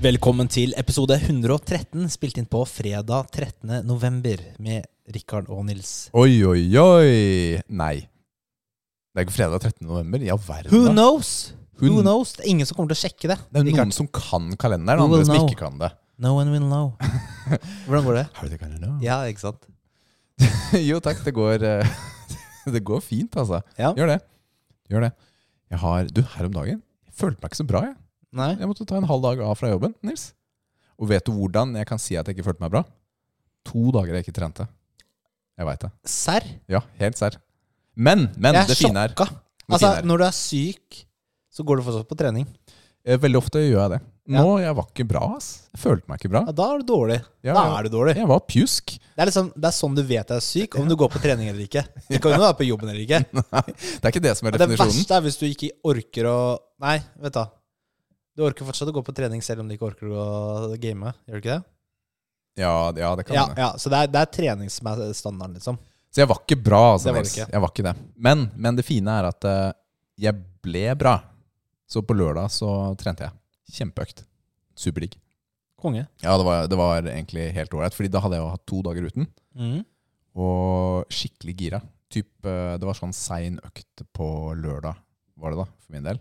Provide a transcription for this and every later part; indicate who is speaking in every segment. Speaker 1: Velkommen til episode 113, spilt inn på fredag 13. november med Rikard og Nils.
Speaker 2: Oi, oi, oi! Nei. Det er ikke fredag 13. november. I all verden.
Speaker 1: Who
Speaker 2: da.
Speaker 1: knows? Who
Speaker 2: Hun-
Speaker 1: knows? Det er ingen som kommer til å sjekke det.
Speaker 2: Det er jo
Speaker 1: Rikard.
Speaker 2: noen som kan kalenderen,
Speaker 1: Who
Speaker 2: og andre
Speaker 1: will
Speaker 2: som
Speaker 1: know?
Speaker 2: ikke kan det.
Speaker 1: No one will know. Hvordan går det?
Speaker 2: How they gonna know?
Speaker 1: Ja, ikke sant?
Speaker 2: jo takk, det går eh, Det går fint, altså.
Speaker 1: Ja.
Speaker 2: Gjør det. Gjør det. Jeg har Du, her om dagen Jeg følte meg ikke så bra, jeg.
Speaker 1: Nei?
Speaker 2: Jeg måtte ta en halv dag av fra jobben, Nils. Og vet du hvordan jeg kan si at jeg ikke følte meg bra? To dager jeg ikke trente. Jeg veit det.
Speaker 1: Serr?
Speaker 2: Ja, helt serr. Men, men
Speaker 1: Jeg
Speaker 2: det
Speaker 1: er
Speaker 2: fine er,
Speaker 1: sjokka.
Speaker 2: det
Speaker 1: Altså,
Speaker 2: fine er
Speaker 1: når du er syk, så går du fortsatt på trening.
Speaker 2: eh, Veldig ofte gjør jeg det.
Speaker 1: Ja.
Speaker 2: Nå, jeg var ikke bra, ass. Jeg følte meg ikke bra.
Speaker 1: Ja, da er du dårlig.
Speaker 2: Ja,
Speaker 1: Da
Speaker 2: ja.
Speaker 1: er du dårlig.
Speaker 2: Jeg var pjusk.
Speaker 1: Det er, liksom, det er sånn du vet jeg er syk, om du går på trening eller ikke. Du kan jo være på jobben eller ikke.
Speaker 2: Nei, det er ikke det som
Speaker 1: Og
Speaker 2: er
Speaker 1: Det
Speaker 2: definisjonen.
Speaker 1: verste er hvis du ikke orker å Nei, vet du. hva. Du orker fortsatt å gå på trening selv om du ikke orker å game. Gjør du ikke det?
Speaker 2: Ja, ja, det kan
Speaker 1: Ja,
Speaker 2: hende.
Speaker 1: ja, Så det er, det er trening som er standarden, liksom.
Speaker 2: Så jeg var ikke bra, altså,
Speaker 1: Det var du
Speaker 2: Nils.
Speaker 1: ikke.
Speaker 2: Jeg var ikke det. Men, men det fine er at eh, jeg ble bra. Så på lørdag så trente jeg. Kjempeøkt. Superdigg.
Speaker 1: Konge.
Speaker 2: Ja, det var, det var egentlig helt ålreit, Fordi da hadde jeg jo hatt to dager uten.
Speaker 1: Mm.
Speaker 2: Og skikkelig gira. Typ, eh, det var sånn sein økt på lørdag, var det da, for min del.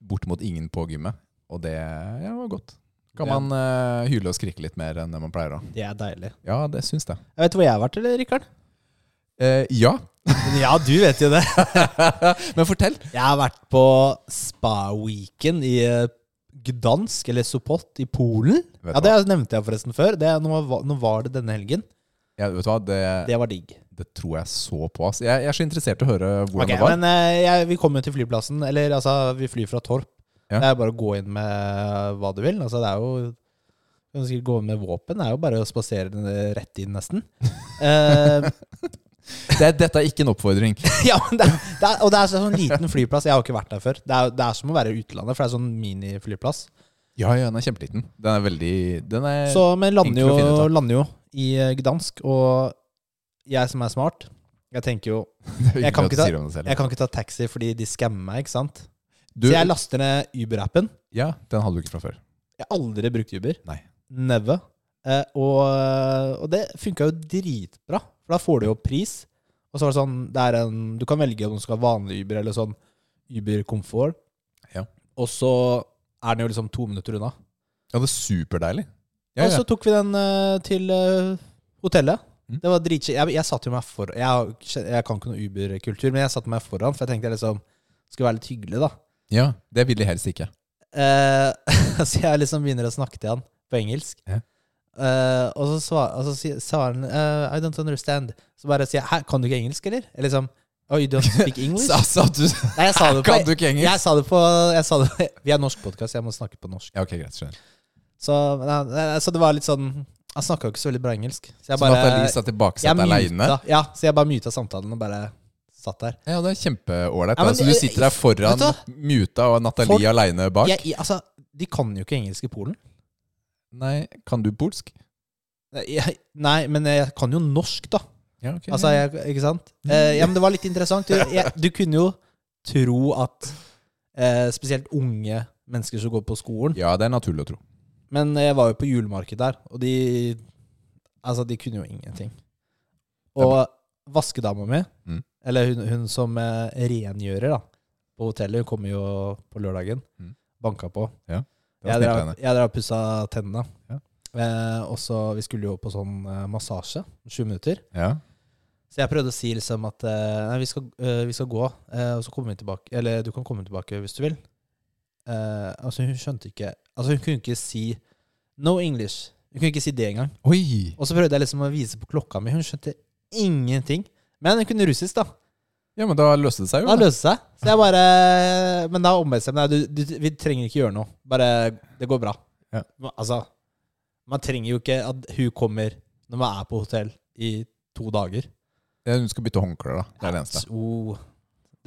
Speaker 2: Bortimot ingen på gymmet. Og det ja, var godt. Kan
Speaker 1: Ja.
Speaker 2: man eh, hyle og skrike litt mer enn det man pleier, da?
Speaker 1: Det er deilig.
Speaker 2: Ja, det syns jeg.
Speaker 1: Jeg vet hvor jeg har vært, eller, Rikard?
Speaker 2: Eh, ja.
Speaker 1: Ja, du vet jo det.
Speaker 2: Men fortell.
Speaker 1: Jeg har vært på spa-weekend i eh, Gdansk, eller Sopot, i Polen.
Speaker 2: Vet,
Speaker 1: Ja,
Speaker 2: du hva?
Speaker 1: Det nevnte jeg forresten før. Det, nå, var, nå var det denne helgen.
Speaker 2: Ja, vet du hva? Det, det,
Speaker 1: Det var digg.
Speaker 2: tror jeg så på. ass. Jeg, jeg er så interessert i å høre hvordan
Speaker 1: Ok,
Speaker 2: det var.
Speaker 1: Men eh, jeg, vi kommer jo til flyplassen, eller altså, vi flyr fra Torp.
Speaker 2: Ja.
Speaker 1: Det er bare å gå inn med hva du vil. Altså, det er jo du kan sikkert gå inn med våpen. Det er jo bare å spasere den rett inn, nesten. Eh,
Speaker 2: Det, dette er ikke en oppfordring.
Speaker 1: ja, men det, er- det er, og det er sånn liten flyplass. Jeg har ikke vært der før. Det er, det er som å være i utlandet, for det er sånn miniflyplass.
Speaker 2: Ja, ja, den er kjempeliten. Den er veldig den er,
Speaker 1: Så vi lander
Speaker 2: enkel Eh, å finne ut
Speaker 1: jo,
Speaker 2: av.
Speaker 1: lander jo i eh, Gdansk, og jeg som er smart, jeg tenker jo jeg kan ikke ta- Jeg kan ikke ta taxi fordi de skammer meg, ikke sant?
Speaker 2: Du,
Speaker 1: Så jeg laster ned Uber-appen.
Speaker 2: ja, den hadde du ikke fra før.
Speaker 1: Jeg har aldri brukt Uber.
Speaker 2: Nei.
Speaker 1: Never. Eh, og, eh, og det funka jo dritbra, for da får du jo pris. Og så var det sånn det er en, Du kan velge om du skal ha vanlig Uber eller sånn Uber Comfort.
Speaker 2: Ja.
Speaker 1: Og så er den jo liksom to minutter unna.
Speaker 2: Ja, det er superdeilig. Ja,
Speaker 1: Og
Speaker 2: ja.
Speaker 1: så tok vi den eh, til eh, hotellet.
Speaker 2: Mm.
Speaker 1: Det var dritkjipt. Jeg, jeg satte jo meg for Jeg, har ikke- jeg kan ikke noe Uber-kultur, men jeg satte meg foran, for jeg tenkte jeg liksom skulle være litt hyggelig, da.
Speaker 2: ja, det vil de helst ikke.
Speaker 1: Eh, så jeg liksom begynner å snakke til han på engelsk.
Speaker 2: Ja.
Speaker 1: Eh, og så svar, og så si- sa han eh, I don't understand. Så bare sier jeg Hæ, kan du ikke engelsk, eller? Eller liksom Oh, you don't speak English?
Speaker 2: Sa, sa altså, du
Speaker 1: Nei, jeg sa det på
Speaker 2: Kan du ikke engelsk?
Speaker 1: Jeg sa det på jeg sa det, Vi er norsk podkast, jeg må snakke på norsk.
Speaker 2: Ja, ok, greit, skjønner.
Speaker 1: Så, nei, nei, så det var litt sånn Han snakka jo ikke så veldig bra engelsk. Så jeg
Speaker 2: Sånn at
Speaker 1: bare
Speaker 2: Elise satt i
Speaker 1: jeg
Speaker 2: baksetet aleine.
Speaker 1: muta- Ja, så jeg bare muta samtalen og bare satt der.
Speaker 2: Ja, det er kjempeålreit.
Speaker 1: Ja, men
Speaker 2: da. Så du
Speaker 1: det-
Speaker 2: sitter der foran
Speaker 1: Vet
Speaker 2: muta og
Speaker 1: Folk-
Speaker 2: Nathalie aleine bak.
Speaker 1: Jeg, altså, de kan jo ikke engelsk i Polen.
Speaker 2: Nei, kan du polsk?
Speaker 1: Nei, Jeg, nei, men jeg kan jo norsk, da.
Speaker 2: Ja, ok.
Speaker 1: Altså, jeg, ikke sant? Eh, ja, men det var litt interessant. Du, jeg, du kunne jo tro at eh, spesielt unge mennesker som går på skolen
Speaker 2: ja, det er naturlig å tro.
Speaker 1: Men jeg var jo på julemarked der, og de Altså, de kunne jo ingenting. Og vaskedama mi,
Speaker 2: Mm.
Speaker 1: eller hun, hun som eh, rengjører da, på hotellet, hun kommer jo på lørdagen,
Speaker 2: Mm.
Speaker 1: banka på.
Speaker 2: Det var
Speaker 1: Jeg
Speaker 2: snilt av
Speaker 1: drev
Speaker 2: henne.
Speaker 1: jeg drev og pussa tennene.
Speaker 2: Ja.
Speaker 1: Eh, og så Vi skulle jo på sånn eh, massasje, sju minutter.
Speaker 2: Ja.
Speaker 1: Så jeg prøvde å si liksom at eh, nei, vi, skal, eh, vi skal gå, eh, og så kommer vi tilbake. Eller du kan komme tilbake hvis du vil. Eh, altså Hun skjønte ikke Altså Hun kunne ikke si no English. Hun kunne ikke si det engang.
Speaker 2: Oi!
Speaker 1: Og så prøvde jeg liksom å vise på klokka mi. Hun skjønte ingenting. Men hun kunne russisk, da.
Speaker 2: Ja, men da løste det seg jo.
Speaker 1: Da løste det seg. Så jeg bare Men da ombestemte jeg meg. Du, du, vi trenger ikke gjøre noe. Bare Det går bra.
Speaker 2: Ja.
Speaker 1: Men, altså Man trenger jo ikke at hun kommer når man er på hotell i to dager.
Speaker 2: Ja, Hun skal bytte håndklær, da. Det er det eneste.
Speaker 1: Så,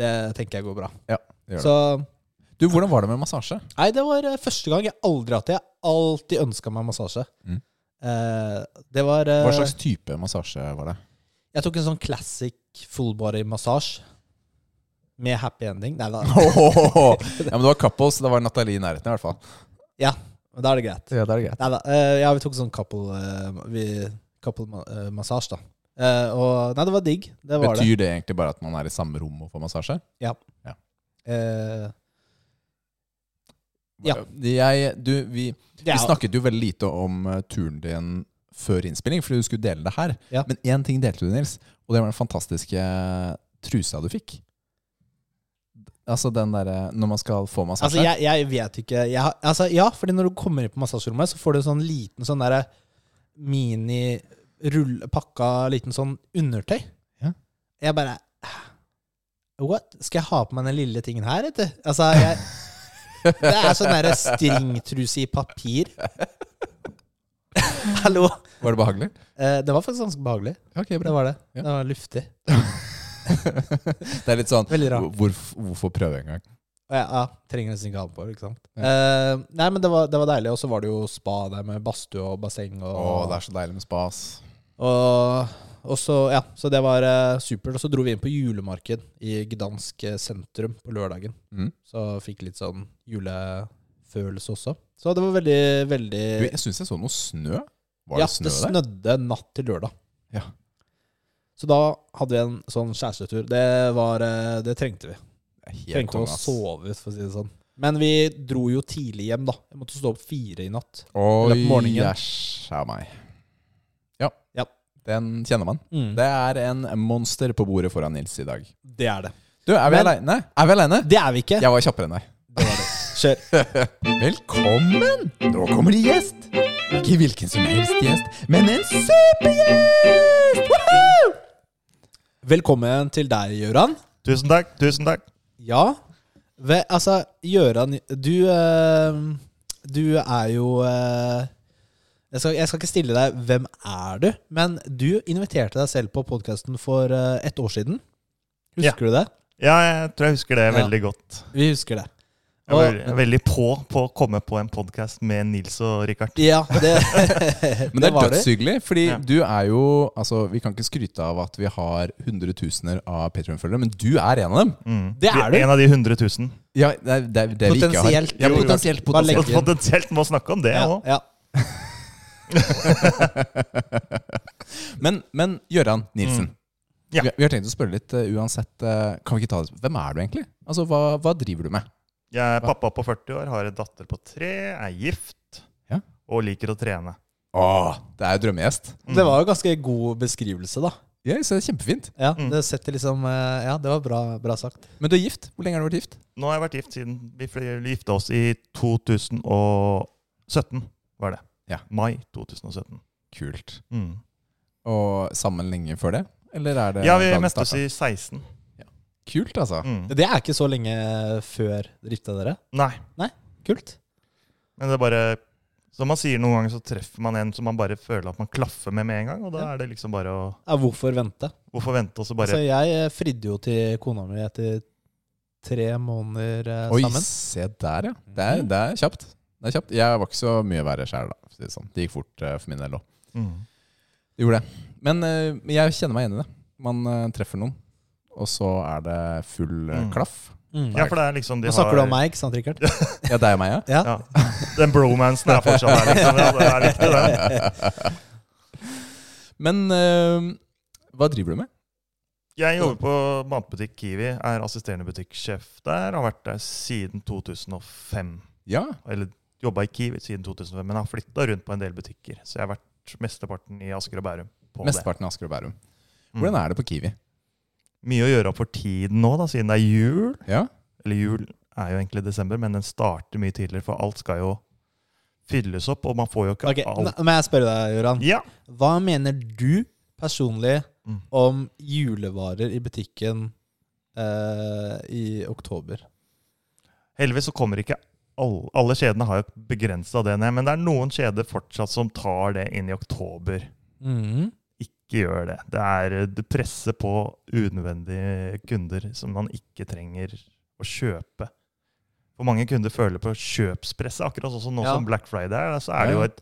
Speaker 1: det tenker jeg går bra.
Speaker 2: Ja, det gjør det.
Speaker 1: Så
Speaker 2: Du, hvordan var det med massasje?
Speaker 1: Nei, det var eh, første gang jeg aldri har hatt det. Jeg har alltid ønska meg massasje.
Speaker 2: Mm.
Speaker 1: Eh, det var eh,
Speaker 2: Hva slags type massasje var det?
Speaker 1: Jeg tok en sånn classic full body massasje. Med happy ending. Nei da.
Speaker 2: Åhåhå. Ja, men det var Kappos, det var Nathalie i nærheten i hvert fall.
Speaker 1: Da er det greit.
Speaker 2: Ja, det er greit.
Speaker 1: Nei da. eh, ja, vi tok sånn couple, eh, vi- couple ma- eh, massasje, da. Eh, og Nei, det var digg. Det var det.
Speaker 2: Betyr det egentlig bare at man er i samme rom og får massasje?
Speaker 1: Eh, Ja.
Speaker 2: Jeg, du, vi,
Speaker 1: det er-
Speaker 2: vi snakket jo veldig lite om eh, turen din før innspilling, fordi du skulle dele det her.
Speaker 1: Ja.
Speaker 2: Men én ting delte du, Nils, og det var den fantastiske trusa du fikk. Altså den derre når man skal få massasje.
Speaker 1: Altså, jeg, jeg vet ikke jeg, har- altså, Ja, fordi når du kommer inn på massasjerommet, så får du sånn liten sånn derre mini-pakka liten sånn undertøy.
Speaker 2: Ja.
Speaker 1: Jeg bare What? Skal jeg ha på meg den lille tingen her, etter? Altså, jeg Det er sånn derre stringtruse i papir. Hallo.
Speaker 2: Var det behagelig?
Speaker 1: Eh, det var faktisk ganske behagelig.
Speaker 2: Ok,
Speaker 1: Det var det.
Speaker 2: Ja.
Speaker 1: Det var luftig.
Speaker 2: Det er litt sånn
Speaker 1: Veldig rart.
Speaker 2: hvorf- Hvorfor prøve en gang?
Speaker 1: Og jeg ja, trenger nesten ikke ha den på. ikke sant? Eh, nei, men det var, det var deilig. Og så var det jo spa der med badstue og basseng. Og,
Speaker 2: Å, det er så deilig med spas.
Speaker 1: og, og så, ja, så det var eh, supert. Og så dro vi inn på julemarked i Gdansk eh, sentrum på lørdagen.
Speaker 2: Mm.
Speaker 1: Så fikk litt sånn julefølelse også. Så det var veldig, veldig
Speaker 2: Du, jeg syns jeg så noe snø.
Speaker 1: Eh.
Speaker 2: Var
Speaker 1: ja,
Speaker 2: det snø
Speaker 1: det
Speaker 2: der?
Speaker 1: snødde natt til lørdag.
Speaker 2: Ja.
Speaker 1: Så da hadde vi en sånn kjærestetur. Det, var, eh, det trengte vi.
Speaker 2: Det er helt
Speaker 1: Trengte å
Speaker 2: konge, ass.
Speaker 1: sove ut, for å si det sånn. Men vi dro jo tidlig hjem, da. Jeg måtte stå opp fire i natt.
Speaker 2: Oi,
Speaker 1: Eller på morgenen.
Speaker 2: jæsj av meg. Ja.
Speaker 1: Ja.
Speaker 2: Den kjenner man.
Speaker 1: Det,
Speaker 2: Det er en monster på bordet foran Nils i dag.
Speaker 1: det er det.
Speaker 2: Du, er vi
Speaker 1: Men-
Speaker 2: aleine? Er vi alene?
Speaker 1: Det er vi ikke.
Speaker 2: Jeg var kjappere enn deg.
Speaker 1: Det var det. Kjør.
Speaker 2: Velkommen! Nå kommer det gjest. Ikke hvilken som helst gjest, men en supergjest! Woohoo!
Speaker 1: Velkommen til deg, Gøran.
Speaker 3: Tusen takk. tusen takk.
Speaker 1: Ja. Ve, altså, Gøran, du eh, Du er jo eh, jeg skal, jeg skal ikke stille deg 'Hvem er du?', men du inviterte deg selv på podkasten for eh, ett år siden. Husker du det?
Speaker 3: Ja, jeg tror jeg husker det
Speaker 1: Ja.
Speaker 3: veldig godt.
Speaker 1: Vi husker det.
Speaker 3: Jeg var
Speaker 1: Og-
Speaker 3: veldig på på å komme på en podkast med Nils og Richard.
Speaker 1: Ja, det,
Speaker 2: Men det
Speaker 1: var
Speaker 2: er dødshyggelig, fordi
Speaker 3: Ja.
Speaker 2: du er jo Altså, vi kan ikke skryte av at vi har hundretusener av Patrion-følgere, men du er en av dem.
Speaker 3: Mm.
Speaker 1: Det er du.
Speaker 3: En av de 100 000.
Speaker 2: Ja, det er det, er- det vi ikke har.
Speaker 1: Potensielt.
Speaker 2: Ja,
Speaker 3: Jo, jo.
Speaker 2: potensielt.
Speaker 1: Bare legg
Speaker 2: potensielt.
Speaker 3: Og
Speaker 1: Legend.
Speaker 3: potensielt må snakke om det
Speaker 1: Ja,
Speaker 3: òg.
Speaker 1: ja.
Speaker 2: Men, men Gøran Nilsen,
Speaker 3: Ja.
Speaker 2: vi, vi har tenkt å spørre litt eh, uansett. eh, kan vi ikke ta det? Hvem er du egentlig? Altså, Hva, hva driver du med?
Speaker 3: Jeg er pappa på 40 år, har en datter på tre, er gift
Speaker 2: Ja.
Speaker 3: og liker å trene.
Speaker 2: Åh, det er jo drømmegjest.
Speaker 3: Mm.
Speaker 1: Det var jo ganske god beskrivelse, da.
Speaker 2: Ja, så det er Kjempefint.
Speaker 1: Ja,
Speaker 3: Mm.
Speaker 1: det setter liksom eh, Ja, det var bra, bra sagt.
Speaker 2: Men du er gift. Hvor lenge har du vært gift?
Speaker 3: Nå har jeg vært gift siden vi fl- gifta oss i 2017, var det.
Speaker 2: Ja.
Speaker 3: Mai 2017.
Speaker 2: Kult.
Speaker 3: Mm.
Speaker 2: Og sammen lenge før det? Eller er det
Speaker 3: Ja, vi
Speaker 2: da det
Speaker 3: møttes
Speaker 2: startet?
Speaker 3: i 16.
Speaker 2: Kult, altså.
Speaker 3: Mm.
Speaker 1: Det er ikke så lenge før drifta dere.
Speaker 3: Nei.
Speaker 1: Kult.
Speaker 3: Men det er bare Som man sier noen ganger, så treffer man en som man bare føler at man klaffer med med en gang. Og da
Speaker 1: Ja.
Speaker 3: er det liksom bare å
Speaker 1: Ja, hvorfor vente?
Speaker 3: Hvorfor vente, og så
Speaker 1: Altså,
Speaker 3: bare
Speaker 1: jeg eh, fridde jo til kona mi etter tre måneder
Speaker 3: Mm,
Speaker 1: eh,
Speaker 2: Oi,
Speaker 1: sammen.
Speaker 2: se der, ja. Det er, det er kjapt. Det er kjapt. Jeg var ikke så mye verre sjæl, da. for å si Det, sånn. det gikk fort eh, for min del òg.
Speaker 3: mm.
Speaker 2: Det gjorde det. Men eh, jeg kjenner meg igjen i det. Man eh, treffer noen, og så er det full eh,
Speaker 3: Mm.
Speaker 2: klaff.
Speaker 1: Mm.
Speaker 3: Ja, for det er liksom de
Speaker 1: Nå snakker du
Speaker 3: har-
Speaker 1: om meg, ikke sant, Rikard?
Speaker 2: Ja, det er meg, ja.
Speaker 1: Ja.
Speaker 3: Ja. Den bromansen er fortsatt der, liksom. Ja, det er viktig, det.
Speaker 2: Men eh, hva driver du med?
Speaker 3: Jeg jobber på matbutikk Kiwi, er assisterende butikksjef der. Har vært der siden 2005.
Speaker 2: Ja,
Speaker 3: Eller jobba i Kiwi siden 2005, men har flytta rundt på en del butikker. Så jeg har vært mesteparten i Asker og Bærum. På det. Mm.
Speaker 2: Mesteparten av Asker og Bærum. Hvordan er det på Kiwi?
Speaker 3: Mye å gjøre opp for tiden nå, da, siden det er jul.
Speaker 2: Ja,
Speaker 3: Eller jul er jo egentlig i desember, men den starter mye tidligere, for alt skal jo fylles opp, og man får jo ikke
Speaker 1: Ok, nå
Speaker 3: alt.
Speaker 1: må jeg spørre deg, Gøran.
Speaker 3: Ja.
Speaker 1: Hva mener du personlig
Speaker 3: Mm.
Speaker 1: om julevarer i butikken eh, i oktober.
Speaker 3: Heldigvis så kommer ikke alle, alle kjedene har jo begrensa det ned, men det er noen kjeder fortsatt som tar det inn i oktober.
Speaker 1: Mm.
Speaker 3: Ikke gjør det. Det er eh, det presser på unødvendige kunder som man ikke trenger å kjøpe. For mange kunder føler på kjøpspresset, akkurat sånn som nå
Speaker 1: Ja.
Speaker 3: som Black Friday er. Så er det jo et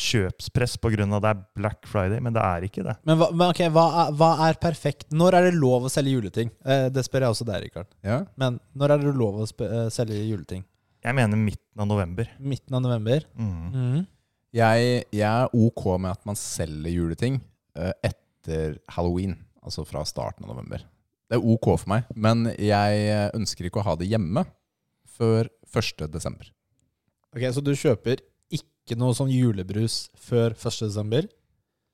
Speaker 3: kjøpspress pga. det er Black Friday, men det er ikke det.
Speaker 1: Men, hva, men ok, hva er, hva er perfekt? Når er det lov å selge juleting? Eh, det spør jeg også deg, Rikard.
Speaker 2: Ja.
Speaker 1: Men når er det lov å spe- eh, selge juleting?
Speaker 3: Jeg mener midten av november.
Speaker 1: Midten av november?
Speaker 3: Mm.
Speaker 2: Jeg, jeg er ok med at man selger juleting eh, etter halloween, altså fra starten av november. Det er ok for meg, men jeg eh, ønsker ikke å ha det hjemme før 1. desember.
Speaker 1: Ok, Så du kjøper ikke noe sånn julebrus før 1. desember?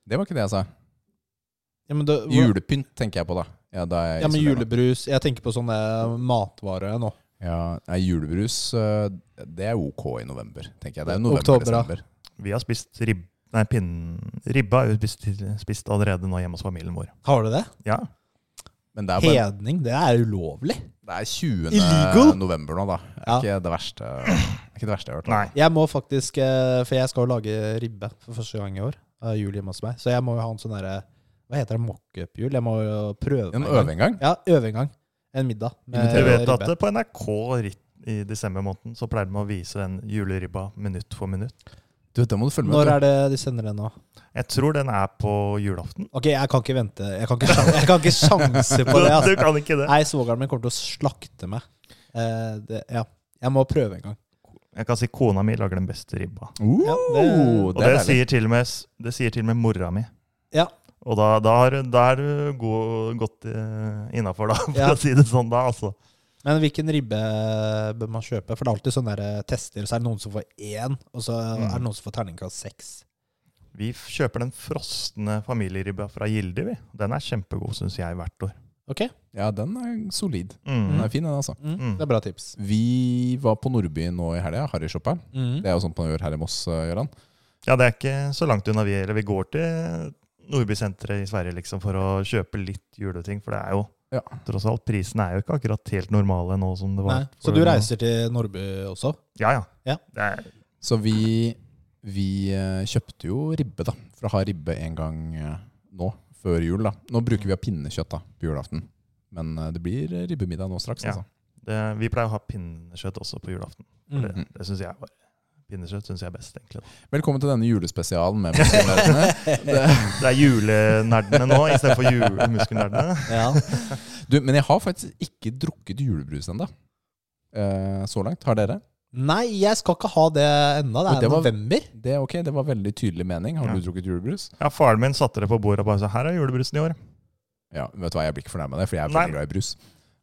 Speaker 2: Det var ikke det jeg sa.
Speaker 1: Ja, men, da- hva-
Speaker 2: Julepynt tenker jeg på da. Ja, da er jeg
Speaker 1: ja, men
Speaker 2: isolert.
Speaker 1: julebrus Jeg tenker på sånne eh, matvarer nå.
Speaker 2: Ja, nei, julebrus, eh, det er ok i november, tenker jeg. Det er
Speaker 1: Oktober, da.
Speaker 2: november-desember.
Speaker 3: Vi har spist rib... Nei, pinnen, ribba er jo spist, spist allerede nå hjemme hos familien vår.
Speaker 1: Har du det?
Speaker 3: Ja.
Speaker 2: Men det er, bare,
Speaker 1: Hedning, det er ulovlig.
Speaker 2: det er 20.
Speaker 1: Illegal?
Speaker 2: november nå, da. Det er
Speaker 1: Ja.
Speaker 2: ikke det verste, det er ikke det verste jeg har hørt.
Speaker 3: Nei.
Speaker 1: Jeg må faktisk, eh, for jeg skal jo lage ribbe for første gang i år. eh, Jul hjemme hos meg. Så jeg må jo ha en sånn derre Hva heter det? Mockup-jul? Jeg må jo prøve
Speaker 2: En
Speaker 1: meg gang.
Speaker 2: øveengang?
Speaker 1: Ja, øve en gang. En middag med
Speaker 3: Du vet at eh,
Speaker 1: ribbe.
Speaker 3: på NRK Ritt i desember måneden så pleier de å vise den juleribba minutt for minutt.
Speaker 2: Du, da må du følge med.
Speaker 1: Når
Speaker 2: du.
Speaker 1: er det de sender den nå?
Speaker 3: Jeg tror den er på julaften.
Speaker 1: Ok, jeg kan ikke vente. Jeg kan ikke, sjan- jeg kan ikke sjanse på det.
Speaker 3: Du
Speaker 1: Altså.
Speaker 3: kan ikke det.
Speaker 1: Nei, svogeren min kommer til å slakte meg. Eh, det, ja. Jeg må prøve en gang.
Speaker 3: Jeg kan si kona mi lager den beste ribba.
Speaker 2: Uh,
Speaker 1: Ja,
Speaker 2: det,
Speaker 1: det-
Speaker 3: Og det,
Speaker 2: er deilig.
Speaker 3: sier til og med, det sier til og med mora mi.
Speaker 1: Ja.
Speaker 3: Og da, da, er, da er du god, godt eh, innafor, da, for
Speaker 1: Ja.
Speaker 3: å si det sånn. da, altså.
Speaker 1: Men hvilken ribbe bør man kjøpe? For det er alltid sånne der eh, tester, så er det noen som får én, og så
Speaker 2: Mm.
Speaker 1: er det noen som får terningkast seks.
Speaker 3: Vi f- kjøper den frosne familieribba fra Gilde. vi. Den er kjempegod, syns jeg, hvert år.
Speaker 1: Ok?
Speaker 2: Ja, den er solid. Den
Speaker 3: Mm.
Speaker 2: er fin, den, altså.
Speaker 1: Mm.
Speaker 3: Mm.
Speaker 1: Det er bra tips.
Speaker 2: Vi var på Nordby nå i helga, harrysjoppa. Mm.
Speaker 1: Mm.
Speaker 2: Det er jo sånt man gjør her i Moss, eh, Gøran.
Speaker 3: Ja, det er ikke så langt unna vi Eller vi går til Nordbysenteret i Sverige liksom for å kjøpe litt juleting, for det er jo
Speaker 2: Ja.
Speaker 3: tross alt Prisen er jo ikke akkurat helt normale nå som det var.
Speaker 1: Nei. Så du reiser til Nordby også?
Speaker 3: Ja, ja.
Speaker 1: Ja.
Speaker 3: Det er,
Speaker 2: Så vi, vi eh, kjøpte jo ribbe, da. For å ha ribbe en gang eh, nå, før jul. da. Nå bruker vi av pinnekjøtt da, på julaften. Men eh, det blir eh, ribbemiddag nå straks,
Speaker 3: Ja.
Speaker 2: altså.
Speaker 3: det, vi pleier å ha pinnekjøtt også på julaften.
Speaker 1: Mm.
Speaker 3: Det, det syns jeg var Pinnekjøtt syns jeg er best, egentlig.
Speaker 2: Mm-hmm. Velkommen til denne julespesialen med Moss-nerdene.
Speaker 1: Mm.
Speaker 2: Det-
Speaker 3: Det er julenerdene nå istedenfor julemuskernerdene.
Speaker 1: Ja.
Speaker 2: Du, Men jeg har faktisk ikke drukket julebrus ennå. Eh, så langt. Har dere?
Speaker 1: Nei, jeg skal ikke ha det ennå. Det
Speaker 2: Og
Speaker 1: er
Speaker 2: det var-
Speaker 1: november.
Speaker 2: Det er ok, det var veldig tydelig mening. Har
Speaker 3: Ja.
Speaker 2: du drukket julebrus?
Speaker 3: Ja, Faren min satte det på bordet og bare sa 'her er julebrusen i år'.
Speaker 2: Ja, vet du hva, jeg blir ikke fornærma med det, for jeg er
Speaker 3: Nei.
Speaker 2: veldig glad i brus.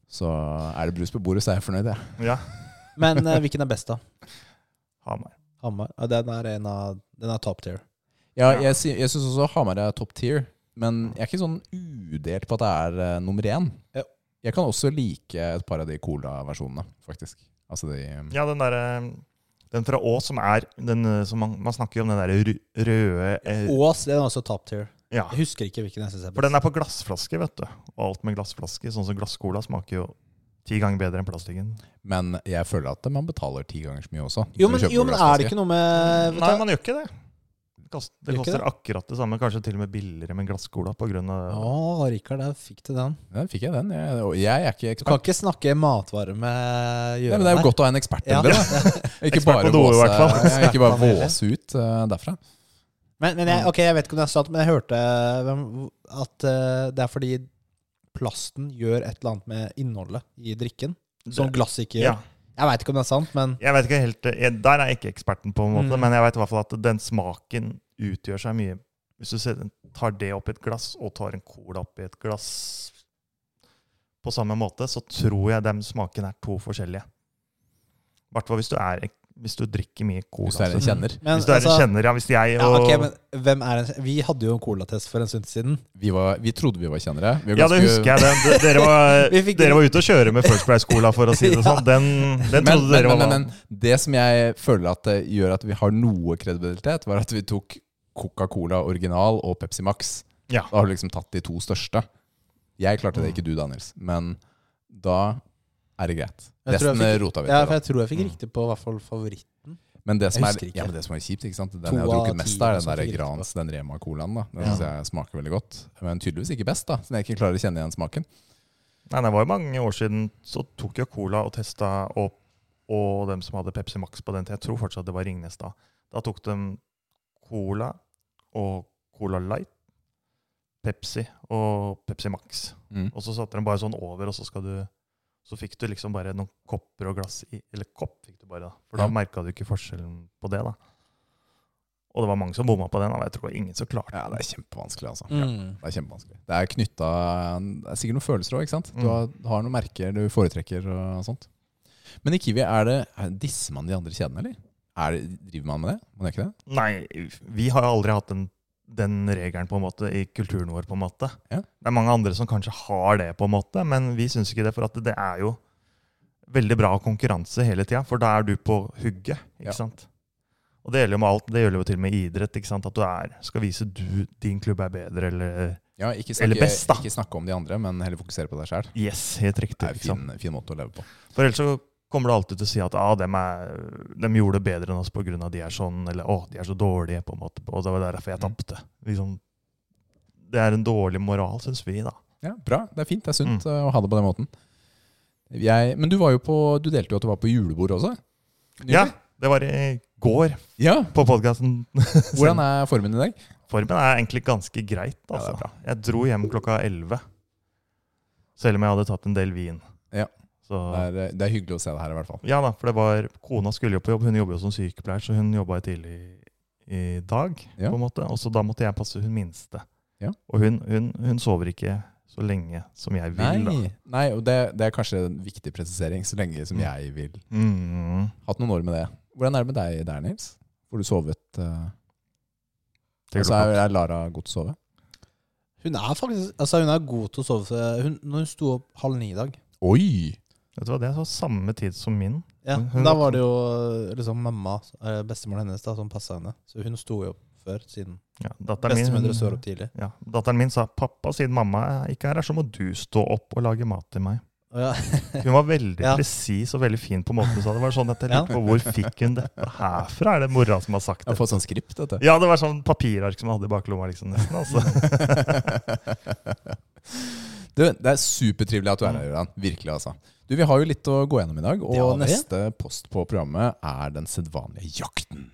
Speaker 2: Så er det brus på bordet, så er jeg fornøyd, jeg.
Speaker 3: Ja,
Speaker 1: Men eh, hvilken er best, da?
Speaker 3: Hamar.
Speaker 1: Hamar. Ja, Den er, en av, den er top tier.
Speaker 2: Ja, jeg, sy- jeg syns også Hamar er top tier, men jeg er ikke sånn udelt på at det er eh, nummer én.
Speaker 1: Ja.
Speaker 2: Jeg kan også like et par av de cola-versjonene, faktisk. Altså de eh,
Speaker 3: Ja, den derre Den fra Å som er den eh, som man, man snakker jo om den derre ru- røde eh,
Speaker 1: Ås den er også top tier.
Speaker 3: Ja.
Speaker 1: Jeg husker ikke hvilken jeg syns er
Speaker 3: For
Speaker 1: best.
Speaker 3: den er på glassflaske, vet du. Og alt med glassflaske, sånn som glasscola, smaker jo ti ganger bedre enn plastikken.
Speaker 2: Men jeg føler at man betaler ti ganger så mye også.
Speaker 1: Jo, men, jo, men er det ikke noe med Eh, vet
Speaker 3: Nei,
Speaker 1: du-
Speaker 3: man gjør ikke det. Det kost- det
Speaker 1: Gjør ikke
Speaker 3: koster akkurat det samme, kanskje til og med billigere med glasscola pga.
Speaker 1: Å, Rikard, der fikk du den.
Speaker 2: Ja, fikk jeg den. Jeg, og jeg er ikke
Speaker 1: Du kan
Speaker 2: ekspert.
Speaker 1: ikke snakke matvare med
Speaker 2: Nei,
Speaker 1: Gjøran
Speaker 2: men det er
Speaker 1: her.
Speaker 2: jo godt å ha en ekspert
Speaker 1: Ja.
Speaker 2: eller? Ikke
Speaker 3: Ekspert
Speaker 2: bare
Speaker 3: på noe, i
Speaker 2: våse,
Speaker 3: hvert fall.
Speaker 2: ja, ikke bare
Speaker 1: Ekspert på noe.
Speaker 2: våse ut eh, derfra.
Speaker 1: Men, men jeg, ok, jeg vet ikke om det er sant, men jeg hørte hvem- at eh, det er fordi plasten gjør et eller annet med innholdet i drikken. Som sånn glass ikke gjør.
Speaker 3: ja.
Speaker 1: Jeg veit ikke om det er sant, men
Speaker 3: Jeg vet ikke helt eh, jeg- Der er jeg ikke eksperten, på en måte,
Speaker 1: Mm.
Speaker 3: men jeg vet i hvert fall at den smaken utgjør seg mye. Hvis du ser- tar det oppi et glass, og tar en cola oppi et glass på samme måte, så tror jeg den smaken er to forskjellige. I hvert fall hvis du er Hvis du drikker mye cola.
Speaker 2: Hvis du er
Speaker 3: så-
Speaker 2: en kjenner.
Speaker 1: men,
Speaker 3: Hvis du er en
Speaker 1: altså,
Speaker 3: kjenner, ja. Hvis jeg
Speaker 1: ja,
Speaker 3: og
Speaker 1: ok, men hvem er en, Vi hadde jo en colatest for en stund siden.
Speaker 2: Vi, var, vi trodde vi var kjennere. Vi var
Speaker 3: Ja, det
Speaker 2: ganske-
Speaker 3: husker jeg. Den, d- dere, var,
Speaker 1: Vi fikk-
Speaker 3: dere var ute og kjøre med First Price-cola, for å si det
Speaker 1: Ja.
Speaker 3: sånn. Den,
Speaker 2: Men,
Speaker 3: den trodde
Speaker 2: men,
Speaker 3: dere
Speaker 2: men,
Speaker 3: var
Speaker 2: men, men det som jeg føler at det gjør at vi har noe kredibilitet, var at vi tok Coca-Cola original og Pepsi Max.
Speaker 3: Ja.
Speaker 2: Da har du liksom tatt de to største. Jeg klarte det, ikke du, Daniels. Men da er det greit.
Speaker 1: Jeg tror jeg
Speaker 2: Resten
Speaker 1: fikk-
Speaker 2: rota vi
Speaker 1: Ja,
Speaker 2: til.
Speaker 1: for jeg tror jeg fikk
Speaker 2: Mm.
Speaker 1: riktig på i hvert fall favoritt.
Speaker 2: da. Men det som,
Speaker 1: jeg
Speaker 2: er,
Speaker 1: husker ikke.
Speaker 2: ja, men det som er kjipt, ikke sant?
Speaker 1: To
Speaker 2: den jeg har
Speaker 1: av
Speaker 2: drukket mest
Speaker 1: ti som
Speaker 2: av, er den
Speaker 1: fikk
Speaker 2: der
Speaker 1: altså. riktig på.
Speaker 2: Grans, den Rema-colaen. da. Den
Speaker 3: Ja.
Speaker 2: synes jeg smaker veldig godt. Men tydeligvis ikke best, da, siden jeg ikke klarer å kjenne igjen smaken.
Speaker 3: Nei, det var jo mange år siden så tok jeg Cola og testa opp, og dem som hadde Pepsi Max på den tida, jeg tror fortsatt det var Ringnes da. Da tok de Cola og Cola Light, Pepsi og Pepsi Max.
Speaker 2: Mm.
Speaker 3: Og så satte de bare sånn over, og så skal du så fikk du liksom bare noen kopper og glass i Eller kopp fikk du bare, da. For da
Speaker 2: Ja.
Speaker 3: merka du ikke forskjellen på det, da. Og det var mange som bomma på den. da, men Jeg tror det var ingen som klarte
Speaker 2: Ja, det er kjempevanskelig, altså.
Speaker 1: Mm.
Speaker 2: Det er kjempevanskelig. Det er knytta Det er sikkert noen følelser òg, ikke sant? Du
Speaker 3: Mm.
Speaker 2: har, har noen merker du foretrekker og sånt. Men i Kiwi, er det er- disser man de andre kjedene, eller? Er det, driver man med det? Man gjør ikke det?
Speaker 3: Nei, vi har jo aldri hatt den, den regelen på en måte i kulturen vår. på en måte.
Speaker 2: Ja.
Speaker 3: Det er mange andre som kanskje har det, på en måte, men vi syns ikke det. For at det er jo veldig bra konkurranse hele tida, for da er du på hugget. ikke
Speaker 2: Ja.
Speaker 3: sant? Og det gjelder jo med alt. Det gjelder jo til og med idrett. ikke sant? At du er, skal vise du din klubb er bedre, eller
Speaker 2: Ja, ikke
Speaker 3: Eller
Speaker 2: snakke,
Speaker 3: best, da.
Speaker 2: ikke snakke om de andre, men heller fokusere på deg sjæl.
Speaker 3: Yes, helt
Speaker 2: Det er
Speaker 3: riktig. liksom.
Speaker 2: en
Speaker 3: ikke sant?
Speaker 2: fin, fin måte å leve på.
Speaker 3: For ellers så kommer du alltid til å si at ah, dem, er, dem gjorde det bedre enn oss pga. de er sånn, eller å, de er så dårlige, på en måte. Og det var derfor jeg
Speaker 2: Mm.
Speaker 3: tapte. Liksom, det er en dårlig moral, syns vi, da.
Speaker 2: Ja, Bra. Det er fint. Det er sunt eh,
Speaker 3: Mm.
Speaker 2: å ha det på den måten. Jeg, men du, var jo på, du delte jo at du var på julebord også. Nylig.
Speaker 3: Ja, det var i går
Speaker 2: ja.
Speaker 3: på podkasten.
Speaker 2: Hvordan er formen i dag?
Speaker 3: Formen er egentlig ganske greit,
Speaker 2: Ja, det
Speaker 3: altså.
Speaker 2: er bra.
Speaker 3: jeg dro hjem klokka elleve. Selv om jeg hadde tatt en del vin.
Speaker 2: Ja.
Speaker 3: Så,
Speaker 2: Det er, eh, det er hyggelig å se deg her, i hvert fall.
Speaker 3: ja da, for det var Kona skulle jo på jobb, hun jobber jo som sykepleier, så hun jobba tidlig i dag.
Speaker 2: Ja.
Speaker 3: på en måte. Og så da måtte jeg passe hun minste.
Speaker 2: Ja.
Speaker 3: Og hun, hun, hun sover ikke så lenge som jeg vil, da.
Speaker 2: Nei, nei og det, det er kanskje en viktig presisering, så lenge som
Speaker 3: Mm.
Speaker 2: jeg vil.
Speaker 3: Mm,
Speaker 2: Hatt noen år med det. Hvordan er det med deg der, Nils? Får du sovet eh,
Speaker 3: til
Speaker 2: Altså,
Speaker 3: klokka-
Speaker 2: er, er Lara god til å sove?
Speaker 1: Hun er faktisk Altså hun er god til å sove. så Hun, når hun sto opp halv ni i dag
Speaker 2: Oi!
Speaker 3: Vet du hva, det var samme tid som min.
Speaker 1: ja,
Speaker 3: Hun- hun
Speaker 1: men Da var
Speaker 3: var-
Speaker 1: det jo liksom mamma, eh, bestemoren hennes, da som passa henne. Så hun sto jo opp før, siden
Speaker 3: Ja, datteren, min
Speaker 1: bestemødre står
Speaker 3: hun,
Speaker 1: opp tidlig.
Speaker 3: ja, datteren min sa 'pappa, siden mamma er ikke er her, så må du stå opp og lage mat til meg'.
Speaker 1: Og ja,
Speaker 3: Hun var veldig
Speaker 1: Ja.
Speaker 3: presis og veldig fin på måten hun sa det. Det var sånn at jeg
Speaker 1: Ja.
Speaker 3: lurte på Hvor fikk hun dette herfra? Er det mora som har sagt
Speaker 2: Jeg har
Speaker 3: det?
Speaker 2: fått sånn skript, vet du.
Speaker 3: Ja, det var sånn papirark som jeg hadde i baklomma, liksom, nesten. altså.
Speaker 2: du, det er supertrivelig at du er her, Jøran. Virkelig, altså. Du, Vi har jo litt å gå gjennom i dag,
Speaker 1: Mm. Det
Speaker 2: og
Speaker 1: har vi.
Speaker 2: neste post på programmet er den sedvanlige jakten.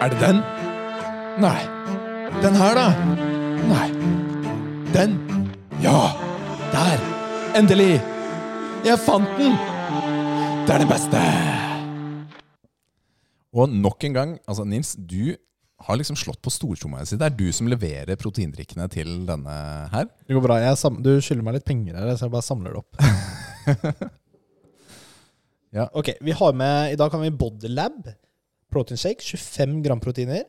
Speaker 2: Er det den? Nei. Den her, da? Nei. Den? Ja! Der! Endelig! Jeg fant den! Det er den beste! Og nok en gang, altså Nils, du har liksom slått på stortromma. si. Det er du som leverer proteindrikkene til denne her.
Speaker 1: det går bra. Jeg sam du skylder meg litt penger her, så jeg bare samler det opp.
Speaker 2: Ja.
Speaker 1: Ok, vi har med I dag har vi Bodylab protein shake. 25 gram proteiner.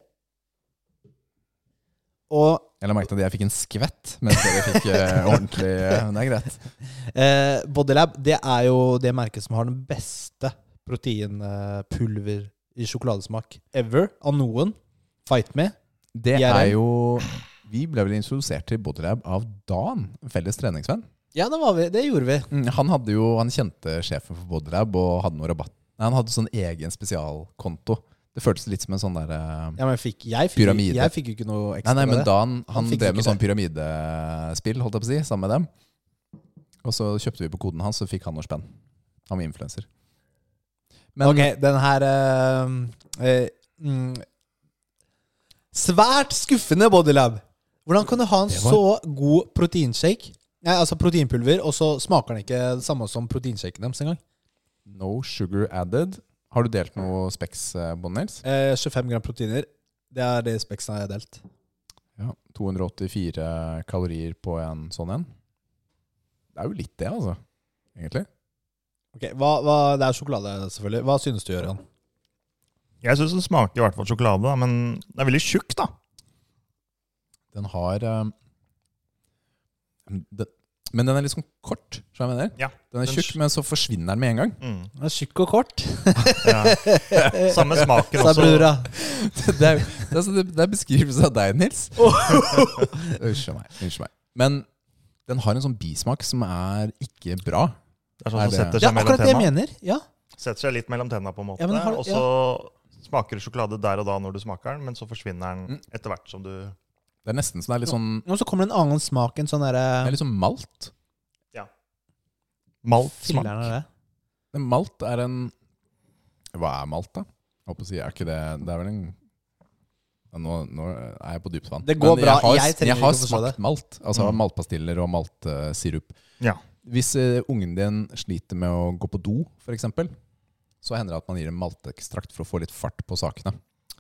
Speaker 1: Og
Speaker 2: Jeg la merke til at jeg fikk en skvett, mens dere fikk eh, ordentlig eh, Men det er greit.
Speaker 1: Eh, Bodylab det er jo det merket som har den beste proteinpulver i sjokoladesmak ever av noen. Fight me.
Speaker 2: Det
Speaker 1: Jeg er
Speaker 2: er
Speaker 1: redd.
Speaker 2: jo Vi ble vel introdusert til Bodylab av Dan, en felles treningsvenn.
Speaker 1: Ja, det, var vi. det gjorde vi.
Speaker 2: Mm, Han hadde jo, han kjente sjefen for Bodylab og hadde noe rabatt. Nei, han hadde sånn egen spesialkonto. Det føltes litt som en sånn derre
Speaker 1: Ja, men jeg fikk, jeg fikk,
Speaker 2: Pyramide.
Speaker 1: jeg fikk jo ikke noe
Speaker 2: Nei,
Speaker 1: ekstra.
Speaker 2: nei,
Speaker 1: av
Speaker 2: men
Speaker 1: det.
Speaker 2: Dan
Speaker 1: Han
Speaker 2: han
Speaker 1: fikk
Speaker 2: drev med
Speaker 1: ikke
Speaker 2: sånn pyramidespill, holdt jeg på å si, sammen med dem. Og så kjøpte vi på koden hans, så fikk han noe spenn. Han var influenser. Men
Speaker 1: ok, den her eh, eh, mm, Svært skuffende Bodylab. Hvordan kan du ha en
Speaker 2: Det var-
Speaker 1: så god proteinshake? Nei, altså proteinpulver, og så smaker den ikke det samme som proteinshaken deres engang.
Speaker 2: no sugar added. Har du delt noe Specs, eh, Bånd Nils?
Speaker 1: Eh, 25 gram proteiner. Det er det speksen jeg har delt.
Speaker 2: Ja, 284 kalorier på en sånn en. Det er jo litt det, altså. Egentlig.
Speaker 1: Ok, hva, hva, Det er sjokolade, selvfølgelig. Hva synes du, Jørgen?
Speaker 3: Jeg syns den smaker i hvert fall sjokolade, da, men den er veldig tjukk, da.
Speaker 2: Den har eh, den, Men den er litt sånn kort, skjønner du hva jeg mener?
Speaker 3: Ja,
Speaker 2: Den er
Speaker 3: den
Speaker 2: tjukk,
Speaker 3: sj-
Speaker 2: men så forsvinner den med en gang.
Speaker 3: Mm.
Speaker 1: Den er Tjukk og kort,
Speaker 3: Ja. Samme smaker
Speaker 1: sa
Speaker 3: også.
Speaker 1: brura.
Speaker 2: det, er, det, er, så- det er beskrivelse av deg, Nils. Unnskyld meg. Unnskyld meg. Men Den har en sånn bismak som er ikke bra.
Speaker 3: Det er sånn
Speaker 2: Er
Speaker 3: som
Speaker 2: det-
Speaker 3: setter
Speaker 1: Ja,
Speaker 3: seg mellom
Speaker 1: akkurat det jeg
Speaker 3: tenna.
Speaker 1: mener. Ja.
Speaker 3: Setter seg litt mellom tenna, på en måte.
Speaker 1: Ja, men har-
Speaker 3: Og så smaker det sjokolade der og da når du smaker den, men så forsvinner den
Speaker 2: Mm.
Speaker 3: etter hvert som du
Speaker 2: Det er nesten sånn, det er litt sånn,
Speaker 1: Og så kommer det en annen smak enn sånn
Speaker 2: det er
Speaker 1: derre
Speaker 2: litt sånn malt.
Speaker 3: Malt
Speaker 1: Filleren
Speaker 3: smak.
Speaker 1: av det.
Speaker 2: Men malt er en Hva er malt, da? Jeg håper å si, er ikke det Det er vel en Ja, nå, nå er jeg på dypt vann.
Speaker 1: Det går
Speaker 2: Men
Speaker 1: bra,
Speaker 2: Jeg har,
Speaker 1: jeg trenger
Speaker 2: jeg har
Speaker 1: ikke å forstå
Speaker 2: smakt
Speaker 1: det.
Speaker 2: malt. Altså
Speaker 3: Mm.
Speaker 2: maltpastiller og maltsirup.
Speaker 3: Ja.
Speaker 2: Hvis eh, ungen din sliter med å gå på do, f.eks., så hender det at man gir en maltekstrakt for å få litt fart på sakene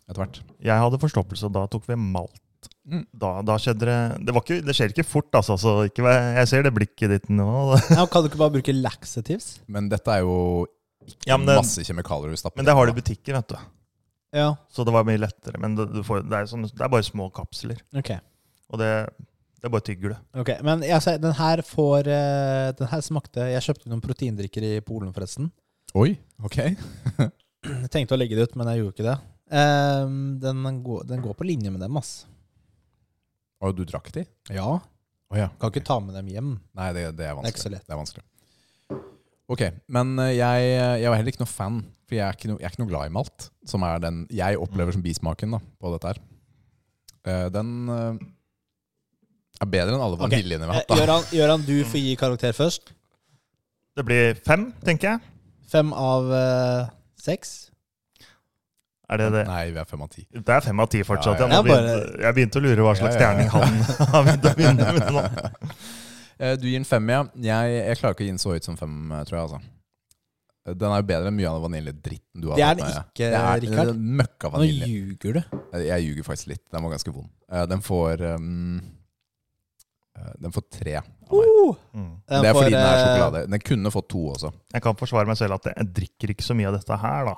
Speaker 2: etter hvert.
Speaker 3: Jeg hadde forstoppelse, og da tok vi malt.
Speaker 2: Mm.
Speaker 3: Da, da skjedde det Det, var ikke, det skjer ikke fort, altså. Så ikke, vær- jeg ser det blikket ditt nå.
Speaker 1: Ja, kan du ikke bare bruke laxatives?
Speaker 2: Men dette er jo ikke
Speaker 3: Ja, men det-
Speaker 2: masse kjemikalier du stapper
Speaker 3: Men det har du
Speaker 2: i.
Speaker 3: i butikker, vet du.
Speaker 1: Ja,
Speaker 3: Så det var mye lettere. Men det, du får, det, er, sånn, det er bare små kapsler.
Speaker 1: ok.
Speaker 3: Og det, det er bare tygger du.
Speaker 1: Ok, Men jeg, altså, den her får eh, Den her smakte Jeg kjøpte noen proteindrikker i Polen, forresten.
Speaker 2: Oi, ok.
Speaker 1: Jeg tenkte å legge det ut, men jeg gjorde ikke det. Ehm, den, går, den går på linje med dem, ass.
Speaker 2: Og du drakk de?
Speaker 1: Ja.
Speaker 2: Å ja.
Speaker 1: Kan ikke ta med dem hjem.
Speaker 2: Nei, det, det er vanskelig.
Speaker 1: Det er ikke så lett.
Speaker 2: Det er vanskelig. Ok, men eh, jeg, jeg var heller ikke noe fan, for jeg er ikke, no, jeg er ikke noe glad i malt, som er den jeg opplever som bismaken da, på dette her. Eh, Den eh, er bedre enn alle
Speaker 1: Ok,
Speaker 2: vaniljene vi har
Speaker 1: Eh,
Speaker 2: hatt. da.
Speaker 1: Gøran, Gøran, du får gi karakter først.
Speaker 3: Det blir fem, tenker jeg.
Speaker 1: Fem av eh, seks.
Speaker 3: Er det det?
Speaker 2: Nei, vi er fem av ti.
Speaker 3: Det er fem av ti fortsatt.
Speaker 2: Ja,
Speaker 3: Jeg,
Speaker 2: ja.
Speaker 1: Jeg
Speaker 3: nå
Speaker 1: bare-
Speaker 3: begynte, jeg begynte å lure hva slags
Speaker 2: Ja, ja, ja.
Speaker 3: terning han har begynt å vinne med nå.
Speaker 2: Eh, Du gir den fem, ja. Jeg, jeg klarer ikke å gi den så høyt som fem, eh, tror jeg. altså. Eh, Den er jo bedre enn mye av den vaniljedritten du har
Speaker 1: Det er
Speaker 2: tatt
Speaker 1: den
Speaker 2: med.
Speaker 1: ikke,
Speaker 2: Det er-
Speaker 1: Rikard.
Speaker 2: det er Møkka
Speaker 1: Nå
Speaker 2: vanilje.
Speaker 1: ljuger du.
Speaker 2: Eh, Jeg ljuger faktisk litt. Den var ganske vond. Eh, Den får um, eh, Den får tre av meg.
Speaker 1: Uh,
Speaker 3: Mm.
Speaker 2: Det er fordi den er
Speaker 1: eh,
Speaker 2: sjokolade. Den kunne fått to også.
Speaker 3: Jeg kan forsvare meg selv at jeg drikker ikke så mye av dette her, da.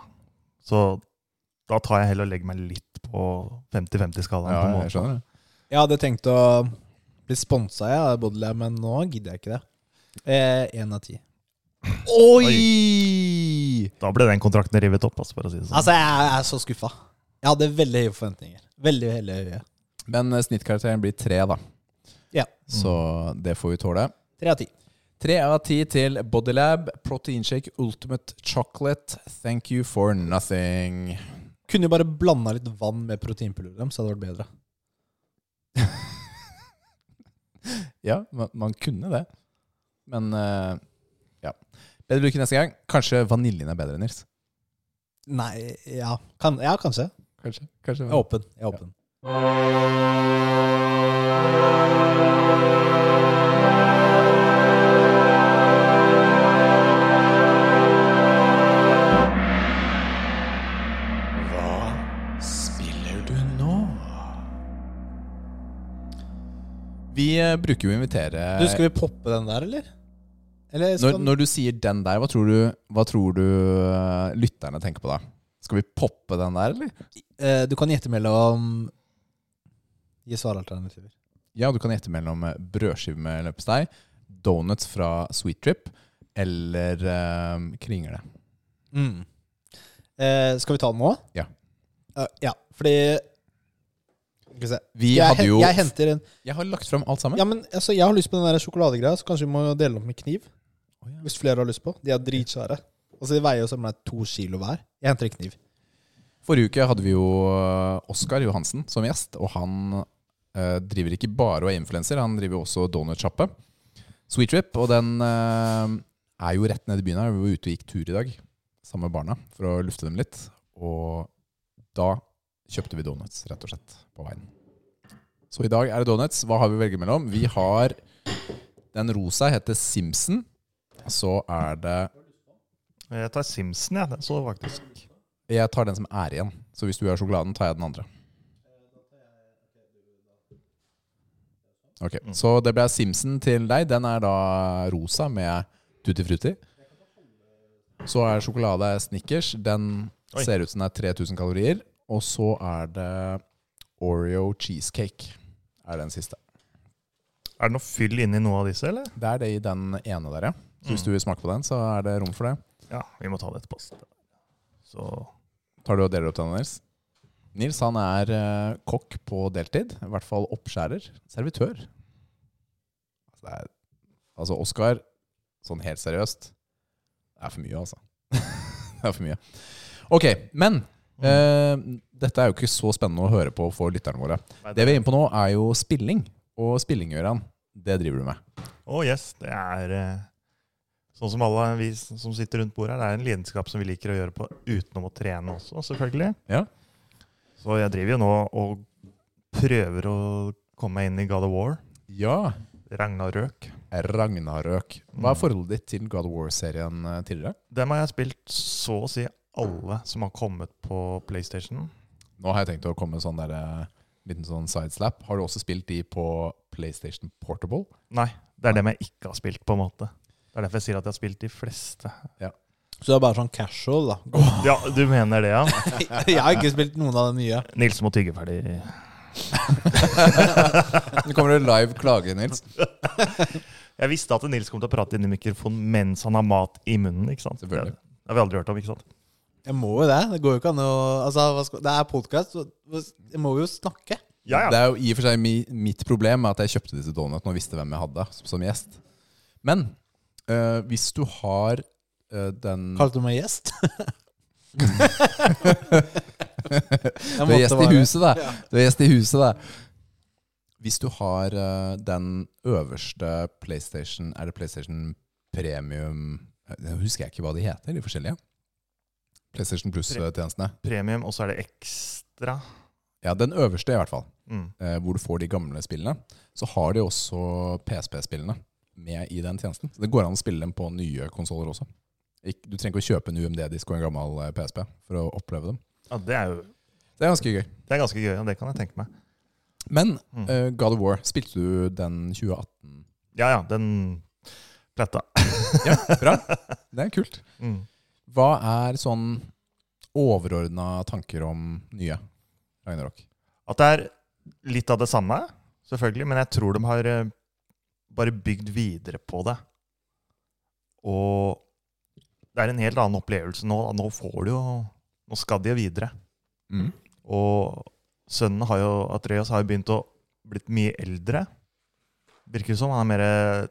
Speaker 3: Så da tar jeg heller og legger meg litt på 50-50-skalaen. på en måte.
Speaker 2: skjønner det.
Speaker 1: Jeg hadde tenkt å bli sponsa, jeg, av Bodler, men nå gidder jeg ikke det. Én av ti.
Speaker 2: Oi!
Speaker 3: Da ble den kontrakten revet opp, altså, for å si det sånn.
Speaker 1: Altså, jeg er så skuffa. Jeg hadde veldig høye forventninger. Veldig, veldig høye.
Speaker 2: Men eh, snittkarakteren blir tre, da.
Speaker 1: Ja.
Speaker 2: Så det får vi tåle.
Speaker 1: Tre av ti.
Speaker 2: Tre av ti til Bodylab, proteinshake, ultimate chocolate. Thank you for nothing.
Speaker 1: Kunne jo bare blanda litt vann med proteinpulver i dem, så hadde det vært bedre.
Speaker 2: Ja, man, man kunne det. Men eh, ja. Bedre lykke neste gang. Kanskje vaniljen er bedre, Nils.
Speaker 1: Nei, ja, kan, ja kanskje.
Speaker 2: Kanskje. Kanskje
Speaker 1: Jeg er åpen. Jeg er åpen.
Speaker 2: Hva spiller du nå? Vi eh, bruker jo å invitere
Speaker 1: Du, skal vi poppe den der, eller? Eller skal
Speaker 2: når, når du sier den der, hva tror du, hva tror du eh, lytterne tenker på da? Skal vi poppe den der, eller?
Speaker 1: Eh, Du kan gjette mellom Gi svaralternativer.
Speaker 2: Ja, du kan gjette mellom eh, brødskive med løpestei, donuts fra Sweet Trip eller eh, kringle.
Speaker 1: Mm. Eh, skal vi ta den nå?
Speaker 2: Ja.
Speaker 1: Eh, ja, fordi Skal vi se.
Speaker 2: Vi
Speaker 1: jeg,
Speaker 2: hadde
Speaker 1: hen-
Speaker 2: jo
Speaker 1: jeg henter en
Speaker 2: Jeg har lagt fram alt sammen.
Speaker 1: Ja, men altså, Jeg har lyst på den der sjokoladegreia, så kanskje vi må dele den opp med kniv.
Speaker 2: Å, ja.
Speaker 1: Hvis flere har lyst på. De er dritsvære. Altså, De veier jo sammen med to kilo hver. Jeg henter en kniv.
Speaker 2: Forrige uke hadde vi jo Oskar Johansen som gjest, og han eh, driver ikke bare og er influenser, han driver også donutsjappe. Sweet Trip, og den eh, er jo rett nede i byen her. Vi var ute og gikk tur i dag sammen med barna for å lufte dem litt. Og da kjøpte vi donuts, rett og slett, på veien. Så i dag er det donuts. Hva har vi å velge mellom? Vi har den rosa heter Simpson. Så er det
Speaker 3: Jeg tar Simpson, jeg. Den så faktisk
Speaker 2: Jeg tar den som er igjen. Så hvis du gjør sjokoladen, tar jeg den andre. Ok, Så det ble Simpson til deg. Den er da rosa med tutti frutti. Så er sjokolade Snickers. Den
Speaker 3: Oi.
Speaker 2: ser ut som den er 3000 kalorier. Og så er det Oreo cheesecake. Er den siste.
Speaker 3: Er det noe fyll inni noe av disse, eller?
Speaker 2: Det er det i den ene der, ja. Så hvis du vil smake på den, så er det rom for det.
Speaker 3: Ja, vi må ta det etterpå. altså. Så
Speaker 2: Tar du og deler opp denne, Nils? Nils han er eh, kokk på deltid. I hvert fall oppskjærer. Servitør. Altså, det er Altså, Oscar, sånn helt seriøst, det er for mye, altså. det er for mye. Ok, men eh, dette er jo ikke så spennende å høre på for lytterne våre.
Speaker 3: Nei,
Speaker 2: Det vi er inne på nå, er jo spilling. Og spilling, Gøran, det driver du med.
Speaker 3: Å yes, det er eh, sånn som alle vi s- som sitter rundt bordet her. Det er en lidenskap som vi liker å gjøre på utenom å trene også, selvfølgelig.
Speaker 2: Ja.
Speaker 3: Så jeg driver jo nå og prøver å komme meg inn i God of War.
Speaker 2: Ja,
Speaker 3: Ragnarøk.
Speaker 2: Ragnarøk. Hva er forholdet ditt til God of War-serien eh, tidligere?
Speaker 3: Dem har jeg spilt så å si alle som har kommet på PlayStation.
Speaker 2: Nå har jeg tenkt å komme med sånn der, eh, liten sånn sideslap. Har du også spilt de på PlayStation Portable?
Speaker 3: Nei, det er dem jeg ikke har spilt, på en måte. Det er derfor jeg sier at jeg har spilt de fleste.
Speaker 1: Så det er bare sånn casual, da.
Speaker 3: Ja, du mener det, ja?
Speaker 1: Jeg har ikke spilt noen av de nye.
Speaker 3: Nils må tygge ferdig.
Speaker 2: Nå kommer det live klage, Nils.
Speaker 3: Jeg visste at Nils kom til å prate inn i mikrofonen mens han har mat i munnen, ikke sant?
Speaker 2: Selvfølgelig.
Speaker 3: Det har vi aldri hørt om, ikke sant?
Speaker 1: Jeg må jo det. Det går jo ikke an å altså, hva skal, Det er podkast, jeg må jo snakke.
Speaker 3: Ja,
Speaker 2: Det
Speaker 3: ja.
Speaker 2: er jo i og for seg mi, mitt problem at jeg kjøpte disse donutene og visste hvem jeg hadde som, som gjest. Men eh, hvis du har eh, den
Speaker 1: Kalte du meg gjest?
Speaker 2: Du er gjest i huset, da. Du er gjest i huset, da. Hvis du har eh, den øverste PlayStation Er det PlayStation Premium Jeg husker jeg ikke hva de heter, de forskjellige. PlayStation Plus-tjenestene.
Speaker 3: Premium, og så er det ekstra.
Speaker 2: Ja, den øverste, i hvert fall.
Speaker 3: Mm.
Speaker 2: eh, hvor du får de gamle spillene, så har de også PSP-spillene med i den tjenesten. Så det går an å spille dem på nye konsoller også. Ikk- Du trenger ikke å kjøpe en UMD-disk og en gammel eh, PSP for å oppleve dem.
Speaker 3: Ja, det er jo
Speaker 2: Det er ganske gøy.
Speaker 3: det er ganske gøy, og det kan jeg tenke meg.
Speaker 2: Men
Speaker 3: Mm.
Speaker 2: eh, God of War, spilte du den 2018?
Speaker 3: Ja, ja, den pletta.
Speaker 2: Ja, bra. Det er kult.
Speaker 3: Mm.
Speaker 2: Hva er sånn overordna tanker om nye Ragnarok?
Speaker 3: At det er litt av det samme, selvfølgelig, men jeg tror de har eh, bare bygd videre på det. Og det er en helt annen opplevelse nå. da. Nå får du jo Nå skal de jo videre.
Speaker 2: Mm.
Speaker 3: Og sønnen har jo, Atreas har jo begynt å blitt mye eldre. Virker som han er mer eh,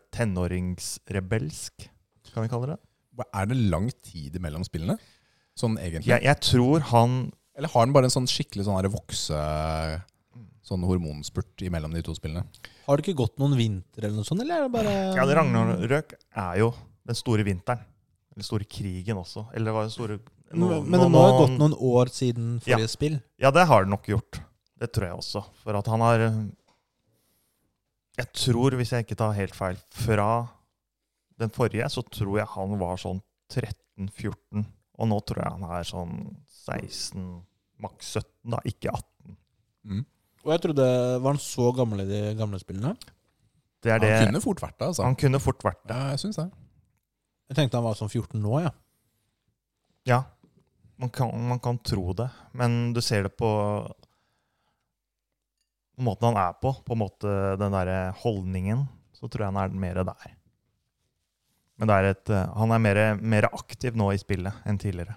Speaker 3: tenåringsrebelsk, kan vi kalle det.
Speaker 2: Hva- Er det lang tid mellom spillene? Sånn egentlig?
Speaker 3: Jeg, jeg tror han
Speaker 2: Eller har den bare en sånn skikkelig sånn her vokse
Speaker 3: Mm.
Speaker 2: Sånn hormonspurt imellom de to spillene?
Speaker 1: Har det ikke gått noen vinter eller noe sånt, eller er det bare
Speaker 3: Ja, det Ragnarøk er jo den store vinteren. Den store krigen også. Eller det var den store
Speaker 1: Men men det må ha gått noen år siden
Speaker 3: Ja.
Speaker 1: forrige spill.
Speaker 3: Ja, det har det nok gjort. Det tror jeg også. For at han har eh, Jeg tror, hvis jeg ikke tar helt feil, fra den forrige, så tror jeg han var sånn 13-14. Og nå tror jeg han er sånn 16, maks 17, da. Ikke 18.
Speaker 1: Og jeg trodde Var han så gammel i de gamle spillene?
Speaker 3: Det er det
Speaker 2: Han kunne fort vært det, altså.
Speaker 3: Han kunne fort vært det.
Speaker 2: Ja, jeg syns det.
Speaker 1: Jeg tenkte han var sånn 14 nå, ja.
Speaker 3: Ja, man kan, man kan tro det, men du ser det på på måten han er på, på en måte den derre holdningen, så tror jeg han er mer der. Men det er et, eh, han er mer, mer aktiv nå i spillet enn tidligere.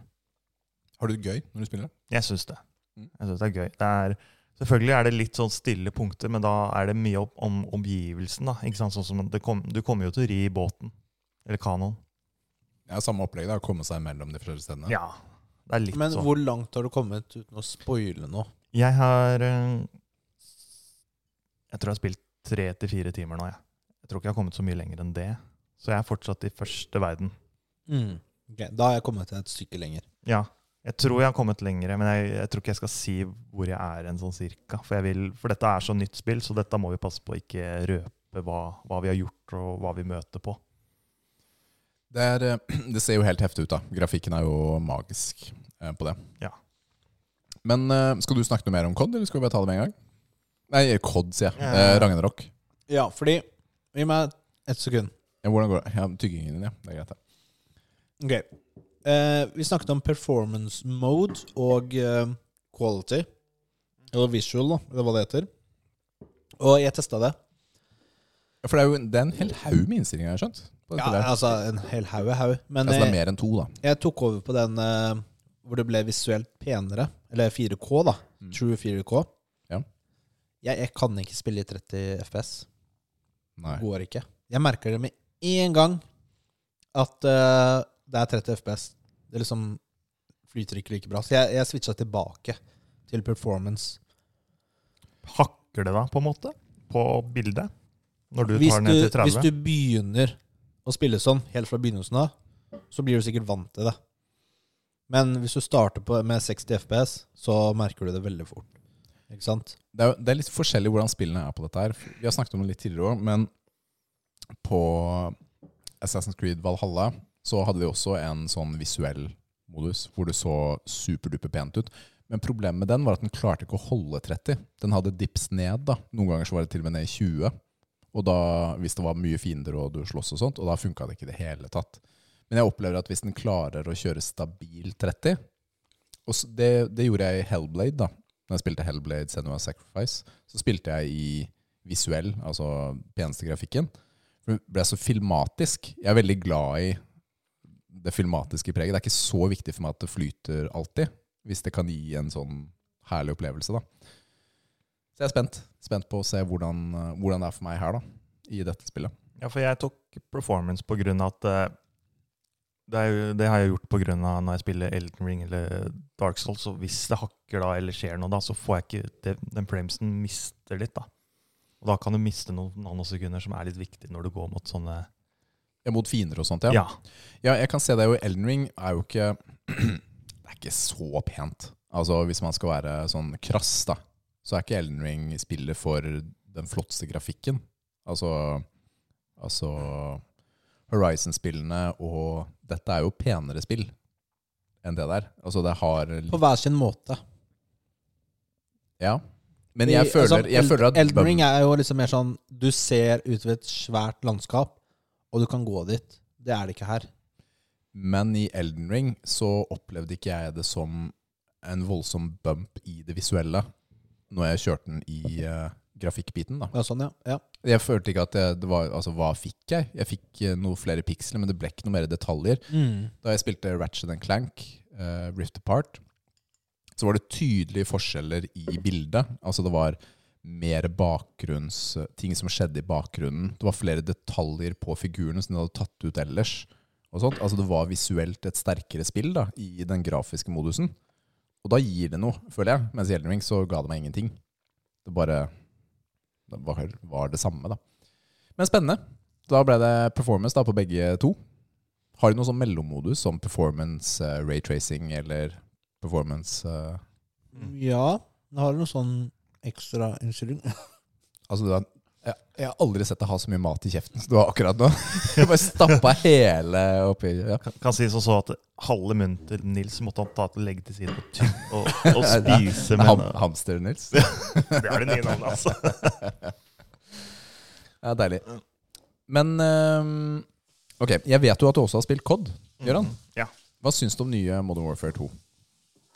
Speaker 2: Har du det gøy når du spiller?
Speaker 3: Jeg syns det.
Speaker 2: Mm.
Speaker 3: Jeg synes det er gøy. Det er, selvfølgelig er det litt sånn stille punkter, men da er det mye om, om omgivelsen. da, ikke sant? Sånn som det kom, Du kommer jo til å ri i båten, eller kanoen.
Speaker 2: Ja, samme opplegg, da. Å komme seg mellom de forskjellige stedene.
Speaker 3: Ja, det er litt
Speaker 1: Men
Speaker 3: sånn.
Speaker 1: hvor langt har du kommet uten å spoile noe?
Speaker 3: Jeg har eh, Jeg tror jeg har spilt tre til fire timer nå. Jeg. jeg tror ikke jeg har kommet så mye lenger enn det. Så jeg er fortsatt i første verden.
Speaker 1: Mm. Ok, Da har jeg kommet et stykke lenger.
Speaker 3: Ja. Jeg tror jeg har kommet lengre, men jeg, jeg tror ikke jeg skal si hvor jeg er en sånn cirka. For, jeg vil, for dette er så nytt spill, så dette må vi passe på å ikke røpe hva, hva vi har gjort, og hva vi møter på.
Speaker 2: Det, er, eh, det ser jo helt heftig ut, da. Grafikken er jo magisk eh, på det.
Speaker 3: Ja.
Speaker 2: Men eh, skal du snakke noe mer om COD, eller skal vi bare ta det med en gang? Nei, COD, sier jeg. Eh, Ragnarok.
Speaker 1: Ja, fordi Gi meg ett sekund.
Speaker 2: Ja, hvordan går det? Ja, tyggingen din, ja. Det er greit, det.
Speaker 1: Ok. Eh, vi snakket om performance mode og eh, quality. Eller visual, da, eller hva det heter. Og jeg testa det.
Speaker 2: Ja, For det er jo det er en hel haug med innstillinger, har jeg skjønt. på dette
Speaker 1: Ja,
Speaker 2: der.
Speaker 1: altså en hel haug er haug. Men
Speaker 2: altså, det
Speaker 1: eh,
Speaker 2: er mer enn to, da.
Speaker 1: jeg tok over på den eh, hvor det ble visuelt penere. Eller 4K, da.
Speaker 2: Mm.
Speaker 1: True 4K.
Speaker 2: Ja.
Speaker 1: Jeg, jeg kan ikke spille i 30 FPS.
Speaker 2: Nei.
Speaker 1: Går ikke. Jeg merker det med én gang at eh, det er 30 FPS. Det liksom flyter ikke like bra. Så jeg, jeg switcha tilbake til performance.
Speaker 3: Hakker det da, på en måte, på bildet? Når du
Speaker 1: hvis,
Speaker 3: tar
Speaker 1: du,
Speaker 3: den ned til
Speaker 1: hvis
Speaker 3: 30?
Speaker 1: du begynner å spille sånn helt fra begynnelsen av, så blir du sikkert vant til det. Men hvis du starter på, med 60 FPS, så merker du det veldig fort. Ikke sant?
Speaker 2: Det er, jo- det er litt forskjellig hvordan spillene er på dette her. Vi har snakket om det litt tidligere òg, men på Assassin's Creed Valhalla så hadde de også en sånn visuell modus hvor det så superduper pent ut. Men problemet med den var at den klarte ikke å holde 30. Den hadde dips ned. da. Noen ganger så var det til og med ned i 20. Og da, hvis det var mye fiender og du slåss og sånt, og da funka det ikke i det hele tatt. Men jeg opplever at hvis den klarer å kjøre stabil 30 og s- det, det gjorde jeg i Hellblade, da. Når jeg spilte Hellblade Senua Sacrifice, så spilte jeg i visuell, altså peneste grafikken. For det ble så filmatisk. Jeg er veldig glad i det filmatiske preget. Det er ikke så viktig for meg at det flyter alltid, hvis det kan gi en sånn herlig opplevelse, da. Så jeg er spent. Spent på å se hvordan, eh, hvordan det er for meg her, da. I dette spillet.
Speaker 3: Ja, for jeg tok performance på grunn av at eh, det, er jo, det har jeg gjort på grunn av når jeg spiller Elden Ring eller Dark Souls, så hvis det hakker da eller skjer noe da, så får jeg ikke det, Den framesen mister litt, da. Og da kan du miste noen nanosekunder som er litt viktig når du går mot sånne
Speaker 2: Ja, Mot fiender og sånt, ja.
Speaker 3: Ja.
Speaker 2: Ja, jeg kan se det jo. Elden Ring er jo ikke Det er ikke så pent. Altså, hvis man skal være sånn krass, da, så er ikke Elden Ring spillet for den flotteste grafikken. Altså, altså Horizon-spillene og Dette er jo penere spill enn det der. Altså, det har
Speaker 1: På hver sin måte.
Speaker 2: Ja. Men jeg føler, jeg føler at
Speaker 1: altså, Elden Ring er jo liksom mer sånn Du ser ut ved et svært landskap, og du kan gå dit. Det er det ikke her.
Speaker 2: Men i Elden Ring så opplevde ikke jeg det som en voldsom bump i det visuelle når jeg kjørte den i eh, grafikkbiten. da.
Speaker 1: Ja, sånn, ja. ja.
Speaker 2: Jeg følte ikke at det, det var Altså, hva fikk jeg? Jeg fikk eh, noe flere piksler, men det ble ikke noe mer detaljer. Da jeg spilte Ratchet and Clank, eh, Rift Apart, så var det tydelige forskjeller i bildet. Altså det var mer bakgrunns... eh, ting som skjedde i bakgrunnen. Det var flere detaljer på figurene som de hadde tatt ut ellers. Og sånt. Altså det var visuelt et sterkere spill da, i den grafiske modusen. Og da gir det noe, føler jeg. Mens i Elden Ring så ga det meg ingenting. Det bare det var, var det samme, da. Men spennende. Da ble det performance da, på begge to. Har de noen sånn mellommodus som performance, eh, raytracing eller performance eh,
Speaker 3: Mm.
Speaker 1: Ja, nå har du noe sånn ekstra innstilling.
Speaker 2: Altså, du har, jeg, jeg har aldri sett deg ha så mye mat i kjeften som du har akkurat nå. Du bare stappa hele oppi ja.
Speaker 3: Kan, kan si som så at halve munnen til Nils måtte han ta til legge til side og, ty- og, og spise.
Speaker 2: Ham,
Speaker 3: Men,
Speaker 2: hamster, Nils.
Speaker 3: det er det nye navnet, altså.
Speaker 2: Ja, deilig. Men eh, Ok, jeg vet jo at du også har spilt COD, Gøran.
Speaker 3: Ja.
Speaker 2: Hva syns du om nye Modern Warfare 2?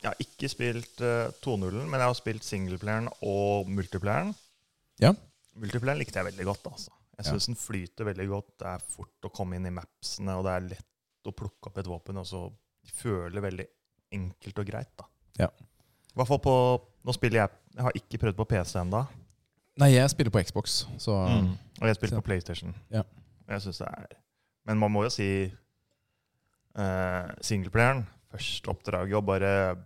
Speaker 3: Jeg har ikke spilt eh, 2.0-en, men jeg har spilt singleplayeren og multiplayeren.
Speaker 2: Ja.
Speaker 3: Multiplayeren likte jeg veldig godt. altså. Jeg
Speaker 2: Ja.
Speaker 3: syns den flyter veldig godt. Det er fort å komme inn i mapsene, og det er lett å plukke opp et våpen. og så de føler veldig enkelt og greit. da.
Speaker 2: Ja.
Speaker 3: I hvert fall på Nå spiller jeg Jeg har ikke prøvd på PC ennå,
Speaker 2: Nei, jeg spiller på Xbox, så
Speaker 3: og jeg spiller
Speaker 2: Så-
Speaker 3: på PlayStation.
Speaker 2: Ja.
Speaker 3: Og Jeg synes det er... Men man må jo si eh, singleplayeren. Første oppdraget og bare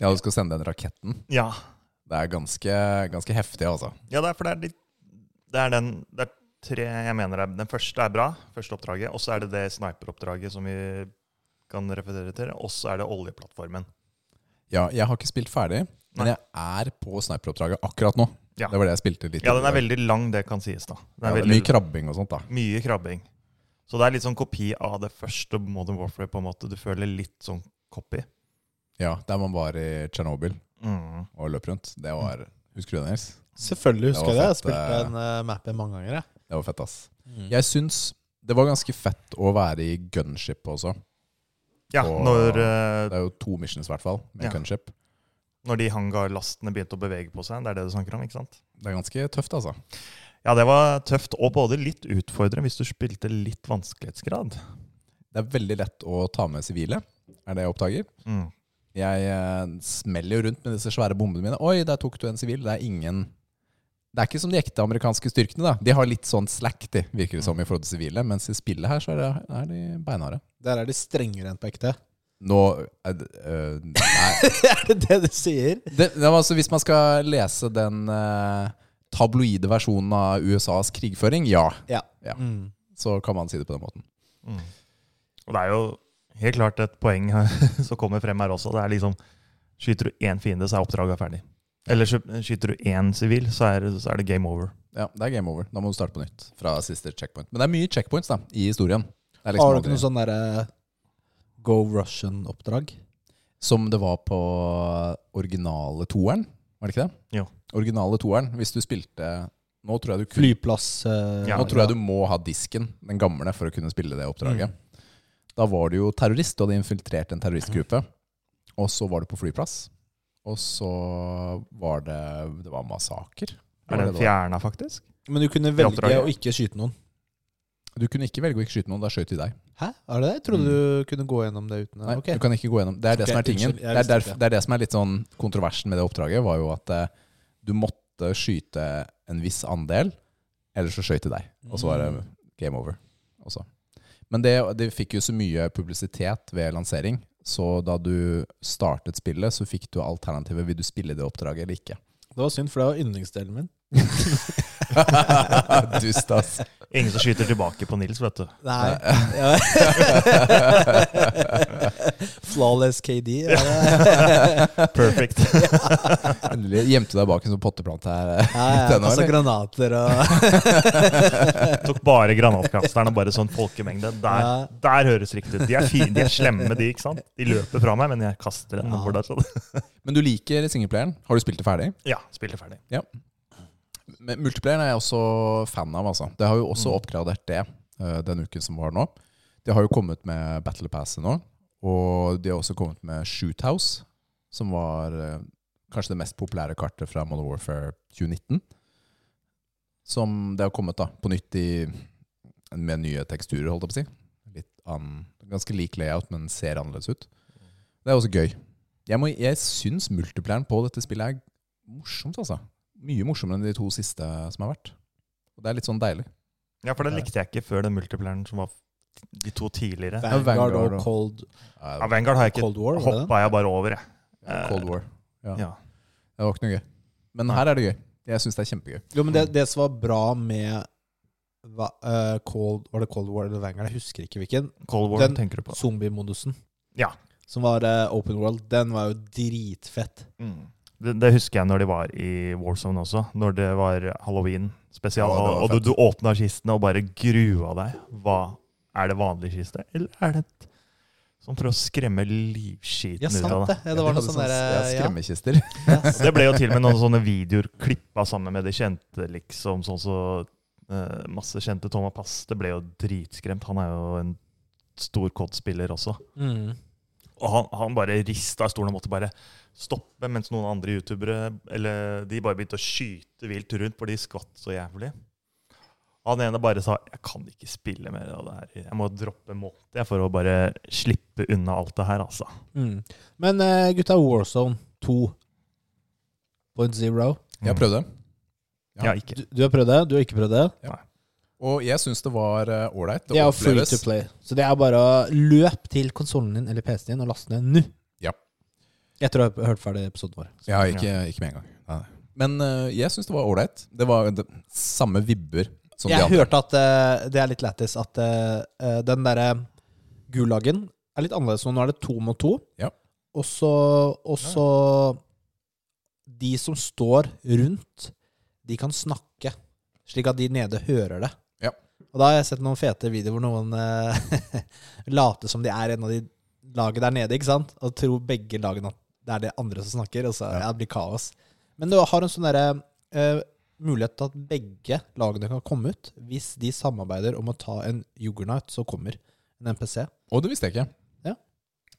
Speaker 2: Ja, du skal sende den raketten.
Speaker 3: Ja,
Speaker 2: Det er ganske, ganske heftig, altså.
Speaker 3: Ja, det er, for det er, litt, det er den det er tre jeg mener er Den første er bra, første oppdraget. Og så er det det sniperoppdraget som vi kan referere til. Og så er det oljeplattformen.
Speaker 2: Ja, jeg har ikke spilt ferdig, men
Speaker 3: Nei.
Speaker 2: jeg er på sniperoppdraget akkurat nå.
Speaker 3: Ja.
Speaker 2: Det var det jeg spilte litt
Speaker 3: Ja, den er veldig lang, det kan sies, da. Det
Speaker 2: Ja,
Speaker 3: er
Speaker 2: det er
Speaker 3: veldig,
Speaker 2: Mye krabbing og sånt, da.
Speaker 3: mye krabbing. Så det er litt sånn kopi av det første Modern Warfare, på en måte. Du føler litt sånn copy.
Speaker 2: Ja, Der man var i Tsjernobyl
Speaker 3: Mm.
Speaker 2: og løp rundt. Det var Husker du det, Nils?
Speaker 1: Selvfølgelig
Speaker 2: Det var
Speaker 1: husker jeg det. Jeg
Speaker 2: fett,
Speaker 1: spilte
Speaker 2: eh.
Speaker 1: en eh, map mange ganger. Jeg.
Speaker 2: Det var fett, ass. Jeg syns det var ganske fett å være i gunship også.
Speaker 3: Ja,
Speaker 2: Og-
Speaker 3: når, eh,
Speaker 2: Det er jo to missions, i hvert fall, med
Speaker 3: Ja.
Speaker 2: gunship.
Speaker 3: når de hangarlastene begynte å bevege på seg. Det er det du snakker om, ikke sant?
Speaker 2: Det er ganske tøft, altså.
Speaker 3: Ja, det var tøft, og både litt utfordrende hvis du spilte litt vanskelighetsgrad.
Speaker 2: Det er veldig lett å ta med sivile, er det jeg oppdager.
Speaker 3: Mm.
Speaker 2: Jeg eh, smeller jo rundt med disse svære bombene mine. Oi, der tok du en sivil. Det er ingen Det er ikke som de ekte amerikanske styrkene. da. De har litt sånn slack, de, virker det som, i forhold til sivile. Mens i spillet her så er, det, er de beinharde.
Speaker 1: Der er de strengere enn på ekte.
Speaker 2: Nå er det, øh, Nei.
Speaker 1: er det det du sier?
Speaker 2: Det, det var altså, hvis man skal lese den eh, tabloide versjonen av USAs krigføring, ja, Ja.
Speaker 1: Mm.
Speaker 2: så kan man si det på den måten.
Speaker 3: Mm. Og det er jo helt klart et poeng her, som kommer frem her også. Det er liksom Skyter du én fiende, så er oppdraget ferdig. Eller sky- skyter du én sivil, så er, det- så er det game over.
Speaker 2: Ja, Det er game over. Da må du starte på nytt fra siste checkpoint. Men det er mye checkpoints da, i historien. Det er liksom
Speaker 1: Har du ikke
Speaker 2: aldri-
Speaker 1: noe sånn derre Go Russian-oppdrag?
Speaker 2: Som det var på originale toeren, var det ikke det?
Speaker 3: Jo.
Speaker 2: Originale toeren, hvis du spilte Nå tror jeg du, kun,
Speaker 1: Flyplass eh,
Speaker 3: Ja,
Speaker 2: nå tror jeg du må ha disken, den gamle, for å kunne spille det oppdraget.
Speaker 1: Mm.
Speaker 2: Da var du jo terrorist, du hadde infiltrert en
Speaker 3: Mhm.
Speaker 2: terroristgruppe. Og så var du på flyplass. Og så var det Det var massaker.
Speaker 3: Er
Speaker 2: var
Speaker 3: den
Speaker 2: var.
Speaker 3: fjerna, faktisk?
Speaker 1: Men du kunne
Speaker 3: Det
Speaker 1: velge
Speaker 3: oppdraget.
Speaker 1: å ikke skyte noen.
Speaker 2: Du kunne ikke velge å ikke skyte noen, da skjøt de deg.
Speaker 1: Hæ? Er det det? Jeg trodde du kunne gå gjennom det uten
Speaker 2: Nei,
Speaker 1: Ok.
Speaker 2: Du kan ikke gå gjennom. Det er det
Speaker 1: Ok,
Speaker 2: som er tingen.
Speaker 1: unnskyld, jeg
Speaker 2: Det er,
Speaker 1: visste
Speaker 2: derf-
Speaker 1: ikke.
Speaker 2: det er det som er litt sånn kontroversen med det oppdraget, var jo at eh, du måtte skyte en viss andel, eller så skjøt de deg. Og så var
Speaker 1: Mm.
Speaker 2: det game over. Også. Men det, det fikk jo så mye publisitet ved lansering, så da du startet spillet, så fikk du alternativet vil du spille det oppdraget eller ikke.
Speaker 1: Det var synd, for det var yndlingsdelen min.
Speaker 2: Dust, ass.
Speaker 3: Ingen som skyter tilbake på Nils, vet du.
Speaker 1: Nei. Ja. Flawless KD. er det?
Speaker 3: Perfect.
Speaker 2: Endelig Gjemte deg bak en sånn potteplante her.
Speaker 1: Ja, ja,
Speaker 2: Den var
Speaker 1: altså
Speaker 2: litt-
Speaker 1: granater og
Speaker 3: Tok bare granatkasteren og bare sånn folkemengde. Der,
Speaker 1: Ja.
Speaker 3: der høres riktig ut. De er fine, de er slemme, de. ikke sant? De løper fra meg, men jeg kaster den.
Speaker 1: Ja.
Speaker 3: hvor det er sånn.
Speaker 2: Men du liker singleplayeren. Har du spilt det ferdig?
Speaker 3: Ja, spiller ferdig.
Speaker 2: Men multiplayeren er jeg også fan av, altså. Det har jo også
Speaker 3: Mm.
Speaker 2: oppgradert det eh, den uken som var nå. De har jo kommet med Battle Passet nå, og de har også kommet med Shoothouse, som var eh, kanskje det mest populære kartet fra Modern Warfare 2019. Som det har kommet da, på nytt i, med nye teksturer, holdt jeg på å si. Litt annen, ganske lik layout, men ser annerledes ut. Det er også gøy. Jeg, må, jeg syns multiplayeren på dette spillet er morsomt, altså mye morsommere enn de to siste som har vært. Og det er litt sånn deilig.
Speaker 3: Ja, for det likte jeg ikke før den multiplayeren som var de to tidligere.
Speaker 1: Vanguard
Speaker 2: Vanguard
Speaker 1: og
Speaker 2: og-
Speaker 1: Cold,
Speaker 3: Ja, Vanguard har jeg ikke
Speaker 1: Cold War. var det den?
Speaker 3: hoppa jeg bare over, jeg.
Speaker 2: Ja, Cold War. Ja.
Speaker 3: Ja.
Speaker 2: Det var ikke noe gøy. Men her er det gøy. Jeg syns det er kjempegøy.
Speaker 1: Jo, men det, det som var bra med hva, eh, Cold, Var det Cold War eller Vanguard? Jeg husker ikke hvilken.
Speaker 3: Cold War
Speaker 1: Den-
Speaker 3: tenker du på.
Speaker 1: Zombie-modusen.
Speaker 3: Ja.
Speaker 1: Som var eh, open world. Den var jo dritfett.
Speaker 3: Mm. Det, det husker jeg når de var i Warzone også, når det var halloween spesial.
Speaker 2: Ja, det var
Speaker 3: og og
Speaker 2: fett.
Speaker 3: du, du åpna kistene og bare grua deg. Hva Er det vanlig kiste, eller er det et Sånn for å skremme livskiten
Speaker 1: Ja,
Speaker 3: ut
Speaker 1: sant
Speaker 3: av deg.
Speaker 1: det. Ja, det var noe
Speaker 2: De hadde
Speaker 1: sånn derre
Speaker 2: ja,
Speaker 1: ja.
Speaker 2: Skremmekister.
Speaker 1: Yes.
Speaker 3: Det ble jo til og med noen sånne videoer klippa sammen med de kjente, liksom. Sånn så eh, Masse kjente. Thomas Pass, det ble jo dritskremt. Han er jo en stor COD-spiller også.
Speaker 1: Mm.
Speaker 3: Og han, han bare rista i stolen og måtte bare stoppe, mens noen andre youtubere eller de bare begynte å skyte vilt rundt, for de skvatt så jævlig. Han ene bare sa 'jeg kan ikke spille mer av det her'. Jeg må droppe måte jeg for å bare slippe unna alt det her, altså.
Speaker 1: Mm. Men eh, gutta, Warzone 2.0
Speaker 3: Mm.
Speaker 2: Jeg prøvde. Ja.
Speaker 3: Ja, ikke.
Speaker 1: du, du har prøvd det, du har ikke prøvd det.
Speaker 2: Og jeg syns det var eh, ålreit.
Speaker 1: Det er jo free to play. Så det er bare å løpe til konsollen din eller PC-en din og laste ned nå.
Speaker 2: Ja.
Speaker 1: Etter å ha hørt ferdig episoden vår.
Speaker 2: Ja, ikke, ikke med en gang. Nei. Men eh, jeg syns det var ålreit. Det var det, samme vibber som
Speaker 1: Jeg
Speaker 2: de andre.
Speaker 1: hørte at eh, det er litt lættis at eh, eh, den derre gulagen er litt annerledes nå. Nå er det to mot to.
Speaker 2: Ja.
Speaker 1: Og så og så De som står rundt, de kan snakke, slik at de nede hører det.
Speaker 2: Ja.
Speaker 1: Og da har jeg sett noen fete videoer hvor noen eh, later som de er en av de laget der nede, ikke sant? Og tror begge lagene at det er det andre som snakker, og så
Speaker 2: Ja.
Speaker 1: ja. det blir kaos. Men du har en sånn derre eh, mulighet til at begge lagene kan komme ut hvis de samarbeider om å ta en Juggernaut som kommer. En NPC.
Speaker 2: Og det visste jeg ikke.
Speaker 1: Ja.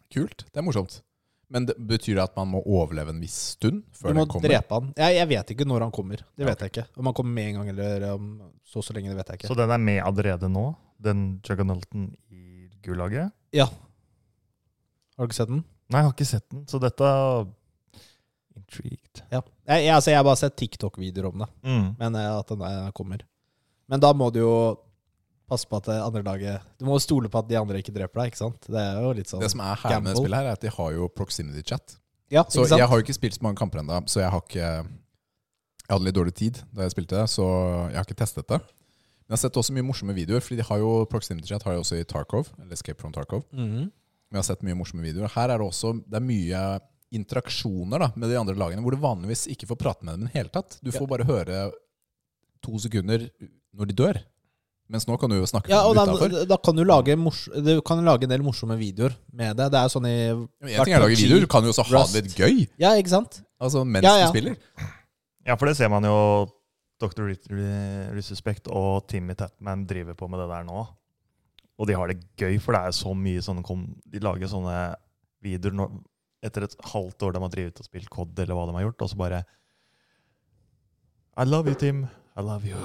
Speaker 2: Kult. Det er morsomt. Men det betyr det at man må overleve en viss stund
Speaker 1: Du
Speaker 2: før
Speaker 1: må
Speaker 2: den kommer?
Speaker 1: drepe han. Jeg, jeg vet ikke når han kommer. Det
Speaker 2: Ja,
Speaker 1: vet jeg ikke. Om han kommer med en gang eller om så og så lenge, det vet jeg ikke.
Speaker 3: Så den er med allerede nå, den juggernauten i Gulaget?
Speaker 1: Har du ikke sett den?
Speaker 3: Nei, jeg har ikke sett den, så dette Intrigued.
Speaker 1: Ja. Jeg, jeg, altså, jeg har bare sett TikTok-videoer om det,
Speaker 3: Mm.
Speaker 1: men eh, at den eh, kommer. Men da må du jo passe på at det andre laget Du må jo stole på at de andre ikke dreper deg, ikke sant? Det er jo litt sånn
Speaker 2: Det som er herlig med det
Speaker 1: Gamble.
Speaker 2: spillet, her er at de har jo proximity chat.
Speaker 1: Ja,
Speaker 2: Så
Speaker 1: ikke sant?
Speaker 2: jeg har jo ikke spilt så mange kamper ennå, så jeg har ikke Jeg hadde litt dårlig tid da jeg spilte, så jeg har ikke testet det. Men jeg har sett også mye morsomme videoer, Fordi de har jo proximity chat har de også i Tarkov. Eller Escape from Tarkov.
Speaker 1: Mhm.
Speaker 2: Men jeg har sett mye morsomme videoer. Her er det også Det er mye interaksjoner da med de andre lagene, hvor du vanligvis ikke får prate med dem i det hele tatt. Du får bare høre to sekunder når de dør. Mens nå kan du jo snakke
Speaker 1: Ja, og
Speaker 2: med dem utafor.
Speaker 1: da, da kan du lage, mors du kan lage en del morsomme videoer med det. Det er jo sånn i
Speaker 2: En ting er å lage videoer, du kan jo også ha det litt gøy
Speaker 1: Ja, ikke sant?
Speaker 2: Altså mens
Speaker 1: Ja, ja.
Speaker 2: du spiller.
Speaker 3: Ja, for det ser man jo Dr. Re- Re- Resuspect og Timmy Tatman driver på med det der nå. Og de har det gøy, for det er så mye sånne kom, De lager sånne videoer nå, etter et halvt år de har drevet og spilt COD, eller hva de har gjort, og så bare I love you, Tim. I love you.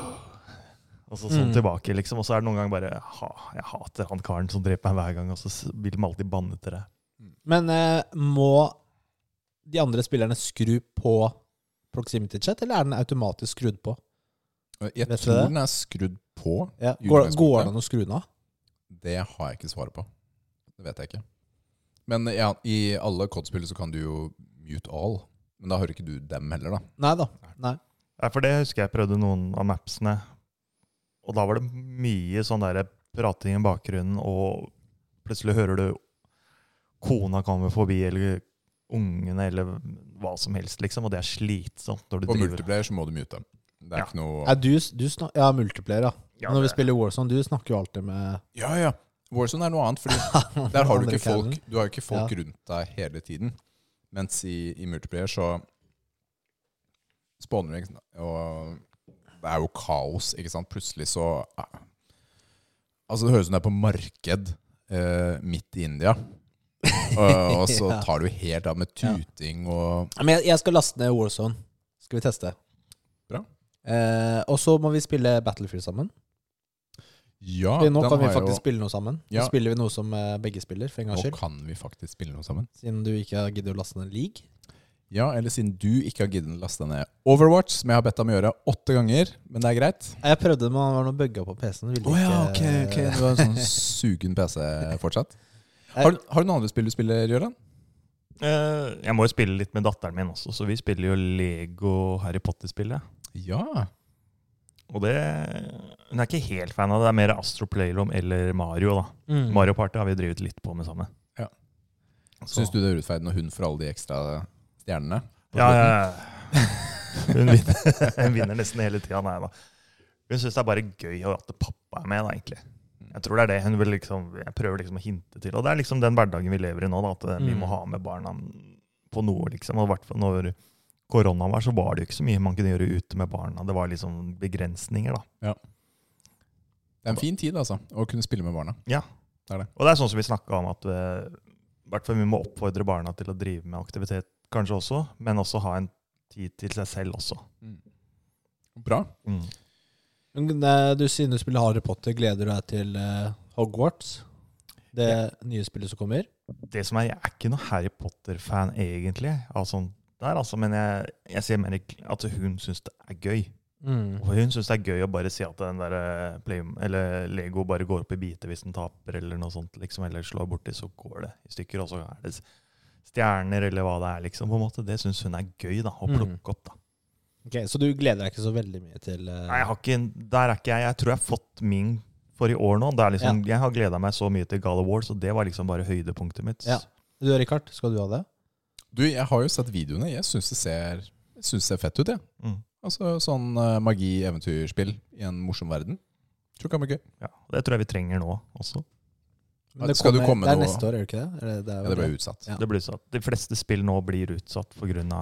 Speaker 3: Og så sånn
Speaker 1: Mm.
Speaker 3: tilbake, liksom. Og så er det noen ganger bare ha, Jeg hater han karen som dreper meg hver gang, og så s- vil de alltid banne til det.
Speaker 1: Men eh, må de andre spillerne skru på proximity chat, eller er den automatisk skrudd på?
Speaker 2: Jeg
Speaker 1: Vet du
Speaker 2: tror
Speaker 1: det?
Speaker 2: den er skrudd på.
Speaker 1: Ja.
Speaker 2: I
Speaker 1: Går,
Speaker 2: utgangspunktet.
Speaker 1: går det an å skru den av?
Speaker 2: Det har jeg ikke svaret på. Det vet jeg ikke. Men ja, i alle COD-spill så kan du jo mute all. Men da hører ikke du dem heller, da.
Speaker 1: Nei da. Nei.
Speaker 3: Nei, for det husker jeg prøvde noen av mapsene. Og da var det mye sånn der prating i bakgrunnen, og plutselig hører du kona kommer forbi, eller ungene, eller hva som helst, liksom. Og det er slitsomt når du
Speaker 2: På
Speaker 3: driver
Speaker 2: multiplayer så må du mute. Det er
Speaker 3: Ja.
Speaker 2: ikke noe
Speaker 1: Ja, du, du snak, ja, multiplayer, ja.
Speaker 3: Ja,
Speaker 1: Når vi
Speaker 3: det-
Speaker 1: spiller Warzone, du snakker jo alltid med
Speaker 2: Ja, ja. Warzone er noe annet, for der har du
Speaker 1: Andre
Speaker 2: ikke folk,
Speaker 1: kælen.
Speaker 2: du har jo ikke folk rundt deg hele tiden. Mens i, i multiplayer så spawner du, ikke sant? og det er jo kaos, ikke sant. Plutselig så eh. Altså, det høres ut som det er på marked eh, midt i India. og, og så
Speaker 1: Ja.
Speaker 2: tar du helt av med tuting og
Speaker 1: Ja, Men jeg, jeg skal laste ned Warzone. Skal vi teste.
Speaker 2: Bra.
Speaker 1: Eh, og så må vi spille Battlefield sammen.
Speaker 2: Ja,
Speaker 1: Fordi nå
Speaker 2: Ah, den
Speaker 1: kan vi
Speaker 2: har
Speaker 1: faktisk
Speaker 2: jo,
Speaker 1: spille noe sammen.
Speaker 2: Ja.
Speaker 1: Nå spiller vi noe som eh, begge spiller, for en gangs
Speaker 2: Nå
Speaker 1: skyld.
Speaker 2: kan vi faktisk spille noe sammen.
Speaker 1: Siden du ikke har giddet å laste ned en league.
Speaker 2: Ja, eller siden du ikke har giddet å laste ned Overwatch, som jeg har bedt deg om å gjøre åtte ganger, men det er greit.
Speaker 1: Nei, Jeg prøvde, men det var noe bugga på PC-en. ville
Speaker 2: Å ja, ok.
Speaker 1: ikke-
Speaker 2: ok Du har en sånn sugen PC fortsatt.
Speaker 1: Nei.
Speaker 2: Har, du- har du noen andre spill du spiller, Gøran?
Speaker 3: Eh, Jeg må jo spille litt med datteren min også, så vi spiller jo Lego Harry Potter-spillet.
Speaker 2: Ja.
Speaker 3: Og det Hun er ikke helt fan av det. Det er mer Astro Playroom eller Mario, da.
Speaker 1: Mm.
Speaker 3: Mario Party har vi drevet litt på med sammen.
Speaker 2: Ja.
Speaker 3: Så-
Speaker 2: Syns du det er urettferdig når hun får alle de ekstra stjernene?
Speaker 3: Ja, ja, ja. Hun vinner, hun vinner nesten hele tida. Nei da. Hun syns det er bare gøy at pappa er med, da, egentlig. Jeg tror det er det hun vil liksom, jeg prøver liksom å hinte til. Og det er liksom den hverdagen vi lever i nå, da, at eh, vi
Speaker 1: Mm.
Speaker 3: må ha med barna på noe, liksom. Og i hvert fall når koronaen var, så var det jo ikke så mye man kunne gjøre ute med barna. Det var liksom begrensninger, da.
Speaker 2: Det er en fin tid, altså, å kunne spille med barna.
Speaker 3: Og det er sånn som vi snakka om, at eh, i hvert fall vi må oppfordre barna til å drive med aktivitet kanskje også, men også ha en tid til seg selv også.
Speaker 2: Bra.
Speaker 3: Mm.
Speaker 1: Men, eh, Du siden du spiller Harry Potter, gleder du deg til eh, Hogwarts? Det nye spillet som kommer?
Speaker 3: det som er, Jeg er ikke noe Harry Potter-fan, egentlig. Altså, der, altså, men jeg, jeg ser mer at hun syns det er gøy. Og hun syns det er gøy å bare si at den der eh, play, eller Lego bare går opp i biter hvis den taper, eller noe sånt, liksom, eller slår borti, så går det i stykker. Og så er det s- stjerner, eller hva det er, liksom. på en måte. Det syns hun er gøy da, å
Speaker 1: Mm.
Speaker 3: plukke opp. da.
Speaker 1: Ok, Så du gleder deg ikke så veldig mye til eh,
Speaker 3: Nei, jeg har ikke, der er ikke jeg. Jeg tror jeg har fått min for i år nå. Det er liksom, Jeg har gleda meg så mye til Gala Awards, og det var liksom bare høydepunktet mitt.
Speaker 1: Ja. Du, Richard, skal du ha det?
Speaker 2: Du, jeg har jo sett videoene. Jeg syns det ser, jeg synes det ser fett ut, jeg.
Speaker 3: Mm.
Speaker 2: Altså sånn eh, magi-eventyrspill i en morsom verden. Tror det kan bli gøy.
Speaker 3: Ja, det tror jeg vi trenger nå også.
Speaker 1: Men
Speaker 2: Skal du komme
Speaker 1: det er
Speaker 2: nå?
Speaker 1: neste år, er det ikke det? Eller, det er
Speaker 2: Ja, det
Speaker 1: vel
Speaker 2: ble
Speaker 1: det.
Speaker 2: utsatt.
Speaker 1: Ja.
Speaker 3: Det blir utsatt. De fleste spill nå blir utsatt pga.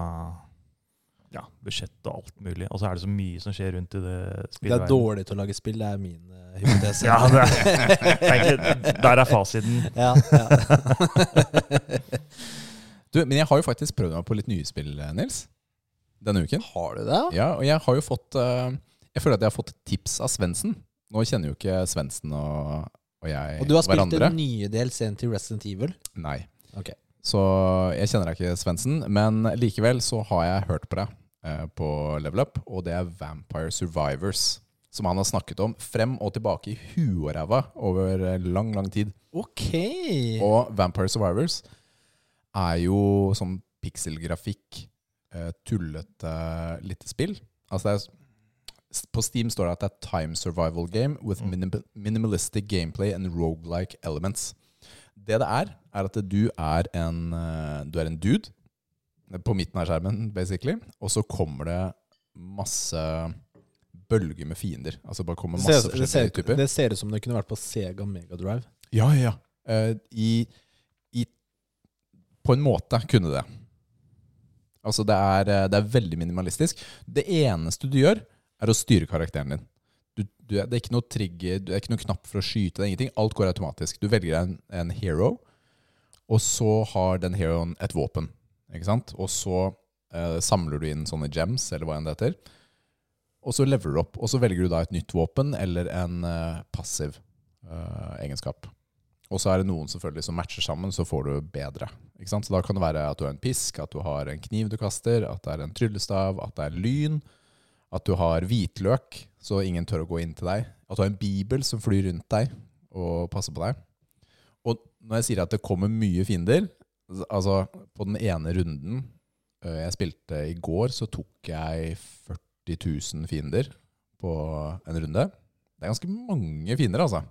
Speaker 3: Ja, budsjett og alt mulig. Og så er det så mye som skjer rundt i det
Speaker 1: Det er
Speaker 3: spillverdenen.
Speaker 1: dårlig til å lage spill, det er min eh, hypotese.
Speaker 3: Ja, det er, egentlig, der er fasiten.
Speaker 1: ja, ja.
Speaker 2: Du, men jeg har jo faktisk prøvd meg på litt nye spill, eh, Nils. Denne uken.
Speaker 1: Har du det?
Speaker 2: Ja, og jeg har jo fått eh, Jeg føler at jeg har fått tips av Svendsen. Nå kjenner jo ikke Svendsen og, og jeg
Speaker 1: Og du har spilt
Speaker 2: hverandre.
Speaker 1: den nye DLC-en til Resident Evil?
Speaker 2: Nei.
Speaker 1: Ok.
Speaker 2: Så jeg kjenner deg ikke, Svendsen, men likevel så har jeg hørt på deg eh, på Level Up, og det er Vampire Survivors. Som han har snakket om frem og tilbake i huet og ræva over eh, lang, lang tid.
Speaker 1: Ok!
Speaker 2: Og Vampire Survivors er jo sånn pikselgrafikk, eh, tullete lite spill. Altså det er, s- på Steam står det at det er time survival game with
Speaker 3: Mm.
Speaker 2: minim minimalistic gameplay and roguelike elements. Det det er, er at du er en, eh, du er en dude eh, på midten av skjermen, basically, og så kommer det masse bølger med fiender. Altså bare kommer
Speaker 1: det, ser,
Speaker 2: masse
Speaker 1: det,
Speaker 2: forskjellige
Speaker 1: ser,
Speaker 2: typer.
Speaker 1: det ser ut som det kunne vært på Sega Megadrive.
Speaker 2: Ja, ja, ja. Eh, i, i, på en måte kunne det. Altså, det er, eh, det er veldig minimalistisk. Det eneste du gjør, er å styre karakteren din. Du, du, det er ikke noe trigger, det er ikke noe knapp for å skyte, det er ingenting. Alt går automatisk. Du velger en, en hero, og så har den heroen et våpen. Ikke sant? Og så eh, samler du inn sånne gems, eller hva enn det heter. Og så leveler du opp, og så velger du da et nytt våpen eller en eh, passiv eh, egenskap. Og så er det noen selvfølgelig som matcher sammen, så får du bedre. Ikke sant? Så da kan det være at du har en pisk, at du har en kniv du kaster, at det er en tryllestav, at det er lyn, at du har hvitløk, så ingen tør å gå inn til deg, at du har en bibel som flyr rundt deg og passer på deg. Og når jeg sier at det kommer mye fiender, altså på den ene runden eh, jeg spilte i går, så tok jeg 40 000 fiender på en runde. Det er ganske mange fiender, altså.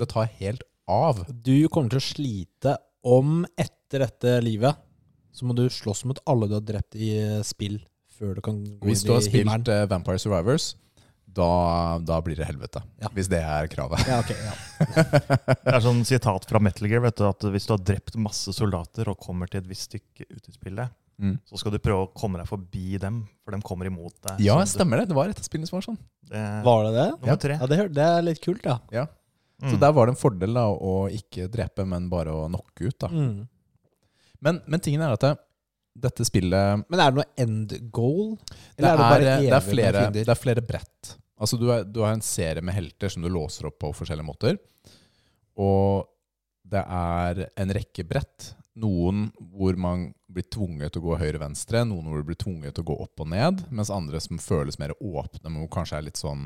Speaker 2: Det tar helt av.
Speaker 1: Du kommer til å slite om etter dette livet. Så må du slåss mot alle du har drept i eh, spill, før du kan gå
Speaker 2: Hvis du
Speaker 1: inn
Speaker 2: har
Speaker 1: i himmelen.
Speaker 2: spilt eh, Vampire Survivors, da, da blir det helvete.
Speaker 1: Ja.
Speaker 2: Hvis det er kravet.
Speaker 1: Ja, ok, ja.
Speaker 3: Det er sånn sitat fra Metal Gear, vet du, at hvis du har drept masse soldater og kommer til et visst stykke ut i spillet,
Speaker 2: Mm.
Speaker 3: så skal du prøve å komme deg forbi dem, for de kommer imot deg.
Speaker 2: Ja,
Speaker 3: Så du-
Speaker 2: stemmer det. Det var et av spillene som var sånn.
Speaker 3: Det,
Speaker 1: Var det det?
Speaker 2: Ja.
Speaker 3: nummer tre.
Speaker 1: Ja, det, hør- det er litt kult, ja.
Speaker 3: Mm.
Speaker 2: Så der var det en fordel da, å ikke drepe, men bare å knocke ut. Da.
Speaker 1: Mm.
Speaker 2: Men, men tingen er at det, dette spillet
Speaker 1: Men er det noe end goal?
Speaker 2: det er, eh,
Speaker 1: Eller er, det bare
Speaker 2: det, er
Speaker 1: evig med
Speaker 2: flere,
Speaker 1: fiender?
Speaker 2: det er flere brett. Altså du, er, du har en serie med helter som du låser opp på forskjellige måter. Og det er en rekke brett. Noen hvor man blir tvunget til å gå høyre-venstre, noen hvor du blir tvunget til å gå opp og ned, mens andre som føles mer åpne, men hvor kanskje er litt sånn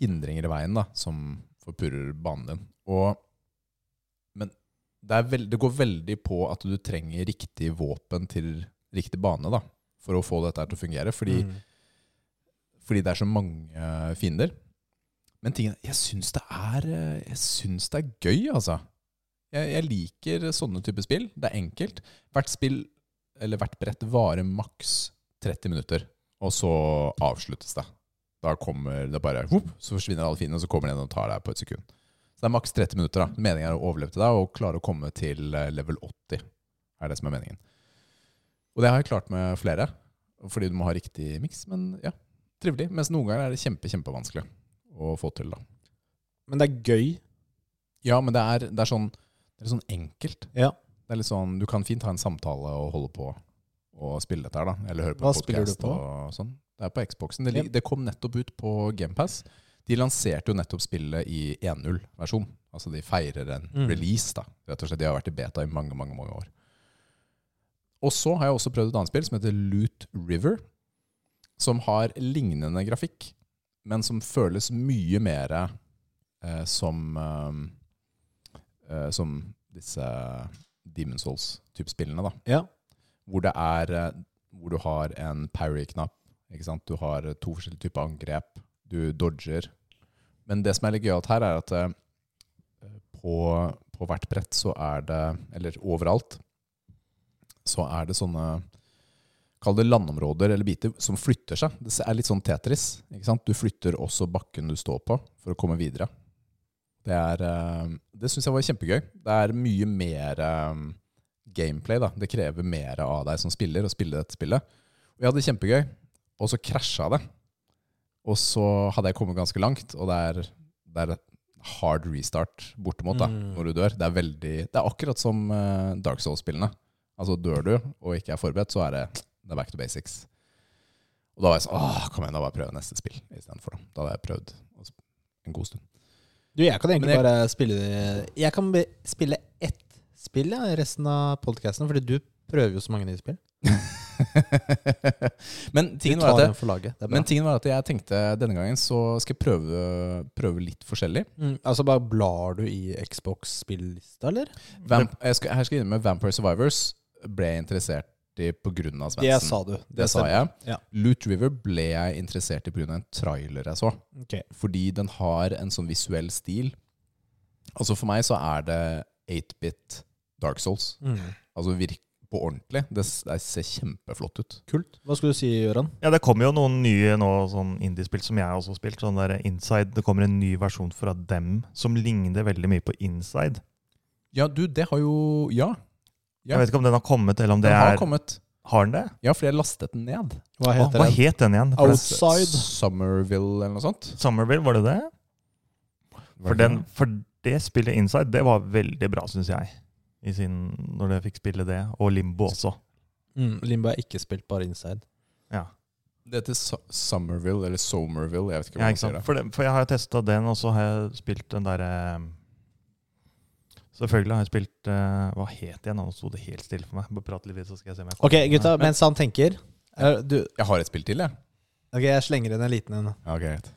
Speaker 2: hindringer i veien da, som forpurrer banen din. Og, men det, er veld, det går veldig på at du trenger riktig våpen til riktig bane da, for å få dette her til å fungere. Fordi
Speaker 1: Mm.
Speaker 2: fordi det er så mange eh, fiender. Men tingen, jeg syns det er eh, Jeg synes det er gøy, altså. Jeg, jeg liker sånne typer spill. Det er enkelt. Hvert spill, eller hvert brett, varer maks 30 minutter, og så avsluttes det. Da kommer det bare whoop, Så forsvinner alle fiendene, og så kommer den og tar deg på et sekund. Så det er maks 30 minutter. da. Meningen er å overleve til deg og klare å komme til eh, level 80. er det som er meningen. Og det har jeg klart med flere, fordi du må ha riktig miks. Men ja, trivelig. Mens noen ganger er det kjempe, kjempevanskelig å få til, da.
Speaker 1: Men det er gøy.
Speaker 2: Ja, men det er, det er, sånn, det er sånn enkelt.
Speaker 1: Ja.
Speaker 2: Det er litt sånn, Du kan fint ha en samtale og holde på og spille dette her, da. Eller høre på
Speaker 1: Hva
Speaker 2: en
Speaker 1: spiller du
Speaker 2: podcast
Speaker 1: på?
Speaker 2: og sånn. Det er på Xboxen. Det,
Speaker 1: Ja.
Speaker 2: lig- det kom nettopp ut på GamePass. De lanserte jo nettopp spillet i 1.0-versjon. Altså de feirer en
Speaker 1: Mm.
Speaker 2: release, da. Rett og slett. De har vært i beta i mange, mange mange år. Og så har jeg også prøvd et annet spill som heter Loot River. Som har lignende grafikk, men som føles mye mer eh, som eh, eh, Som disse Demon Souls-type spillene, da
Speaker 1: Ja.
Speaker 2: hvor det er eh, hvor du har en parry-knapp. ikke sant? Du har eh, to forskjellige typer angrep. Du dodger. Men det som er litt gøyalt her, er at eh, på, på hvert brett så er det Eller overalt så er det sånne Kall det landområder eller biter som flytter seg. Det er litt sånn Tetris. ikke sant? Du flytter også bakken du står på, for å komme videre. Det, er, eh, det syns jeg var kjempegøy. Det er mye mer eh, gameplay. da. Det krever mer av deg som spiller å spille dette spillet. Og jeg hadde det kjempegøy, og så krasja det. Og så hadde jeg kommet ganske langt, og det er, det er hard restart bortimot da,
Speaker 1: Mm.
Speaker 2: når du dør. Det er, veldig, det er akkurat som eh, Dark Souls-spillene. Altså Dør du og ikke er forberedt, så er det, det er back to basics. Og da var jeg sånn Åh, kom igjen, da bare prøve neste spill istedenfor. Da. da hadde jeg prøvd å sp- en god stund.
Speaker 1: Du, jeg kan egentlig
Speaker 2: Men jeg-
Speaker 1: bare spille Jeg kan be- spille ett spill ja, i resten av podkasten, fordi du prøver jo så mange nye spill.
Speaker 2: men,
Speaker 1: Vi
Speaker 2: tingen var
Speaker 1: tar
Speaker 2: at jeg,
Speaker 1: en for laget. Det er bra.
Speaker 2: men tingen var at jeg tenkte denne gangen så skal jeg prøve, prøve litt forskjellig.
Speaker 1: mm, altså bare blar du i Xbox-spillista, eller?
Speaker 2: Vamp jeg skal, her skal jeg inn med Vampire Survivors ble jeg interessert i pga. Svendsen.
Speaker 1: Det sa du.
Speaker 2: Det, sa jeg.
Speaker 1: Ja.
Speaker 2: Loot River ble jeg interessert i pga. en trailer jeg så.
Speaker 1: Ok.
Speaker 2: Fordi den har en sånn visuell stil. Altså For meg så er det 8-bit Dark Souls.
Speaker 1: Mm.
Speaker 2: Altså virk på ordentlig. Det, s- det ser kjempeflott ut.
Speaker 1: Kult. Hva skulle du si, Gøran?
Speaker 3: Ja, det kommer jo noen nye nå, sånn indiespill som jeg også har spilt. Sånn der Inside. Det kommer en ny versjon fra dem som ligner veldig mye på Inside.
Speaker 2: Ja, du, det har jo Ja, Ja.
Speaker 3: Jeg vet ikke om den har kommet, eller om det
Speaker 2: den har
Speaker 3: er
Speaker 2: kommet.
Speaker 3: Har den det?
Speaker 2: Ja, for jeg lastet den ned.
Speaker 1: Hva
Speaker 3: Åh,
Speaker 1: heter
Speaker 3: hva
Speaker 1: den?
Speaker 3: het den igjen? For det-
Speaker 1: Outside.
Speaker 2: Summerville eller noe sånt.
Speaker 3: Summerville, var det det?
Speaker 2: Var
Speaker 3: For,
Speaker 2: det
Speaker 3: den, for det spillet Inside, det var veldig bra, syns jeg. I sin, når jeg fikk spille det, og Limbo også.
Speaker 1: Mm, Limbo er ikke spilt bare inside.
Speaker 2: det? Det heter Su- Summerville, eller Somerville, jeg vet ikke
Speaker 3: Ja,
Speaker 2: hva man
Speaker 3: ikke
Speaker 2: sier
Speaker 3: sant?
Speaker 2: det.
Speaker 3: For, det, for jeg har testa den, og så har jeg spilt den derre Selvfølgelig har jeg spilt eh, Hva het den? Nå sto det helt stille for meg. Bare prat litt, så skal jeg se om jeg kommer
Speaker 1: Ok,
Speaker 3: på den.
Speaker 1: gutta, mens han tenker er du,
Speaker 2: Jeg har et spill til, jeg.
Speaker 1: Ok, jeg slenger inn en liten en.
Speaker 2: Ja, greit.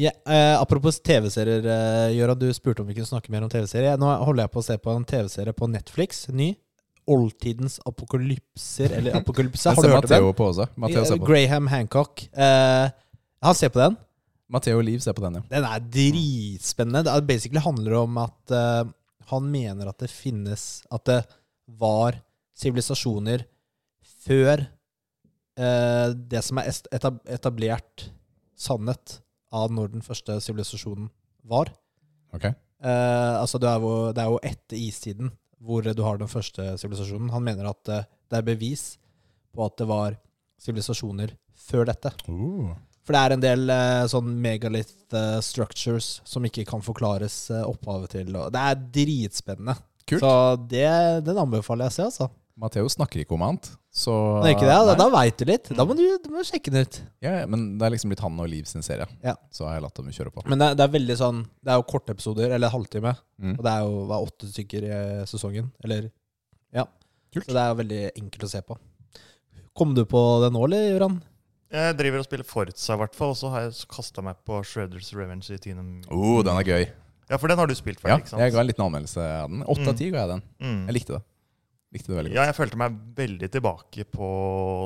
Speaker 1: Ja, eh, apropos TV-serier, eh, Gøran. Du spurte om vi kunne snakke mer om TV-serier. Nå holder jeg på å se på en TV-serie på Netflix, ny. Oldtidens apokalypser, eller apokalypse.
Speaker 2: Jeg
Speaker 1: Har du
Speaker 2: ser
Speaker 1: hørt om den?
Speaker 2: Matteo på også. Matteo ser på den.
Speaker 1: Graham Hancock. Eh, han ser på den.
Speaker 2: Matteo Liv ser på den, ja.
Speaker 1: Den er dritspennende. Det er- basically handler om at eh, han mener at det finnes At det var sivilisasjoner før eh, det som er est- etab etablert sannhet av når den første sivilisasjonen var.
Speaker 2: Ok.
Speaker 1: Eh, altså det, er jo, det er jo etter istiden hvor du har den første sivilisasjonen. Han mener at eh, det er bevis på at det var sivilisasjoner før dette. For det er en del eh, sånn megalith eh, structures som ikke kan forklares eh, opphavet til. Og det er dritspennende.
Speaker 2: Kult.
Speaker 1: Så det, den anbefaler jeg å se, altså.
Speaker 2: Matteo snakker ikke om annet, så
Speaker 1: Men ikke
Speaker 4: Ah,
Speaker 1: det, da,
Speaker 2: Nei.
Speaker 1: da veit du litt.
Speaker 4: Mm.
Speaker 1: Da må du, du må sjekke den ut.
Speaker 2: Ja, ja, men det er liksom blitt han og Liv sin serie.
Speaker 1: Ja.
Speaker 2: Så har jeg latt dem kjøre på.
Speaker 1: Men det, det er veldig sånn Det er jo korte episoder, eller halvtime.
Speaker 2: Mm.
Speaker 1: Og det er jo hva, åtte stykker i eh, sesongen. Eller Ja.
Speaker 2: Kult.
Speaker 1: Så det er jo veldig enkelt å se på. Kom du på det nå, eller, Gøran?
Speaker 3: Jeg driver og spiller Forza, i hvert fall, og så har jeg kasta meg på Shredders Revenge i Tynum.
Speaker 2: Oh, den er gøy.
Speaker 3: Ja, for den har du spilt
Speaker 2: Ja,
Speaker 3: ferdig, ikke sant?
Speaker 2: jeg ga en liten anmeldelse av den. Åtte av
Speaker 3: Mm.
Speaker 2: ti ga jeg den.
Speaker 3: Mm.
Speaker 2: Jeg likte det. Likte det veldig godt.
Speaker 3: Ja, jeg følte meg veldig tilbake på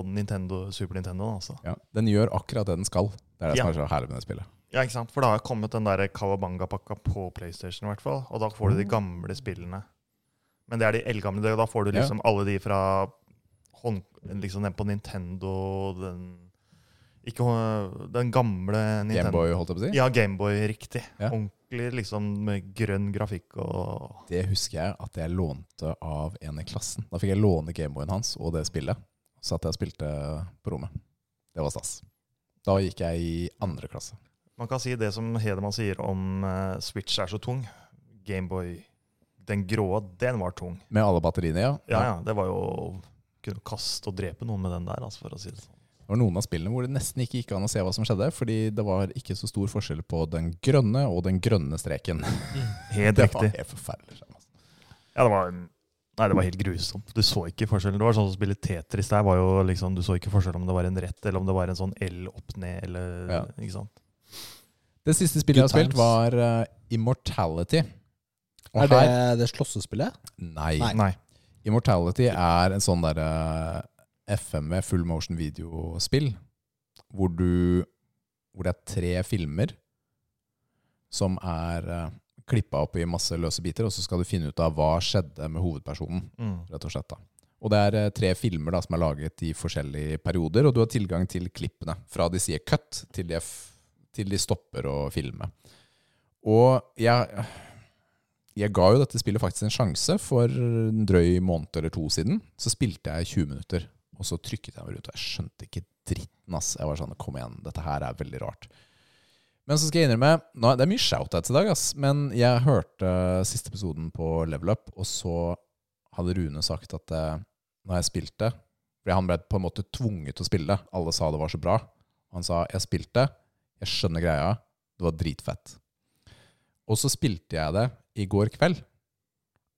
Speaker 3: Nintendo, Super Nintendo. Altså.
Speaker 2: Ja, den gjør akkurat det den skal. Det er det som er så herlig med det spillet.
Speaker 3: Ja, ikke sant? For da har kommet den der Kawabanga-pakka på PlayStation, i hvert fall. Og da
Speaker 2: Mm.
Speaker 3: får du de gamle spillene. Men det er de eldgamle. det- Da får du
Speaker 2: Ja.
Speaker 3: liksom alle de fra hånd, liksom den på Nintendo den, Ikke hå- den gamle Nintendo.
Speaker 2: Gameboy, holdt jeg på å si.
Speaker 3: Ja, Gameboy, riktig.
Speaker 2: Ja.
Speaker 3: Ordentlig liksom med grønn grafikk og
Speaker 2: Det husker jeg at jeg lånte av en i klassen. Da fikk jeg låne Gameboyen hans og det spillet. Så at jeg og spilte på rommet. Det var stas. Da gikk jeg i andre klasse.
Speaker 3: Man kan si det som Hedemann sier om eh, Switch er så tung. Gameboy, den grå, den var tung.
Speaker 2: Med alle batteriene, ja.
Speaker 3: Ja, ja, det var jo Kunne kaste og drepe noen med den der, altså, for å si det sånn.
Speaker 2: Det var noen av spillene hvor det nesten ikke gikk an å se hva som skjedde, fordi det var ikke så stor forskjell på den grønne og den grønne streken.
Speaker 3: Helt
Speaker 2: Det var
Speaker 3: riktig.
Speaker 2: helt forferdelig. skjerm, altså.
Speaker 3: Ja, det var Nei, det var helt grusomt. Du så ikke forskjellen. Det var sånn å spille Tetris der, var jo liksom, du så ikke forskjell om det var en rett, eller om det var en sånn L opp ned, eller
Speaker 2: Ja.
Speaker 3: Ikke sant?
Speaker 2: Det siste spillet jeg har
Speaker 1: Good
Speaker 2: spilt, var eh, Immortality. Og
Speaker 1: Er det
Speaker 2: her
Speaker 1: det slåssespillet?
Speaker 2: Nei.
Speaker 1: Nei.
Speaker 3: Nei.
Speaker 2: Immortality er en sånn derre FMV, full motion videospill, hvor du Hvor det er tre filmer som er uh, klippa opp i masse løse biter, og så skal du finne ut av hva skjedde med hovedpersonen.
Speaker 3: Mm.
Speaker 2: rett og slett. da. Og det er eh, tre filmer da, som er laget i forskjellige perioder, og du har tilgang til klippene fra de sier cut, til de, er f til de stopper å filme. Og jeg, jeg ga jo dette spillet faktisk en sjanse for en drøy måned eller to siden. Så spilte jeg 20 minutter, og så trykket jeg meg ut, og jeg skjønte ikke dritten, ass. Jeg var sånn, kom igjen, dette her er veldig rart. Men så skal jeg innrømme nå, Det er mye shoutouts i dag, ass. Men jeg hørte siste episoden på Level Up, og så hadde Rune sagt at eh, når jeg spilte Fordi han ble på en måte tvunget til å spille. Alle sa det var så bra. Han sa 'jeg spilte, jeg skjønner greia, det var dritfett'. Og så spilte jeg det i går kveld,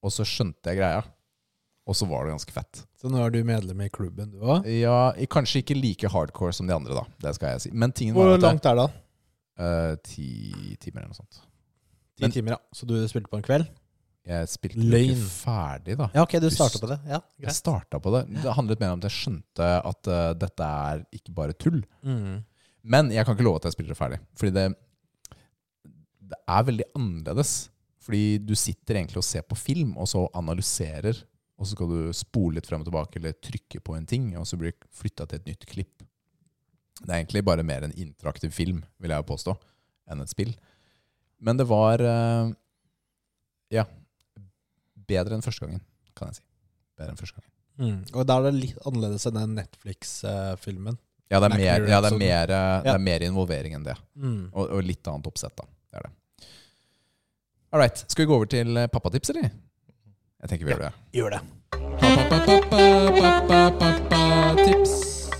Speaker 2: og så skjønte jeg greia. Og så var det ganske fett.
Speaker 4: Så nå er du medlem i klubben, du òg?
Speaker 2: Ja, i- Kanskje ikke like hardcore som de andre, da. Det skal jeg si. Men tingen
Speaker 1: Hvor
Speaker 2: var at
Speaker 1: langt er det, da?
Speaker 2: eh, ti timer eller noe sånt.
Speaker 1: Ti
Speaker 2: Men-
Speaker 1: timer, ja. Så du spilte på en kveld?
Speaker 2: Jeg spilte jo ikke
Speaker 1: Løgn.
Speaker 2: ferdig, da.
Speaker 1: Ja, ok, du
Speaker 2: Pust.
Speaker 1: starta på det. Ja,
Speaker 2: Jeg
Speaker 1: greit.
Speaker 2: starta på det. Det handlet mer om at jeg skjønte at eh, dette er ikke bare tull.
Speaker 1: Mm.
Speaker 2: Men jeg kan ikke love at jeg spiller det ferdig. Fordi det, det er veldig annerledes. Fordi du sitter egentlig og ser på film, og så analyserer. Og så skal du spole litt frem og tilbake, eller trykke på en ting, og så blir det flytta til et nytt klipp. Det er egentlig bare mer en interaktiv film, vil jeg jo påstå, enn et spill. Men det var eh, Ja. Bedre enn første gangen, kan jeg si. Bedre enn første gangen.
Speaker 1: Mm.
Speaker 4: Og da er det litt annerledes enn den Netflix-filmen.
Speaker 2: Ja, det er
Speaker 4: Black
Speaker 2: mer, ja, det
Speaker 4: Mirror-episoden.
Speaker 2: er mer, eh, det
Speaker 1: Ja.
Speaker 2: er mer involvering enn det.
Speaker 1: Mm.
Speaker 2: Og, og litt annet oppsett, da. Det er det. All right. Skal vi gå over til eh, pappatips, eller? Jeg tenker vi gjør det.
Speaker 1: Gjør det.
Speaker 2: Pappa-pappa-pappa-pappa-tips.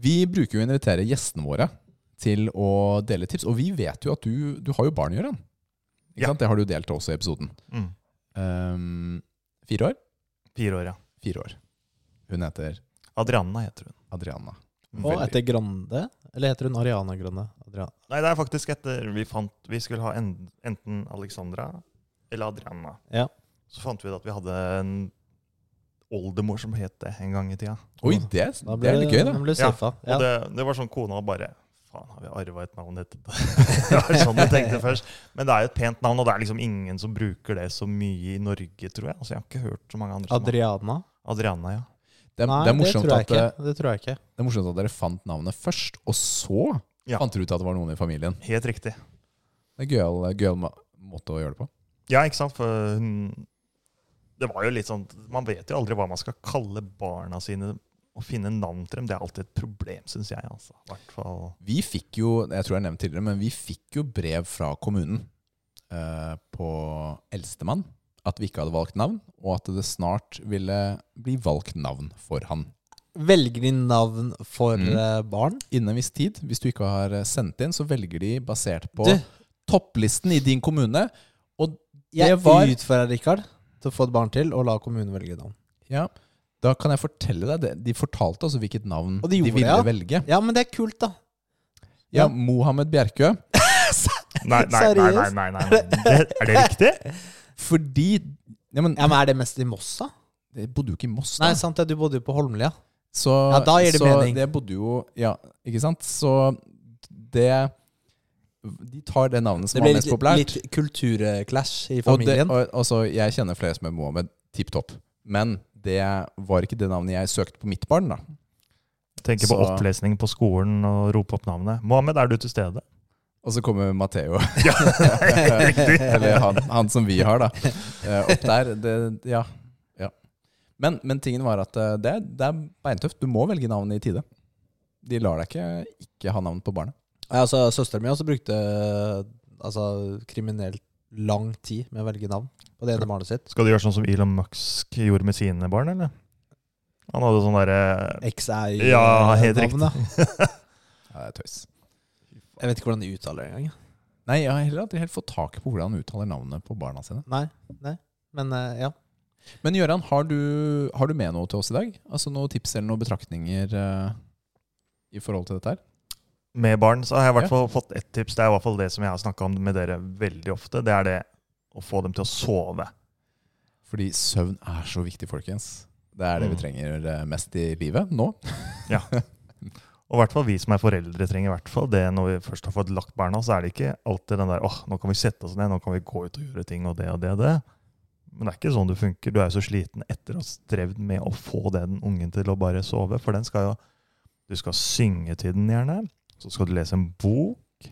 Speaker 2: Vi bruker jo å invitere gjestene våre til å dele tips. Og vi vet jo at du, du har jo barn, Gøran. Ikke
Speaker 3: Ja.
Speaker 2: sant? Det har du delt også i episoden.
Speaker 3: Mm.
Speaker 2: Um, fire år?
Speaker 3: Fire år, ja.
Speaker 2: Fire år. Hun heter
Speaker 3: Adriana heter hun.
Speaker 2: Adriana.
Speaker 3: Mm.
Speaker 1: Og
Speaker 2: Veldig-
Speaker 1: etter Grande? Eller heter hun Ariana Grande? Adriana.
Speaker 3: Nei, det er faktisk etter vi fant Vi skulle ha en, enten Alexandra eller Adriana.
Speaker 1: Ja.
Speaker 3: Så fant vi ut at vi hadde en oldemor som het det en gang i tida.
Speaker 2: Oi, det,
Speaker 1: Da
Speaker 2: det er litt gøy, da.
Speaker 1: da ble du
Speaker 3: Ja,
Speaker 1: safa.
Speaker 3: Og det, det var sånn kona bare Faen, har vi arva et navn etter det? det var sånn jeg tenkte først. Men det er jo et pent navn, og det er liksom ingen som bruker det så mye i Norge, tror jeg. Altså, Jeg har ikke hørt så mange andre som har
Speaker 1: Adriana?
Speaker 3: Adriana, ja.
Speaker 2: Det er,
Speaker 1: Nei,
Speaker 2: det er morsomt
Speaker 1: tror jeg
Speaker 2: at eh,
Speaker 1: ikke. Det tror jeg ikke.
Speaker 2: Det er morsomt at dere fant navnet først, og så
Speaker 3: Ja.
Speaker 2: fant dere ut at det var noen i familien.
Speaker 3: Helt riktig.
Speaker 2: Det er gøyal eh, gøyal ma- måte å gjøre det på.
Speaker 3: Ja, ikke sant? For hun Det var jo litt sånn Man vet jo aldri hva man skal kalle barna sine. Å finne navn til dem, det er alltid et problem, syns jeg. altså. I hvert fall.
Speaker 2: Vi fikk jo, jeg tror jeg har nevnt tidligere, men vi fikk jo brev fra kommunen eh, på eldstemann at vi ikke hadde valgt navn, og at det snart ville bli valgt navn for han.
Speaker 1: Velger de navn for
Speaker 2: Mm.
Speaker 1: eh, barn?
Speaker 2: Innen en viss tid, hvis du ikke har eh, sendt inn, så velger de basert på
Speaker 1: Du.
Speaker 2: topplisten i din kommune. Og det
Speaker 1: Jeg
Speaker 2: var
Speaker 1: utfordrer Rikard til å få et barn til, og la kommunen velge navn.
Speaker 2: ja, Da kan jeg fortelle deg det. De fortalte altså hvilket navn
Speaker 1: Og de
Speaker 2: de,
Speaker 1: gjorde det,
Speaker 2: ville
Speaker 1: ja.
Speaker 2: velge.
Speaker 1: Ja, men det er kult, da.
Speaker 2: Ja,
Speaker 1: Ja.
Speaker 2: Mohammed Bjerkø.
Speaker 3: Nei, nei, nei, nei, nei, nei, nei. Det, Er det riktig?
Speaker 2: Fordi ja, men,
Speaker 1: Ja, men Er det mest i Moss, da?
Speaker 2: Jeg bodde jo ikke i Moss, da.
Speaker 1: Nei, sant det. Du bodde jo på Holmlia.
Speaker 2: så,
Speaker 1: Ja, da gir det
Speaker 2: så
Speaker 1: mening.
Speaker 2: det bodde jo Ja, ikke sant? Så det De tar det navnet som
Speaker 1: Det ble
Speaker 2: var mest
Speaker 1: litt,
Speaker 2: populært.
Speaker 1: litt kulturclash i
Speaker 2: og det,
Speaker 1: familien.
Speaker 2: og, altså, jeg kjenner flere som er Mohammed. Tipp topp. Men det var ikke det navnet jeg søkte på mitt barn, da.
Speaker 3: Tenker på
Speaker 2: Så-
Speaker 3: opplesning på skolen og rope opp navnet. Mohammed, er du til stede?
Speaker 2: Og så kommer Matheo,
Speaker 3: Ja, riktig.
Speaker 2: eller han, han som vi har, da, eh, opp der. Det, ja. ja. Men, men tingen var at eh, det, er- det er beintøft. Du må velge navnet i tide. De lar deg ikke ikke ha navn på barnet.
Speaker 1: Ja, altså, Søsteren min også brukte altså, kriminelt lang tid med å velge navn på det ene barnet sitt.
Speaker 3: Skal du gjøre sånn som Elon Musk gjorde med sine barn, eller? Han hadde sånn derre
Speaker 1: X er
Speaker 3: Ja, helt riktig.
Speaker 1: navnet.
Speaker 2: Ja, det er tøys.
Speaker 1: Jeg vet ikke hvordan de uttaler det engang. jeg.
Speaker 2: Nei, jeg har heller aldri helt fått tak på hvordan han uttaler navnet på barna sine.
Speaker 1: Nei, nei. Men eh, ja.
Speaker 2: Men Gøran, har du, har du med noe til oss i dag? Altså Noen tips eller noen betraktninger eh, i forhold til dette her?
Speaker 3: Med barn så har jeg i hvert fall fått ett tips. Det er i hvert fall det som jeg har snakka om med dere veldig ofte. Det er det å få dem til å sove.
Speaker 2: Fordi søvn er så viktig, folkens. Det er det vi
Speaker 3: Mm.
Speaker 2: trenger eh, mest i livet nå.
Speaker 3: Og i hvert fall vi som er foreldre trenger i hvert fall det når vi først har fått lagt barna, så er det ikke alltid den der åh, nå kan vi sette oss ned, nå kan vi gå ut og gjøre ting og det og det og det. Men det er ikke sånn det funker. Du er jo så sliten etter å ha strevd med å få den ungen til å bare sove, for den skal jo Du skal synge til den gjerne, så skal du lese en bok,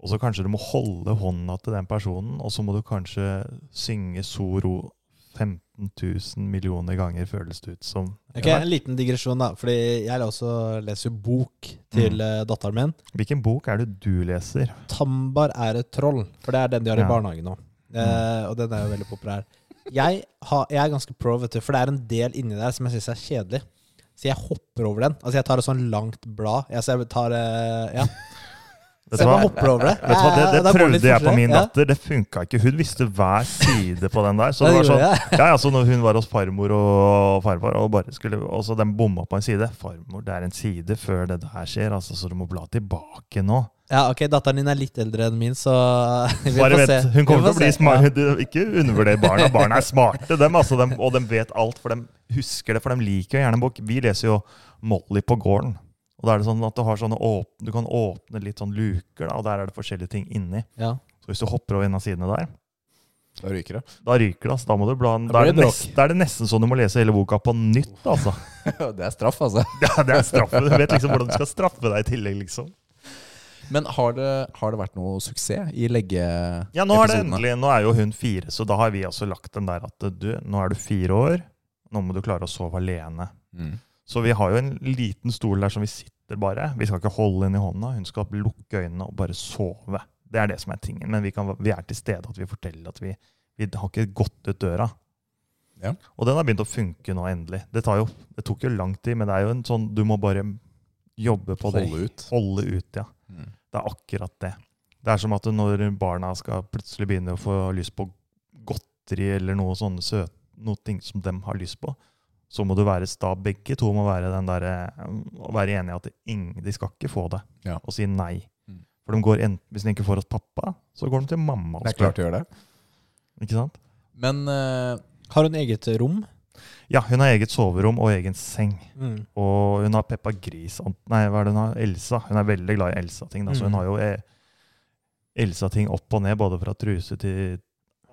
Speaker 3: og så kanskje du må holde hånda til den personen, og så må du kanskje synge Soro 15 000 millioner ganger, føles det ut som.
Speaker 1: Ok, En liten digresjon, da. Fordi jeg også leser jo bok til
Speaker 3: Mm.
Speaker 1: eh, datteren min.
Speaker 3: Hvilken bok er det du leser?
Speaker 1: Tambar er et troll, for det er den de har
Speaker 3: Ja. Mm.
Speaker 1: i barnehagen nå. Eh, og den er jo veldig populær. Jeg, har, jeg er ganske pro, vet du, for det er en del inni der som jeg syns er kjedelig. Så jeg hopper over den. Altså Jeg tar et sånn langt blad. Altså jeg tar eh, ja.
Speaker 3: Vet
Speaker 1: Se
Speaker 3: du hva?
Speaker 1: meg hoppe over det.
Speaker 3: Vet du hva? Det,
Speaker 1: Ja, da
Speaker 3: det
Speaker 1: går litt
Speaker 3: prøvde jeg på
Speaker 1: fortere.
Speaker 3: min
Speaker 1: Ja.
Speaker 3: datter. Det funka ikke. Hun visste hver side på den der. Så det
Speaker 1: Ja,
Speaker 3: var
Speaker 1: det
Speaker 3: sånn,
Speaker 1: gjorde
Speaker 3: ja, ja, så når hun var hos farmor og farfar, og bare skulle, og så de bomma på en side Farmor, det er en side før det der skjer, altså, så du må bla tilbake nå.
Speaker 1: Ja, ok, datteren din er litt eldre enn min, så eh, vi
Speaker 3: Bare
Speaker 1: får
Speaker 3: vent,
Speaker 1: se.
Speaker 3: Hun kommer
Speaker 1: Vi
Speaker 3: til å
Speaker 1: får
Speaker 3: bli
Speaker 1: se.
Speaker 3: smart. Du- Ikke undervurder barna. Barna er smarte, dem, altså, dem, og de vet alt, for de husker det, for de liker jo gjerne en bok. Vi leser jo Molly på gården. Og da er det sånn at Du, har sånne åpne, du kan åpne litt sånn luker, da, og der er det forskjellige ting inni.
Speaker 1: Ja.
Speaker 3: Så hvis du hopper over en av sidene der,
Speaker 2: Da ryker det.
Speaker 3: Da ryker det, altså. Da, må du bla,
Speaker 2: Da
Speaker 3: da, er
Speaker 2: blir det
Speaker 3: det nest, da er det nesten sånn du må lese hele boka på nytt, altså.
Speaker 2: det er straff, altså.
Speaker 3: Ja, det er straffe. Du vet liksom hvordan du skal straffe deg i tillegg, liksom.
Speaker 2: Men har det, har det vært noe suksess i leggeepisodene?
Speaker 3: Ja, nå er det endelig, nå er jo hun fire, så da har vi også lagt den der at du, nå er du fire år, nå må du klare å sove alene.
Speaker 2: Mm.
Speaker 3: Så vi har jo en liten stol der som vi sitter bare. Vi skal ikke holde henne i hånda, hun skal lukke øynene og bare sove. Det er det som er tingen, men vi, kan, vi er til stede at vi forteller at vi, vi har ikke gått ut døra.
Speaker 2: Ja.
Speaker 3: Og den har begynt å funke nå endelig. Det, tar jo, det tok jo lang tid, men det er jo en sånn, du må bare jobbe på det.
Speaker 2: Holde ut.
Speaker 3: Holde ut, ja.
Speaker 2: Mm.
Speaker 3: Det er akkurat det. Det er som at når barna skal plutselig begynne å få lyst på godteri eller noe sånne søt, noe ting som de har lyst på, så må du være sta. Begge to må være, den der, eh, å være enige at ingen, de skal ikke få det,
Speaker 2: Ja.
Speaker 3: og si nei.
Speaker 2: Mm.
Speaker 3: For de går enten, Hvis de ikke får hos pappa, så går de til mamma og
Speaker 2: Det er
Speaker 3: spør.
Speaker 2: klart de gjør det.
Speaker 3: Ikke sant?
Speaker 2: Men eh,
Speaker 1: Har hun eget rom?
Speaker 3: Ja, hun har eget soverom og egen seng.
Speaker 1: Mm.
Speaker 3: Og hun har Peppa Gris Ant- Nei, hva er det hun har? Elsa. Hun er veldig glad i Elsa-ting. da, Så
Speaker 1: Mm.
Speaker 3: hun har jo eh, Elsa-ting opp og ned, både fra truse til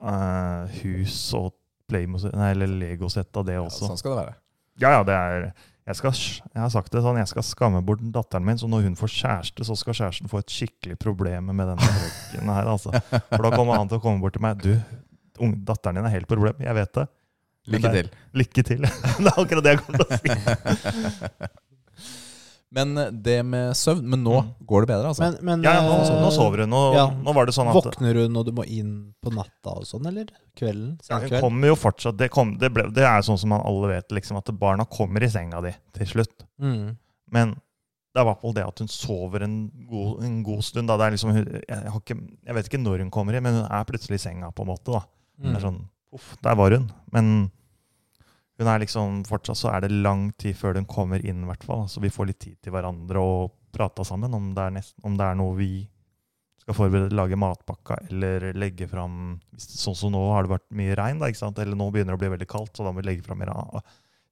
Speaker 3: eh, hus og Playmo- nei, eller Lego-sett av det
Speaker 2: ja,
Speaker 3: også.
Speaker 2: sånn skal det være.
Speaker 3: Ja, ja, det er jeg, skal, sj- jeg har sagt det sånn, jeg skal skamme bort datteren min, så når hun får kjæreste, så skal kjæresten få et skikkelig problem med denne røkken her, altså. For da kommer han til å komme bort til meg. Du, ung- datteren din er helt problem, jeg vet det. Men
Speaker 2: Lykke
Speaker 3: det-
Speaker 2: til.
Speaker 3: Lykke til. det er akkurat det jeg kommer til å si.
Speaker 2: Men eh, det med søvn Men nå
Speaker 3: Mm.
Speaker 2: går det bedre, altså.
Speaker 1: Men, men
Speaker 3: Ja, ja nå,
Speaker 1: eh,
Speaker 3: nå sover hun. Nå,
Speaker 1: ja.
Speaker 3: nå var det sånn at
Speaker 1: våkner hun når du må inn på natta og sånn, eller? Kvelden?
Speaker 3: ja,
Speaker 1: Sen
Speaker 3: hun
Speaker 1: kveld?
Speaker 3: kommer jo fortsatt Det, kom, det, ble, det er sånn som man alle vet, liksom, at barna kommer i senga di til slutt.
Speaker 1: Mm.
Speaker 3: Men det er i hvert fall det at hun sover en god, en god stund. Da. Det er liksom, hun- jeg, har ikke, jeg vet ikke når hun kommer i, men hun er plutselig i senga, på en måte. da.
Speaker 1: Mm.
Speaker 3: Det er sånn, uff, der var hun. Men hun er liksom, fortsatt så er det lang tid før hun kommer inn, i hvert fall. Så vi får litt tid til hverandre og prata sammen om det, er nest, om det er noe vi skal forberede, lage matpakka eller legge fram hvis- Sånn som nå har det vært mye regn, da, ikke sant? eller nå begynner det å bli veldig kaldt, så da må vi legge fram mer av-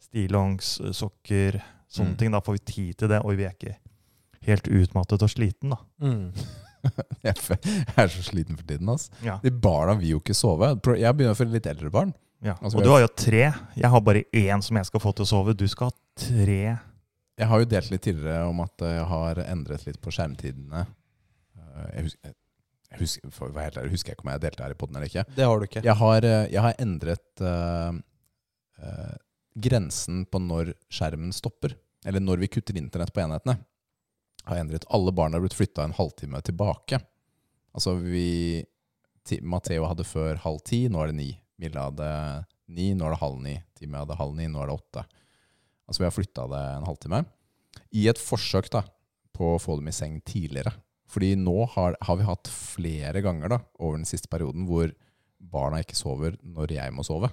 Speaker 3: stillongs, eh, sokker, sånne
Speaker 2: Mm.
Speaker 3: ting. Da får vi tid til det, og vi er ikke helt utmattet og sliten, da.
Speaker 1: Mm.
Speaker 2: Jeg f- jeg er så sliten for tiden. altså. ass
Speaker 3: Ja.
Speaker 2: De barna vil jo ikke sove. Pro- Jeg begynner å få litt eldre barn.
Speaker 3: Ja.
Speaker 2: Altså,
Speaker 3: og
Speaker 2: vi
Speaker 3: du
Speaker 2: har-
Speaker 3: har jo tre. Jeg har bare én som jeg skal få til å sove. Du skal ha tre.
Speaker 2: Jeg har jo delt litt tidligere om at jeg har endret litt på skjermtidene. Eh, Jeg husker, jeg husker, for å være helt ærlig, husker jeg ikke om jeg delte her i poden eller ikke.
Speaker 1: Det har du ikke.
Speaker 2: Jeg har, eh, jeg har endret eh, eh, grensen på når skjermen stopper. Eller når vi kutter internett på enhetene. Har jeg endret Alle barn har blitt flytta en halvtime tilbake. Altså vi ti- Matteo hadde før halv ti, nå er det ni. Milla hadde ni, nå er det halv ni. Timmy hadde halv ni, nå er det åtte. Altså vi har flytta det en halvtime. I et forsøk da, på å få dem i seng tidligere. Fordi nå har, har vi hatt flere ganger da, over den siste perioden hvor barna ikke sover når jeg må sove.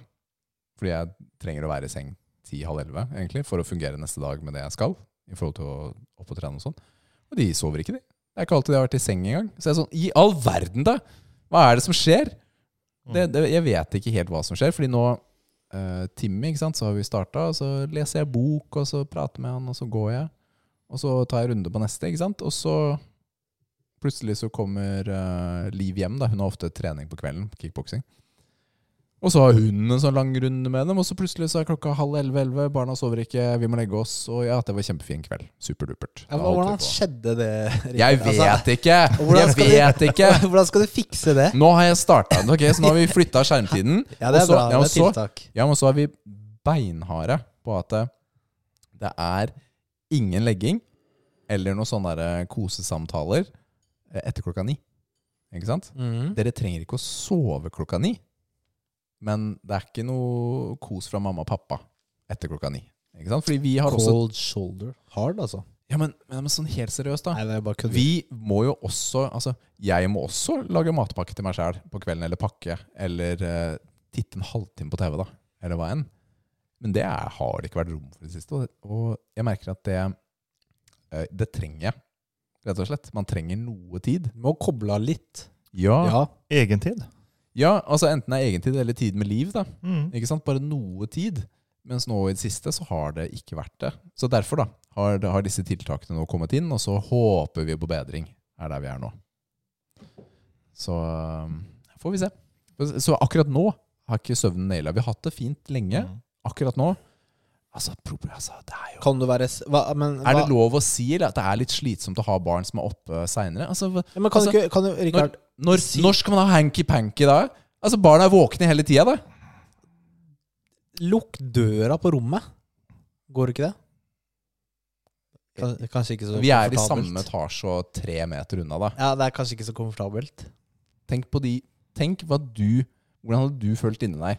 Speaker 2: Fordi jeg trenger å være i seng 10-halv 11 egentlig, for å fungere neste dag med det jeg skal. I forhold til å opp og trene og sånn. Og de sover ikke, de. Det er ikke alltid de har vært i seng engang. Så jeg er sånn I all verden, da! Hva er det som skjer?
Speaker 1: Mm.
Speaker 2: Det,
Speaker 3: Mm.
Speaker 2: det, jeg vet ikke helt hva som skjer, fordi nå eh, Timmy, ikke sant, så har vi starta, og så leser jeg bok, og så prater med han, og så går jeg. Og så tar jeg runde på neste, ikke sant. Og så plutselig så kommer eh, Liv hjem, da. Hun har ofte trening på kvelden, kickboksing. Og så har hun en sånn lang runde med dem, og så plutselig så er klokka halv elleve-elleve, barna sover ikke, vi må legge oss, og ja, det var kjempefin kveld. Superdupert.
Speaker 1: Ja,
Speaker 2: Da
Speaker 1: men
Speaker 2: holdt vi
Speaker 1: hvordan
Speaker 2: på.
Speaker 1: skjedde det? Rikard?
Speaker 2: Jeg
Speaker 1: Altså,
Speaker 2: vet ikke!
Speaker 1: og hvordan
Speaker 2: Jeg
Speaker 1: skal
Speaker 2: vet ikke!
Speaker 1: hvordan skal du fikse det?
Speaker 2: Nå har jeg starta. Ok, så nå har vi flytta skjermtiden.
Speaker 1: Ja, det er
Speaker 2: Og så-
Speaker 1: bra.
Speaker 2: ja,
Speaker 1: Det
Speaker 2: og
Speaker 1: er
Speaker 2: så-
Speaker 1: tiltak.
Speaker 2: Ja, men så er vi beinharde på at det- det er ingen legging eller noen sånne der eh, kosesamtaler eh, etter klokka ni. Ikke sant?
Speaker 1: Mm.
Speaker 2: Dere trenger ikke å sove klokka ni, men det er ikke noe kos fra mamma og pappa etter klokka ni. Ikke sant? Fordi vi har også
Speaker 1: Cold shoulder. Hard, altså.
Speaker 2: Ja, men, men sånn helt seriøst, da.
Speaker 4: Nei, det er bare kødd.
Speaker 2: Vi må jo også Altså, jeg må også lage matpakke til meg sjæl på kvelden, eller pakke, eller eh, titte en halvtime på TV, da, eller hva enn. Men det er, har det ikke vært rom for i det siste, og, og jeg merker at det eh, Det trenger jeg, rett og slett. Man trenger noe tid.
Speaker 4: Du må koble av litt.
Speaker 2: Ja, ja.
Speaker 4: Ja.
Speaker 3: Egentid.
Speaker 2: altså enten det er egentid eller tid med liv, da.
Speaker 3: Mm.
Speaker 2: Ikke sant? Bare noe tid. Mens nå i det siste så har det ikke vært det. Så derfor da, har, har disse tiltakene nå kommet inn, og så håper vi på bedring. er der vi er nå. Så um, får vi se. Så akkurat nå har ikke søvnen naila. Vi har hatt det fint lenge.
Speaker 3: Mm.
Speaker 2: Akkurat nå Altså, prob- altså det er jo
Speaker 4: Kan du være s- hva, men,
Speaker 2: Er det
Speaker 4: hva-
Speaker 2: lov å si eller, at det er litt slitsomt å ha barn som er oppe seinere? Altså, hva-
Speaker 4: Ja, men kan
Speaker 2: altså,
Speaker 4: du ikke kan du, Rikard,
Speaker 2: når, når, når skal man ha hanky-panky da? Altså, barna er våkne hele tida, da.
Speaker 4: lukk døra på rommet? Går det ikke det?
Speaker 1: Kan- Kanskje ikke så
Speaker 2: Vi er i
Speaker 1: Sånn komfortabelt.
Speaker 2: samme etasje og tre meter unna, da.
Speaker 4: Ja, det er kanskje ikke så komfortabelt.
Speaker 2: Tenk på de Tenk hva du Hvordan hadde du følt inni deg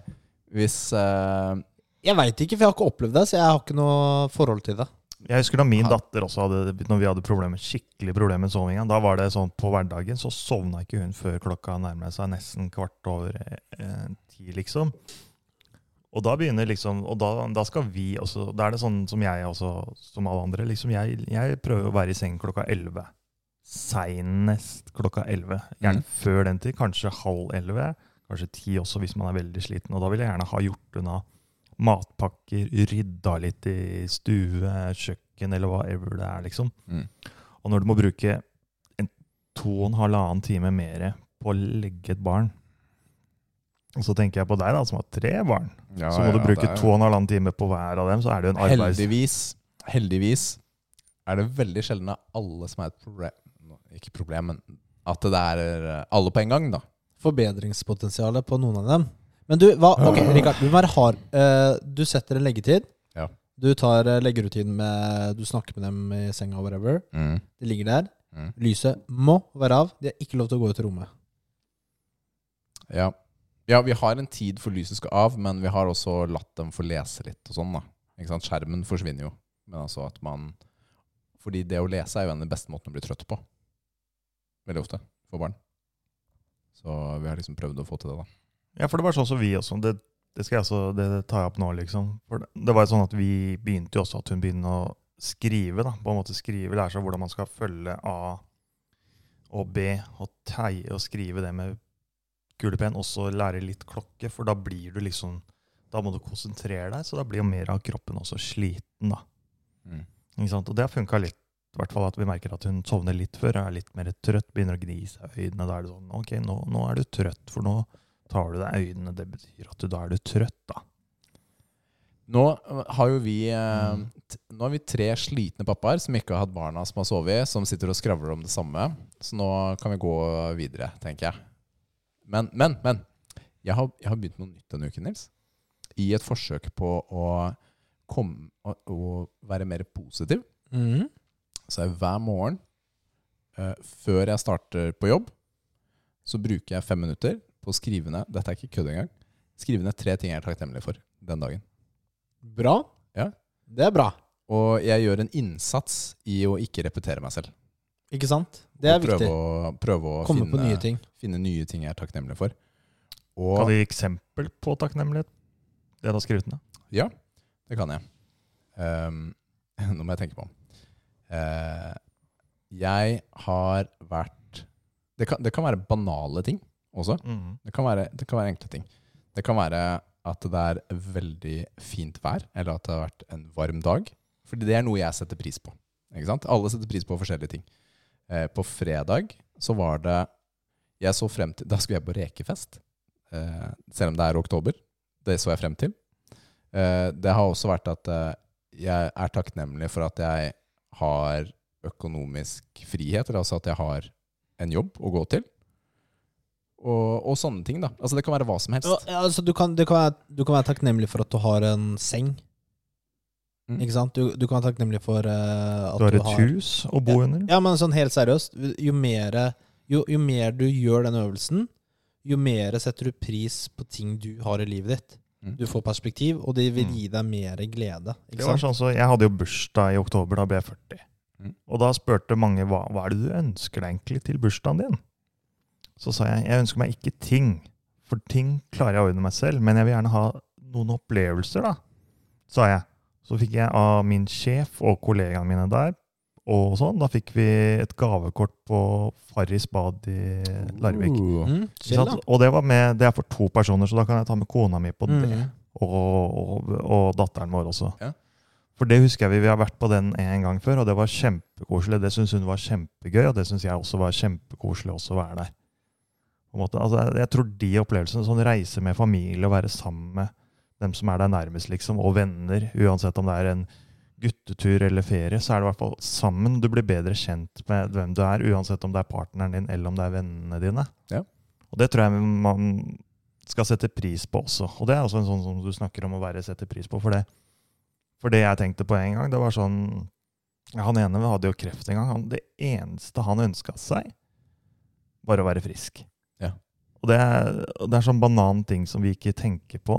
Speaker 2: hvis eh,
Speaker 4: Jeg veit ikke, for jeg har ikke opplevd det, så jeg har ikke noe forhold til det.
Speaker 3: Jeg husker da min datter også hadde Når vi hadde problemer, skikkelig problemer med sovinga. Da var det sånn på hverdagen, så sovna ikke hun før klokka nærma seg nesten kvart over eh, ti, liksom. Og da begynner liksom Og da, da skal vi også Da er det sånn som jeg også, som alle andre. liksom Jeg, jeg prøver å være i seng klokka elleve. Seinest klokka elleve. Gjerne
Speaker 2: Mhm.
Speaker 3: før den tid. Kanskje halv elleve. Kanskje ti også, hvis man er veldig sliten. Og da vil jeg gjerne ha gjort unna matpakker, rydda litt i stue, kjøkken eller whatever det er, liksom.
Speaker 2: Mm.
Speaker 3: Og når du må bruke en to og en halvannen time mer på å legge et barn Og så tenker jeg på deg, da, som har tre barn. Så må du bruke to og en halvannen time på hver av dem, så er det jo en arbeids...
Speaker 2: Heldigvis, heldigvis er det veldig sjelden at alle som er et problem nå- Ikke problem, men at det er eh, alle på en gang, da.
Speaker 4: Forbedringspotensialet på noen av dem. Men du, hva Ok, Rikard, du må være hard. Eh, Du setter en leggetid.
Speaker 2: Ja.
Speaker 4: Du tar eh, leggerutinen med Du snakker med dem i senga, whatever. Det ligger der.
Speaker 2: Mm.
Speaker 4: Lyset må være av. De har ikke lov til å gå ut av rommet.
Speaker 2: Ja. ja, vi har en tid for lyset skal av, men vi har også latt dem få lese litt og sånn, da. Ikke sant? Skjermen forsvinner jo. Men altså at man Fordi det å lese er jo en av de beste måtene å bli trøtt på. Veldig ofte for barn. Så vi har liksom prøvd å få til det, da.
Speaker 3: Ja, for det var sånn som vi også Det, det skal jeg også det, det tar jeg opp nå, liksom. For det, det var jo sånn at vi begynte jo også at hun begynte å skrive, da. På en måte skrive, lære seg hvordan man skal følge A og B, og teie og skrive det med kulepenn. Og så lære litt klokke, for da blir du liksom Da må du konsentrere deg, så da blir jo mer av kroppen også sliten, da.
Speaker 2: Mm.
Speaker 3: Ikke sant? Og det har funka litt. I hvert fall at vi merker at hun sovner litt før, er litt mer trøtt, begynner å gni seg i øynene. Da er det sånn OK, nå, nå er du trøtt, for nå tar du deg i øynene. Det betyr at du, da er du trøtt, da.
Speaker 2: Nå eh, har jo vi eh,
Speaker 3: Mm.
Speaker 2: t- Nå har vi tre slitne pappaer som ikke har hatt barna som har sovet, som sitter og skravler om det samme. Så nå kan vi gå videre, tenker jeg. Men, men, men. Jeg har, jeg har begynt med noe nytt denne uken, Nils. I et forsøk på å komme å, å være mer positiv. Mm. Så jeg hver morgen, eh, før jeg starter på jobb, så bruker jeg fem minutter på å skrive ned Dette er ikke kødd engang. Skrive ned tre ting jeg er takknemlig for den dagen.
Speaker 4: Bra.
Speaker 2: Ja.
Speaker 4: Det er bra.
Speaker 2: Og jeg gjør en innsats i å ikke repetere meg selv.
Speaker 4: Ikke sant? Det er
Speaker 2: og prøve
Speaker 4: viktig.
Speaker 2: Å, prøve å
Speaker 4: Komme
Speaker 2: finne,
Speaker 4: på nye ting.
Speaker 2: finne nye ting jeg er takknemlig for.
Speaker 3: Kan
Speaker 2: Og
Speaker 3: du gi eksempel på takknemlighet? Det du har skrevet ned?
Speaker 2: Ja, det kan jeg. Ehm, nå må jeg tenke på den. Eh, jeg har vært det kan, det kan være banale ting også. Det kan, være, det kan være enkle ting. Det kan være at det er veldig fint vær, eller at det har vært en varm dag. Fordi det er noe jeg setter pris på. Ikke sant? Alle setter pris på forskjellige ting. Eh, på fredag så var det Jeg så frem til Da skulle jeg på rekefest. Eh, selv om det er oktober. Det så jeg frem til. Eh, det har også vært at eh, jeg er takknemlig for at jeg har økonomisk frihet, eller altså at jeg har en jobb å gå til. Og, og sånne ting, da. Altså Det kan være hva som helst.
Speaker 4: Ja, altså, du, kan, du, kan være, du kan være takknemlig for at du har en seng.
Speaker 2: Mm.
Speaker 4: Ikke sant? Du, du kan være takknemlig for eh, at
Speaker 3: Du har et hus å bo under?
Speaker 4: Ja, men sånn helt seriøst, jo mer, jo, jo mer du gjør den øvelsen, jo mer setter du pris på ting du har i livet ditt.
Speaker 2: Mm.
Speaker 4: Du får perspektiv, og det vil
Speaker 3: Mm.
Speaker 4: gi deg mer glede.
Speaker 3: Det
Speaker 4: Ikke
Speaker 3: var
Speaker 4: sant?
Speaker 3: sånn så, jeg hadde jo bursdag i oktober, da ble jeg 40.
Speaker 2: Mm.
Speaker 3: Og da spurte mange hva, hva er det du ønsker deg egentlig til bursdagen din. Så sa jeg jeg ønsker meg ikke ting, for ting klarer jeg å ordne meg selv, men jeg vil gjerne ha noen opplevelser, da, sa jeg. Så fikk jeg av min sjef og kollegaene mine der, og sånn, da fikk vi et gavekort på Farris bad i Larvik.
Speaker 1: Oh.
Speaker 2: Uh,
Speaker 4: Mm,
Speaker 3: Ikke
Speaker 4: chill, da.
Speaker 3: sant? Og det, var med, det er for to personer, så da kan jeg ta med kona mi på det.
Speaker 4: Mm.
Speaker 3: Og, og, og datteren vår også.
Speaker 2: Ja.
Speaker 3: For det husker jeg vi, vi har vært på den en gang før, og det var kjempekoselig. Det syns hun var kjempegøy, og det syns jeg også var kjempekoselig også å være der. På en måte. Altså, jeg- jeg tror de opplevelsene, sånn reise med familie og være sammen med dem som er deg nærmest, liksom, og venner, uansett om det er en guttetur eller ferie, så er det i hvert fall sammen du blir bedre kjent med hvem du er, uansett om det er partneren din eller om det er vennene dine.
Speaker 2: Ja.
Speaker 3: Og det tror jeg man skal sette pris på også. Og det er også en sånn som du snakker om å være sette pris på, for det, for det jeg tenkte på en gang, det var sånn ja, Han ene hadde jo kreft en gang. Han, det eneste han ønska seg, var å være frisk.
Speaker 2: Ja.
Speaker 3: Og det er, og det er sånn banan ting som vi ikke tenker på.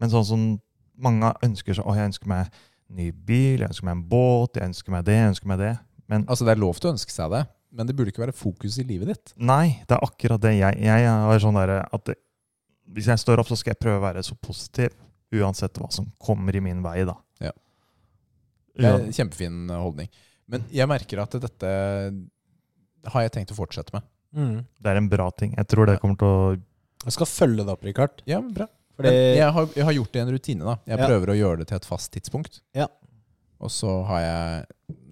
Speaker 3: Men sånn som mange ønsker seg Å, jeg ønsker meg ny bil, jeg ønsker meg en båt, jeg ønsker meg det, jeg ønsker meg det. Men
Speaker 2: Altså, det er lov til å ønske seg det, men det burde ikke være fokus i livet ditt.
Speaker 3: Nei, det er akkurat det jeg Jeg er sånn der at det, hvis jeg står opp, så skal jeg prøve å være så positiv. Uansett hva som kommer i min vei, da.
Speaker 2: Ja. Det
Speaker 3: Ja.
Speaker 2: er en Kjempefin eh, holdning. Men jeg merker at dette har jeg tenkt å fortsette med.
Speaker 4: Mm.
Speaker 3: Det er en bra ting. Jeg tror det kommer til å
Speaker 4: Jeg skal følge det opp, Rikard.
Speaker 2: Ja, men bra.
Speaker 4: Fordi
Speaker 2: Men jeg, har, jeg har gjort det i en rutine. da Jeg
Speaker 4: Ja.
Speaker 2: prøver å gjøre det til et fast tidspunkt.
Speaker 4: Ja.
Speaker 2: Og så har jeg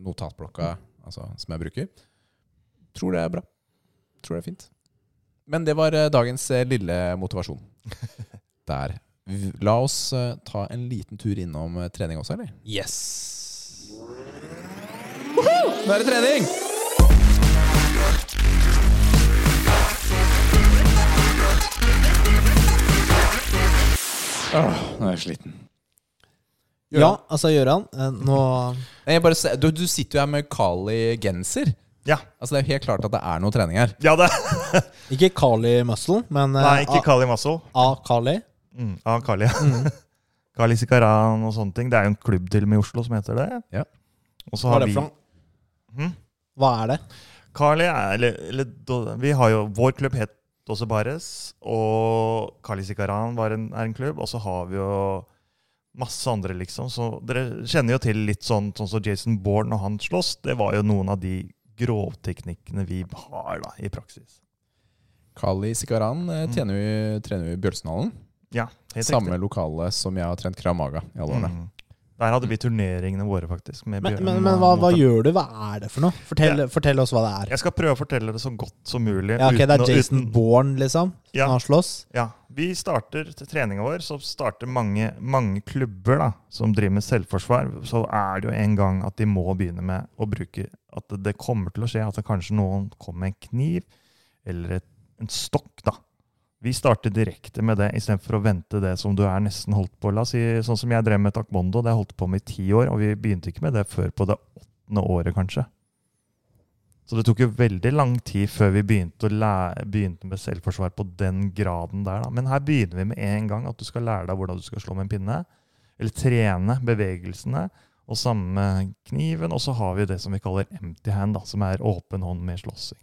Speaker 2: notatblokka altså, som jeg bruker. Tror det er bra. Tror det er fint. Men det var eh, dagens eh, lille motivasjon. Der. V- La oss eh, ta en liten tur innom eh, trening også, eller?
Speaker 4: Yes!
Speaker 2: Nå er det trening! Åh, nå er jeg sliten. Gjør
Speaker 4: Ja, altså, Gøran, eh, nå
Speaker 2: Nei, jeg bare, se- du, du sitter jo her med Kali-genser.
Speaker 3: Ja.
Speaker 2: Altså, det er jo helt klart at det er noe trening her.
Speaker 3: Ja, det
Speaker 4: Ikke Kali Muscle, men eh,
Speaker 3: Nei, ikke Kali Masso.
Speaker 4: A. A. Kali.
Speaker 3: Mm, ja, Kali.
Speaker 4: Mm.
Speaker 3: Kali Sikaran og sånne ting. Det er jo en klubb til og med i Oslo som heter det.
Speaker 2: Ja.
Speaker 3: Og så
Speaker 4: Hva
Speaker 3: har
Speaker 4: er det
Speaker 3: vi
Speaker 4: for noe?
Speaker 3: Hm?
Speaker 4: Hva er det?
Speaker 3: Carly er eller, eller, da- Vi har jo Vår klubb het Dose Bares, og Carly Sikaran var en, er en klubb. Og så har vi jo masse andre, liksom. Så dere kjenner jo til litt sånn sånn som Jason Bourne og han slåss. Det var jo noen av de grovteknikkene vi har da, i praksis.
Speaker 2: Kali Sikaran eh, trener jo i- trener jo i Bjølsenhallen.
Speaker 3: Ja, helt
Speaker 2: Samme lokale som jeg har trent Krav Maga i alle
Speaker 3: riktig.
Speaker 2: årene.
Speaker 3: Mm. Der hadde vi turneringene våre, faktisk. med
Speaker 4: Men,
Speaker 3: Bjørn-
Speaker 4: men, men hva, hva
Speaker 3: mot-
Speaker 4: gjør du? Hva er det for noe? Fortell, fortell oss hva det er.
Speaker 3: Jeg skal prøve å fortelle det så godt som mulig.
Speaker 4: Ja, ok, Det
Speaker 3: uten å-
Speaker 4: er Jason
Speaker 3: uten-
Speaker 4: Bourne, liksom?
Speaker 3: Ja.
Speaker 4: Som han slåss?
Speaker 3: Ja, vi starter til treninga vår, så starter mange, mange klubber da, som driver med selvforsvar, så er det jo en gang at de må begynne med å bruke At det- det kommer til å skje at det kanskje noen kommer med en kniv eller et, en stokk, da. Vi starter direkte med det istedenfor å vente det som du er nesten holdt på. La oss si, sånn som jeg drev med taekwondo, det holdt på med i ti år, og vi begynte ikke med det før på det åttende året, kanskje. Så det tok jo veldig lang tid før vi begynte, å lære, begynte med selvforsvar på den graden der. Da. Men her begynner vi med en gang at du skal lære deg hvordan du skal slå med en pinne. Eller trene bevegelsene. Og samme med kniven. Og så har vi det som vi kaller empty hand, da, som er åpen hånd med slåssing.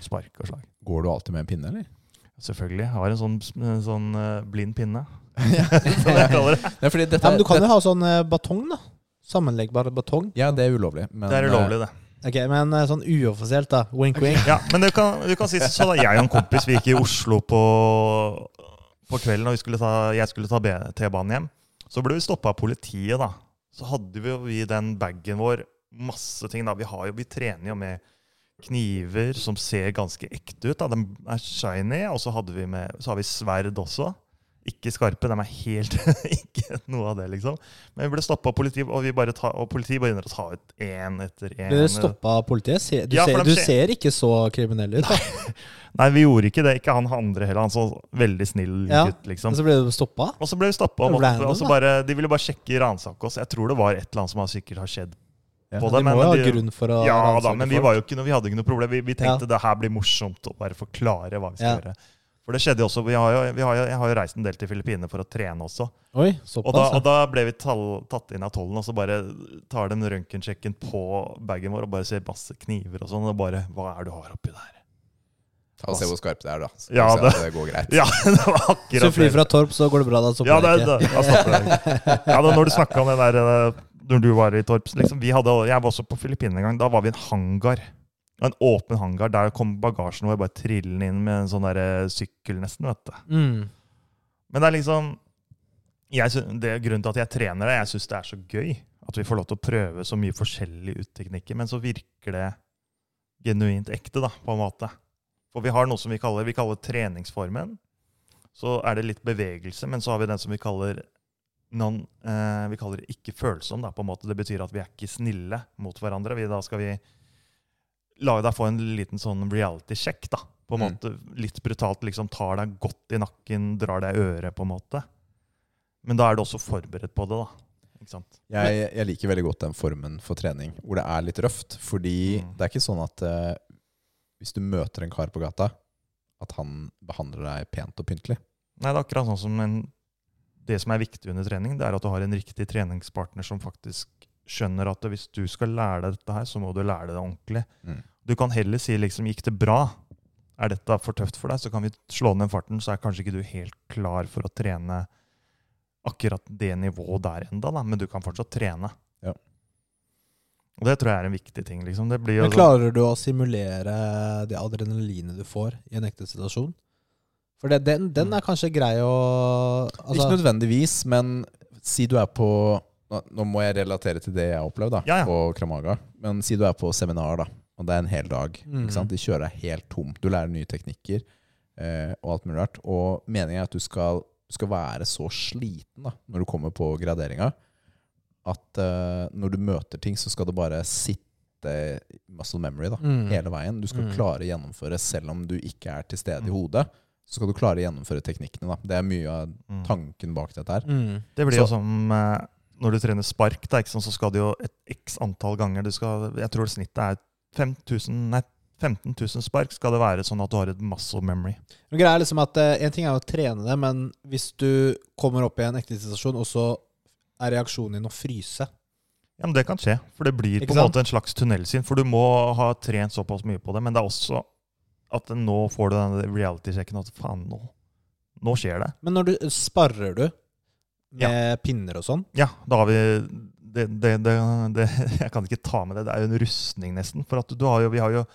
Speaker 3: Spark og slag.
Speaker 2: Går du alltid med en pinne, eller?
Speaker 3: Selvfølgelig. Jeg har en sånn, en sånn eh, blind pinne. som jeg kaller det.
Speaker 2: Nei, fordi dette,
Speaker 4: Ja, men du kan
Speaker 2: dette,
Speaker 4: jo ha sånn eh, batong, da. Sammenleggbar batong.
Speaker 2: ja, det er ulovlig. Men,
Speaker 3: Det er ulovlig, det.
Speaker 4: Ok, Men eh, sånn uoffisielt, da. Wink, wink.
Speaker 3: Ja, men du kan, du kan si så da jeg og en kompis vi gikk i Oslo på, på kvelden, og vi skulle ta, jeg skulle ta B- T-banen hjem. Så ble vi stoppa av politiet, da. Så hadde vi jo i den bagen vår masse ting. da. Vi, har jo, vi trener jo med kniver som ser ganske ekte ut. da. De er shiny, og så, hadde vi med, så har vi sverd også. Ikke skarpe, de er helt ikke noe av det, liksom. Men vi ble stoppa av politiet, og, vi bare ta, og politiet begynner å ta ut én etter én.
Speaker 4: Blir du stoppa av politiet? Se- Du,
Speaker 3: Ja, for
Speaker 4: ser,
Speaker 3: de
Speaker 4: du
Speaker 3: ser-
Speaker 4: ser ikke så kriminell ut. da.
Speaker 3: Nei, vi gjorde ikke det. Ikke han andre heller. Han så veldig snill
Speaker 4: Ja,
Speaker 3: gutt, liksom.
Speaker 4: Og så ble du stoppa?
Speaker 3: Og så ble vi stoppa.
Speaker 4: Det ble
Speaker 3: og måtte- og
Speaker 4: random,
Speaker 3: så bare- De ville bare sjekke ransake oss. Jeg tror det var et eller annet som har sikkert har skjedd
Speaker 2: Ja,
Speaker 3: på
Speaker 4: De
Speaker 3: det.
Speaker 4: må jo ha
Speaker 3: de-
Speaker 4: grunn for å
Speaker 3: ja da,
Speaker 4: ransake
Speaker 3: men vi
Speaker 4: folk.
Speaker 3: var jo ikke noe, vi hadde ikke noe problem. Vi, vi
Speaker 4: Ja.
Speaker 3: tenkte det her blir morsomt å bare forklare hva vi skal
Speaker 4: Ja.
Speaker 3: gjøre. For det skjedde jo også, vi har jo, vi har jo, Jeg har jo reist en del til Filippinene for å trene også.
Speaker 4: Oi,
Speaker 3: Og da,
Speaker 4: såpass.
Speaker 3: og da ble vi tall, tatt inn av tollen, og så bare tar de røntgensjekken på bagen vår og bare ser masse kniver og sånn. Og bare Hva er det du har oppi der?
Speaker 2: eh, Ta og Se hvor skarp det er, da. Så
Speaker 3: Ja,
Speaker 2: se at det går greit.
Speaker 3: Ja, det var
Speaker 4: ja. Så
Speaker 3: akkurat
Speaker 4: fly fra Torp, så går det bra. da, så
Speaker 3: Ja, det,
Speaker 4: kommer
Speaker 3: det,
Speaker 4: jeg ikke.
Speaker 3: jeg stopper deg. ja, da, når du snakka om det der eh, Når du var i Torps liksom, vi hadde, Jeg var også på Filippinene en gang. Da var vi i en hangar. En åpen hangar. Der kom bagasjen vår bare trillende inn med en sånn der eh, sykkel, nesten. vet du.
Speaker 4: Mm.
Speaker 3: Men det er liksom jeg syn- det er Grunnen til at jeg trener det, jeg syns det er så gøy at vi får lov til å prøve så mye forskjellige utteknikker, men så virker det genuint ekte, da, på en måte. For vi har noe som vi kaller, vi kaller treningsformen. Så er det litt bevegelse, men så har vi den som vi kaller non, eh, vi kaller det ikke følsom. Da, på en måte. Det betyr at vi er ikke snille mot hverandre. Vi, da skal vi la deg få en liten sånn reality-sjekk, da. På en
Speaker 2: Mm.
Speaker 3: måte litt brutalt liksom tar deg godt i nakken, drar deg i øret, på en måte. Men da er du også forberedt på det, da. Ikke sant?
Speaker 2: Jeg, jeg liker veldig godt den formen for trening hvor det er litt røft. Fordi
Speaker 3: Mm.
Speaker 2: det er ikke sånn at eh, hvis du møter en kar på gata, at han behandler deg pent og pyntelig.
Speaker 3: Nei, det er akkurat sånn som en Det som er viktig under trening, det er at du har en riktig treningspartner som faktisk skjønner at hvis du skal lære deg dette her, så må du lære det ordentlig.
Speaker 2: Mm.
Speaker 3: Du kan heller si liksom Gikk det bra? Er dette for tøft for deg? Så kan vi slå ned farten, så er kanskje ikke du helt klar for å trene akkurat det nivået der enda, da, men du kan fortsatt trene.
Speaker 2: Ja.
Speaker 3: Og det tror jeg er en viktig ting. liksom. Det blir jo
Speaker 4: Men
Speaker 3: sånn-
Speaker 4: klarer du å simulere eh, det adrenalinet du får i en ekte situasjon? For det, den, den er kanskje grei å
Speaker 2: ikke
Speaker 4: altså,
Speaker 2: nødvendigvis, men si du er på nå- Nå må jeg relatere til det jeg har opplevd da,
Speaker 3: Ja, ja.
Speaker 2: på Kramaga. Men si du er på seminar, da, og det er en hel dag.
Speaker 4: Mm.
Speaker 3: Mhm.
Speaker 2: Ikke sant? De kjører deg helt tom. Du lærer nye teknikker eh, og alt mulig rart. Og meningen er at du skal, du skal være så sliten da, når du kommer på graderinga, at eh, når du møter ting, så skal det bare sitte i muscle memory da,
Speaker 3: Mhm.
Speaker 4: Mm.
Speaker 2: hele veien. Du skal
Speaker 4: Mm.
Speaker 2: klare å gjennomføre selv om du ikke er til stede
Speaker 3: Mm.
Speaker 2: i hodet. Så skal du klare å gjennomføre teknikkene. da. Det er mye av
Speaker 3: Mm.
Speaker 2: tanken bak dette her.
Speaker 4: mm.
Speaker 3: Det blir
Speaker 2: Så-
Speaker 3: jo som eh, når du trener spark, da, ikke sant, så skal du jo et x antall ganger du skal, Jeg tror snittet er 5000, nei, 15 000 spark skal det være sånn at du har et muscle memory.
Speaker 4: Men greia er liksom at eh, En ting er å trene det, men hvis du kommer opp i en ekte situasjon, og så er reaksjonen din å fryse
Speaker 3: Ja, men Det kan skje, for det blir
Speaker 4: Ikke
Speaker 3: på en
Speaker 4: sant?
Speaker 3: måte en slags tunnelsyn. For du må ha trent såpass mye på det, men det er også at nå får du den reality-sjekken at faen, nå, nå skjer det.
Speaker 4: Men når du sparrer du med pinner og sånn
Speaker 3: Ja, da har vi det, det, det, det, Jeg kan ikke ta med det. Det er jo en rustning, nesten. For at du har jo, vi har jo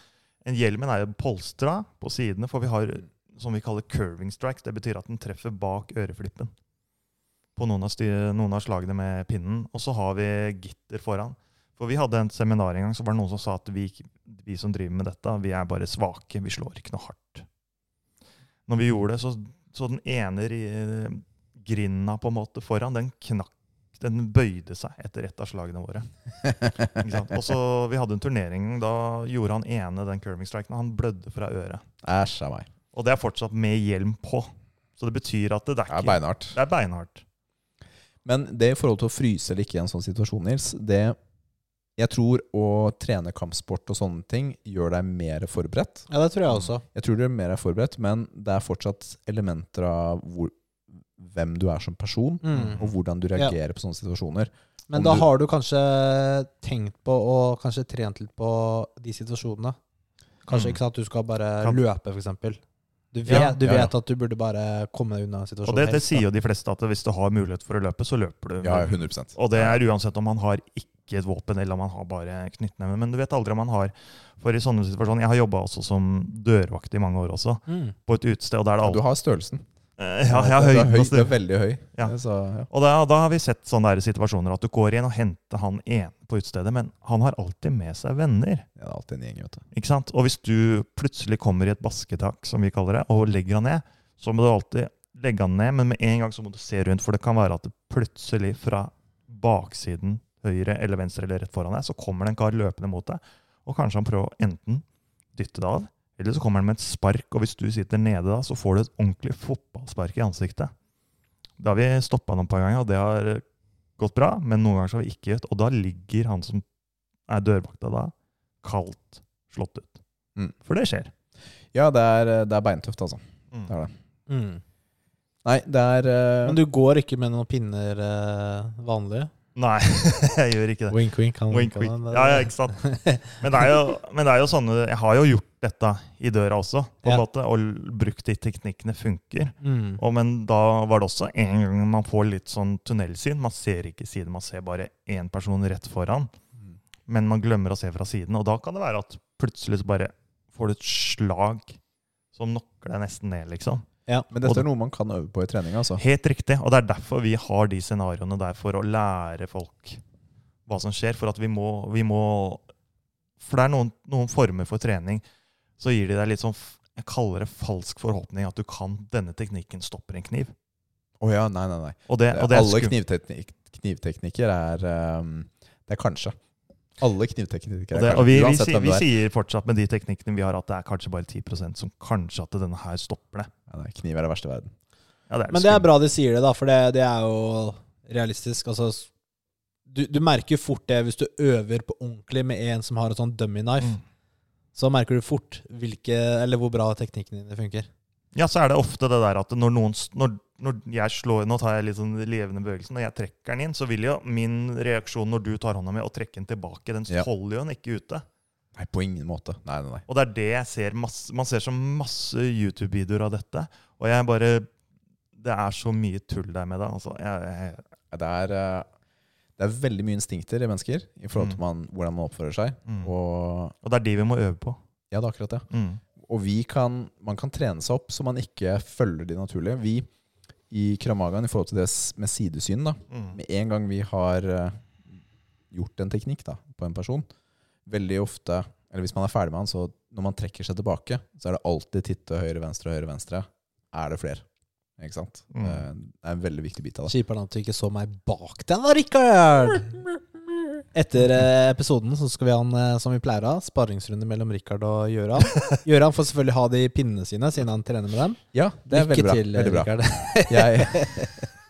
Speaker 3: en Hjelmen er jo polstra på sidene, for vi har som vi kaller curving strikes. Det betyr at den treffer bak øreflippen på noen av, styr, noen av slagene med pinnen. Og så har vi gitter foran. For vi hadde en seminar en gang, så var det noen som sa at vi, vi som driver med dette, vi er bare svake. Vi slår ikke noe hardt. Når vi gjorde det, så, så den ene ri- grinda på en måte foran, den knakk. Den bøyde seg etter ett av slagene våre. Ikke sant? Og så Vi hadde en turnering. Da gjorde han ene den curving striken. og Han blødde fra øret.
Speaker 2: Æsj av meg.
Speaker 3: Og det er fortsatt med hjelm på. Så det betyr at det,
Speaker 2: Det
Speaker 3: det er
Speaker 2: er
Speaker 3: ikke
Speaker 2: beinhardt.
Speaker 3: Det er beinhardt.
Speaker 2: Men det i forhold til å fryse eller ikke i en sånn situasjon, Nils det, Jeg tror å trene kampsport og sånne ting gjør deg mer forberedt.
Speaker 4: Ja, det tror jeg også.
Speaker 2: Jeg tror du mer er forberedt, men det er fortsatt elementer av hvor, hvem du er som person,
Speaker 4: Mm.
Speaker 2: og hvordan du reagerer på sånne situasjoner.
Speaker 4: Men
Speaker 2: Om
Speaker 4: da
Speaker 2: du-
Speaker 4: har du kanskje tenkt på og kanskje trent litt på de situasjonene. Kanskje
Speaker 3: Mm.
Speaker 4: ikke sant at du skal bare
Speaker 3: Kan-
Speaker 4: løpe, f.eks. Du vet,
Speaker 3: Ja,
Speaker 4: du
Speaker 2: ja,
Speaker 4: vet
Speaker 2: ja.
Speaker 4: at du burde bare komme deg unna situasjonen.
Speaker 3: Og det, det
Speaker 4: helst, da.
Speaker 3: sier jo de fleste at hvis du har mulighet for å løpe, så løper du.
Speaker 2: 100
Speaker 3: Og det er uansett om man har ikke et våpen, eller om man har bare knyttneve. Men du vet aldri om man har For i sånne situasjoner Jeg har jobba også som dørvakt i mange år også,
Speaker 4: Mm.
Speaker 3: på et utested, og da er det
Speaker 2: Du
Speaker 3: alltid
Speaker 2: har størrelsen.
Speaker 3: Ja, jeg har
Speaker 2: Du
Speaker 3: høyden
Speaker 2: er, høy,
Speaker 3: og
Speaker 2: du er
Speaker 3: større.
Speaker 2: veldig høy.
Speaker 3: Ja.
Speaker 2: Så, ja.
Speaker 3: Og da, da har vi sett sånne der situasjoner at du går inn og henter han ene på utestedet, men han har alltid med seg venner.
Speaker 2: Det er alltid en gjeng, vet du.
Speaker 3: Ikke sant? Og hvis du plutselig kommer i et basketak, som vi kaller det, og legger han ned, så må du alltid legge han ned, men med en gang så må du se rundt, for det kan være at det plutselig fra baksiden, høyre eller venstre eller rett foran deg, så kommer det en kar løpende mot deg, og kanskje han prøver å enten dytte deg av, eller så kommer han med et spark, og hvis du sitter nede da, så får du et ordentlig fotballspark i ansiktet. Da har vi stoppa noen par ganger, og det har eh, gått bra, men noen ganger så har vi ikke gjort, og da ligger han som er dørvakta da, kaldt slått ut.
Speaker 2: Mm.
Speaker 3: For det skjer.
Speaker 2: eh, Ja, det er, det er beintøft, altså. Det er det.
Speaker 1: Mm.
Speaker 2: Nei, det er eh,
Speaker 1: Men du går ikke med noen pinner eh, vanlige?
Speaker 3: Nei, jeg gjør ikke det.
Speaker 1: Wink, wink. Kan
Speaker 3: Wink,
Speaker 1: kan
Speaker 3: wink.
Speaker 1: man-
Speaker 3: Ja, ja,
Speaker 4: eh,
Speaker 3: ikke sant. Men det, er jo, men det er jo sånne Jeg har jo gjort dette i døra også, på en
Speaker 1: Ja.
Speaker 3: måte, og l- brukt de teknikkene funker.
Speaker 1: Mm.
Speaker 3: Og, men da var det også en gang man får litt sånn tunnelsyn. Man ser ikke siden, man ser bare én person rett foran.
Speaker 2: Mm.
Speaker 3: Men man glemmer å se fra siden, og da kan det være at plutselig så bare får du et slag som knocker deg nesten ned, liksom.
Speaker 2: Men dette er noe man kan øve på i trening, altså.
Speaker 3: Helt riktig, og det er derfor vi har de scenarioene der for å lære folk hva som skjer. For at vi må, vi må For det er noen, noen former for trening så gir de deg litt sånn f- Jeg kaller det falsk forhåpning at du kan denne teknikken stopper en kniv.
Speaker 2: Å ja, nei, nei, nei.
Speaker 3: Og det, og det er
Speaker 2: Alle
Speaker 3: skum-
Speaker 2: knivteknik knivteknikker er ehm, Det er kanskje. Alle knivteknikker
Speaker 3: Og,
Speaker 2: er
Speaker 3: det,
Speaker 2: kanskje.
Speaker 3: og vi, vi,
Speaker 2: uansett
Speaker 3: sier,
Speaker 2: hvem
Speaker 3: vi
Speaker 2: det er.
Speaker 3: sier fortsatt med de teknikkene vi har, at det er kanskje bare 10 som kanskje at denne her stopper det.
Speaker 2: Ja, nei, kniv er det verste i verden.
Speaker 3: Ja, det er
Speaker 1: Men det er
Speaker 3: skummelt.
Speaker 1: bra de sier det, da, for det, det er jo realistisk. Altså, s- du, du merker fort det hvis du øver på ordentlig med en som har et sånn dummy knife.
Speaker 3: Mm.
Speaker 1: Så merker du fort hvilke, eller hvor bra teknikkene dine funker.
Speaker 3: Ja, så er det ofte det der at når noen s- når, når jeg slår, Nå tar jeg litt sånn levende bevegelsen. Når jeg trekker den inn, så vil jo min reaksjon når du tar hånda mi og trekker den tilbake, den
Speaker 2: Ja.
Speaker 3: holder jo den ikke ute.
Speaker 2: Nei, på ingen måte. Nei, nei, nei.
Speaker 3: Og det er det jeg ser masse, man ser så masse YouTube-videoer av dette. Og jeg bare Det er så mye tull der med det. altså. Jeg, jeg,
Speaker 2: Det er, eh, det er veldig mye instinkter i mennesker i forhold til
Speaker 3: Mm.
Speaker 2: man, hvordan man oppfører seg.
Speaker 3: mm. og,
Speaker 2: Og
Speaker 3: det er de vi må øve på.
Speaker 2: ja, det er akkurat det.
Speaker 3: Mm.
Speaker 2: Og vi kan, man kan trene seg opp så man ikke følger de naturlige. Vi i Kramagaen, i forhold til det s- med sidesyn, da
Speaker 3: Mm.
Speaker 2: Med en gang vi har eh, gjort en teknikk da, på en person, veldig ofte, eller hvis man er ferdig med han, så når man trekker seg tilbake, så er det alltid titte høyre, venstre, høyre, venstre. Er det flere? Ikke sant?
Speaker 3: Mm.
Speaker 2: Eh, Det er en veldig viktig bit av det.
Speaker 1: Kjiperen at du ikke så meg bak deg da, Rikard! Etter eh, episoden så skal vi ha en, eh, som vi pleier å ha, sparringsrunde mellom Rikard og Gøran. Gøran får selvfølgelig ha de pinnene sine, siden han trener med dem.
Speaker 2: Ja, det er veldig bra.
Speaker 1: til, eh,
Speaker 2: veldig bra.
Speaker 1: Rikard.
Speaker 2: Jeg,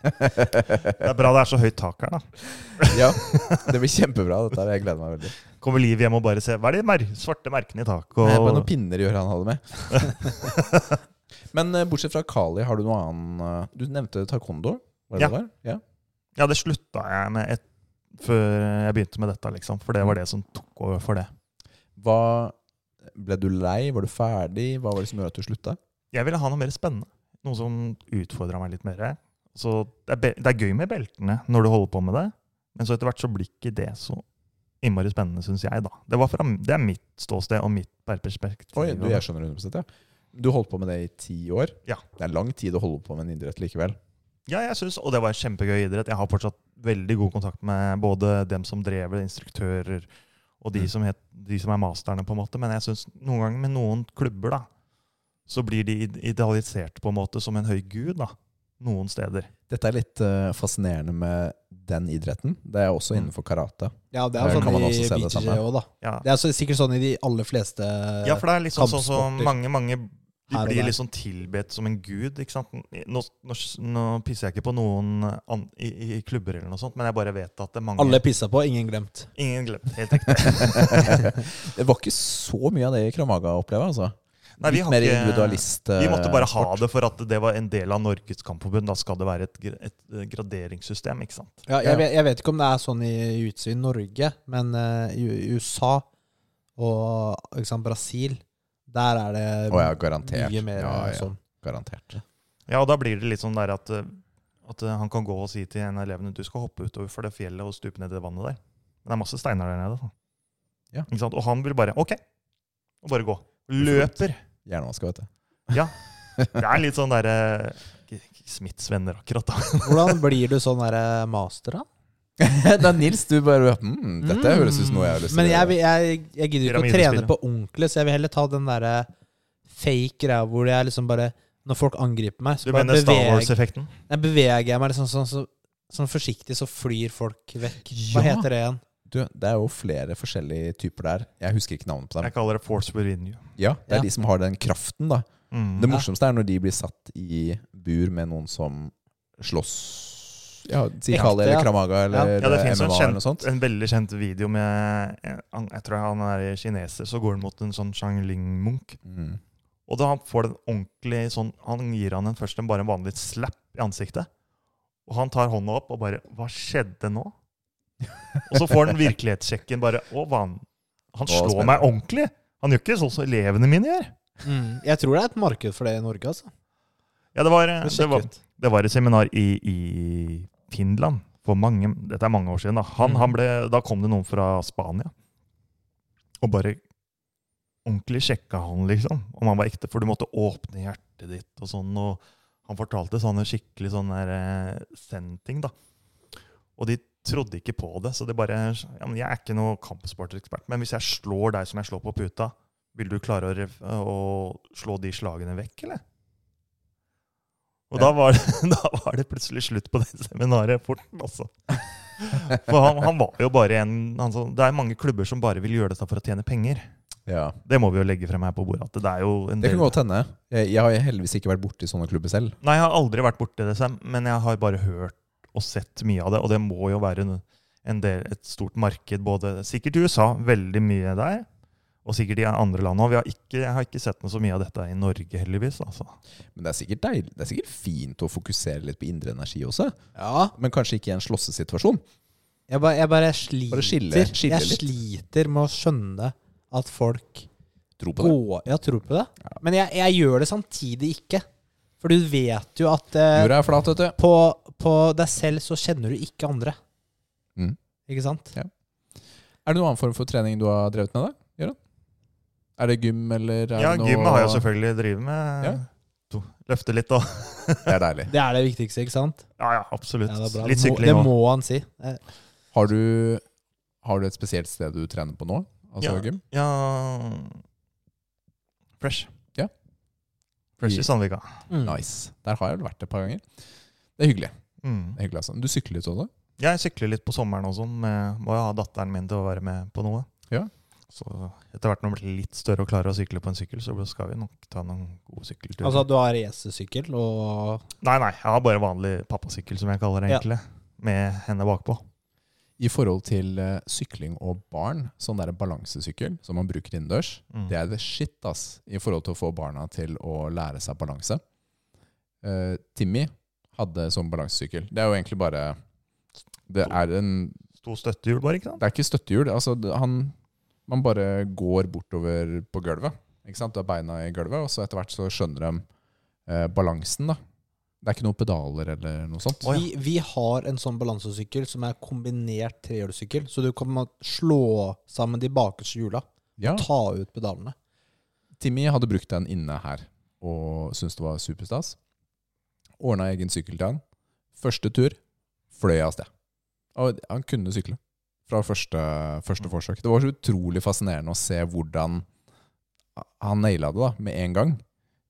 Speaker 3: Det er bra det er så høyt tak her, da.
Speaker 2: ja, det blir kjempebra, dette her. Jeg gleder meg veldig.
Speaker 3: Kommer Liv hjem og bare ser Hva er de mer svarte merkene i taket?
Speaker 2: Nei, bare noen
Speaker 3: og-
Speaker 2: pinner i øret han hadde med. Men eh, bortsett fra Kali, har du noe annen eh, Du nevnte taekwondo? Var det
Speaker 3: Ja.
Speaker 2: det var? Ja.
Speaker 3: Ja, det slutta jeg med et, før jeg begynte med dette, liksom. For det var det som tok over for det.
Speaker 2: Hva, ble du lei? Var du ferdig? Hva var det som gjorde at du slutta?
Speaker 3: Jeg ville ha noe mer spennende. Noe som utfordra meg litt mer. Så det er, be- det er gøy med beltene når du holder på med det, men så etter hvert så blir ikke det så innmari spennende, syns jeg, da. Det, var fra, det er mitt ståsted og mitt per- perspektiv.
Speaker 2: Oi, du, jeg skjønner 100 ja. Du holdt på med det i ti år.
Speaker 3: Ja.
Speaker 2: Det er lang tid å holde på med en idrett likevel.
Speaker 3: Ja, jeg synes, og det var en kjempegøy idrett. Jeg har fortsatt veldig god kontakt med både dem som drev det, instruktører, og de,
Speaker 2: Mm.
Speaker 3: som het, de som er masterne, på en måte. Men jeg synes noen ganger med noen klubber, da, så blir de id- idealisert på en måte som en høy gud, da. Noen steder.
Speaker 2: Dette er litt eh, fascinerende med den idretten. Det er også
Speaker 3: Mm.
Speaker 2: innenfor karate.
Speaker 1: Ja, det
Speaker 2: Der
Speaker 1: er jo
Speaker 2: kan man
Speaker 1: sånn
Speaker 2: også
Speaker 1: i
Speaker 2: se det
Speaker 1: BJJ
Speaker 2: samme.
Speaker 1: òg, da.
Speaker 3: Ja.
Speaker 1: Det er så, sikkert sånn i de aller fleste
Speaker 3: ja, for det er liksom sånn som
Speaker 1: kampsporter.
Speaker 3: mange, mange de
Speaker 1: Her og
Speaker 3: blir
Speaker 1: der.
Speaker 3: liksom tilbedt som en gud. ikke sant? Nå, nå, nå pisser jeg ikke på noen an, i, i klubber, eller noe sånt, men jeg bare vet at det er mange
Speaker 1: Alle pissa på, ingen glemt.
Speaker 3: Ingen glemt. Helt riktig.
Speaker 2: det var ikke så mye av det i Kramaga oppleva, altså.
Speaker 3: Nei, vi
Speaker 2: litt
Speaker 3: har
Speaker 2: mer
Speaker 3: ikke-
Speaker 2: individualist. eh,
Speaker 3: Vi måtte bare ha det for at det var en del av Norges kampforbund. Da skal det være et, gr- et eh, graderingssystem, ikke sant?
Speaker 1: Ja,
Speaker 2: Ja.
Speaker 1: jeg, vet, jeg vet ikke om det er sånn i jiu-jitsu i Norge, men eh, i i USA og ikke sant, Brasil, der er det
Speaker 2: Å ja, garantert.
Speaker 1: mye mer
Speaker 2: ja, ja,
Speaker 1: sånn.
Speaker 2: garantert.
Speaker 3: Ja, og da blir det litt sånn der at, eh, at eh, han kan gå og si til en av elevene du skal hoppe utover for det fjellet og stupe ned i det vannet der. Men det er masse steiner der nede. da.
Speaker 2: Ja.
Speaker 3: Ikke sant? Og han vil bare OK, og bare gå. Løper.
Speaker 2: Hjernevaska, vet du.
Speaker 3: Det er litt sånn derre Smiths venner, akkurat. da.
Speaker 1: Hvordan blir du sånn derre master, da?
Speaker 2: da Nils, du bare mm, Dette høres ut som noe jeg har lyst til
Speaker 1: Men
Speaker 2: å
Speaker 1: jeg,
Speaker 2: gjøre.
Speaker 1: vil- jeg, jeg gidder ikke å
Speaker 3: Pyramidespillet.
Speaker 1: trene på ordentlig, så jeg vil heller ta den derre fake greia hvor jeg liksom bare Når folk angriper meg, så
Speaker 3: Du
Speaker 1: bare
Speaker 3: mener Star
Speaker 1: beveger,
Speaker 3: Wars-effekten?
Speaker 1: nei, beveger jeg meg liksom sånn, sånn, sånn forsiktig, så flyr folk vekk.
Speaker 2: Ja.
Speaker 1: Hva heter det igjen?
Speaker 2: Du, det er jo flere forskjellige typer der. Jeg husker ikke navnet på dem.
Speaker 3: Jeg kaller det Force will win you.
Speaker 2: Ja, Det
Speaker 1: Ja.
Speaker 2: er de som har den kraften, da.
Speaker 3: Mm.
Speaker 2: Det
Speaker 1: Ja.
Speaker 2: morsomste er når de blir satt i bur med noen som slåss Ja, Si
Speaker 1: Ekte,
Speaker 2: Kali eller
Speaker 1: ja.
Speaker 2: Kramaga eller eh,
Speaker 3: Ja, det finnes
Speaker 2: MMA
Speaker 3: en,
Speaker 2: eller noe
Speaker 3: kjent,
Speaker 2: sånt.
Speaker 3: en veldig kjent video eh, med en- han- Jeg tror han er kineser, så går han mot en sånn Shang Ling-munk.
Speaker 2: Mm.
Speaker 3: Og da han får den ordentlig sånn, han gir han en først en bare en vanlig slap i ansiktet. Og han tar hånda opp og bare Hva skjedde nå? Og så får han virkelighetssjekken bare Å, hva han Han slår
Speaker 2: spennende.
Speaker 3: meg ordentlig! Han gjør ikke sånn som elevene mine gjør.
Speaker 4: Mm. Jeg tror det er et marked for det i Norge, altså.
Speaker 3: Ja, det var,
Speaker 4: Men
Speaker 3: det
Speaker 4: sjekk
Speaker 3: var,
Speaker 4: ut.
Speaker 3: det var et seminar i, i Finland for mange, dette er mange år siden. Da. Han,
Speaker 4: Mhm.
Speaker 3: han ble, da kom det noen fra Spania og bare ordentlig sjekka han, liksom, om han var ekte. For du måtte åpne hjertet ditt og sånn. Og han fortalte sånne skikkelig sånn der eh, send-ting, da. Og de trodde ikke på det. Så det bare ja, men Jeg er ikke noe kampsportekspert, men hvis jeg slår deg som jeg slår på puta, vil du klare å, rev- å slå de slagene vekk, eller? Og da, var det, da var det plutselig slutt på det seminaret fort, altså. For han, han var jo bare en han, sa, Det er mange klubber som bare vil gjøre dette for å tjene penger.
Speaker 2: Ja.
Speaker 3: Det må vi jo legge frem her på bordet. At det er jo en
Speaker 2: Det
Speaker 3: del
Speaker 2: kan godt hende. Jeg, jeg har heldigvis ikke vært borti sånne klubber selv.
Speaker 3: Nei, jeg har aldri vært borti det, Sam, men jeg har bare hørt og sett mye av det. Og det må jo være en, en del, et stort marked, både sikkert i USA, veldig mye der, og sikkert i andre land òg. Jeg har ikke sett noe så mye av dette i Norge, heldigvis. altså.
Speaker 2: Men det er sikkert deilig. Det er sikkert fint å fokusere litt på indre energi også.
Speaker 4: Ja.
Speaker 2: Men kanskje ikke i en slåssesituasjon.
Speaker 4: Jeg bare, jeg bare sliter.
Speaker 2: skille- skille
Speaker 4: jeg
Speaker 2: litt.
Speaker 4: sliter med å skjønne at folk
Speaker 2: Tro på det.
Speaker 4: går Jeg tror på det. Men jeg, jeg gjør det samtidig ikke. For du vet jo at eh,
Speaker 2: Jorda er flat, vet du.
Speaker 4: på, på deg selv så kjenner du ikke andre.
Speaker 2: Mm.
Speaker 4: Ikke sant?
Speaker 2: Er det noen annen form for trening du har drevet med, da? Jørgen? Er det gym, eller er
Speaker 3: Ja,
Speaker 2: det noe
Speaker 3: gym har jeg selvfølgelig drevet med.
Speaker 2: Ja.
Speaker 3: To, løfte litt, da.
Speaker 2: Det er deilig.
Speaker 4: Det er det viktigste, ikke sant?
Speaker 3: Ja, ja, absolutt.
Speaker 4: Ja, det er bra.
Speaker 3: litt
Speaker 4: Det må- Det
Speaker 3: sykling òg.
Speaker 4: må han si. Eh,
Speaker 2: Har du, har du et spesielt sted du trener på nå? Altså gym?
Speaker 3: Ja. Fresh.
Speaker 2: Ja.
Speaker 3: Fresh i Sandvika.
Speaker 4: Mm.
Speaker 2: Nice. Der har jeg vel vært et par ganger. Det er hyggelig.
Speaker 3: Mm.
Speaker 2: Det er hyggelig altså. Du sykler litt også?
Speaker 3: Jeg sykler litt på sommeren også. med- Må jo ha datteren min til å være med på noe.
Speaker 2: Ja.
Speaker 3: Så etter hvert når hun blir litt større og klarer å sykle på en sykkel, så skal vi nok ta noen gode sykkelturer.
Speaker 4: Altså, du har racersykkel og
Speaker 3: nei, nei, jeg har bare vanlig pappasykkel, som jeg kaller det
Speaker 4: Ja.
Speaker 3: egentlig. Med henne bakpå.
Speaker 2: I forhold til eh, sykling og barn, sånn der balansesykkel som man bruker innendørs,
Speaker 3: Mm.
Speaker 2: det er the shit, ass, i forhold til å få barna til å lære seg balanse. Eh, Timmy hadde sånn balansesykkel. Det er jo egentlig bare Det er, en,
Speaker 3: Sto støttehjul, bare, ikke sant?
Speaker 2: det er ikke støttehjul. Altså, det- han Man bare går bortover på gulvet. Ikke sant? Du har beina i gulvet, og så etter hvert så skjønner de eh, balansen, da. Det er ikke noen pedaler eller noe sånt.
Speaker 3: Å, ja.
Speaker 4: vi, vi har en sånn balansesykkel som er kombinert trehjulssykkel, så du kan slå sammen de bakerste hjula.
Speaker 2: Ja.
Speaker 4: Ta ut pedalene.
Speaker 2: Timmy hadde brukt den inne her og syntes det var superstas. Ordna egen sykkel til han. Første tur fløy jeg av sted. Og han kunne sykle fra første, første forsøk. Det var så utrolig fascinerende å se hvordan han naila det da, med en gang.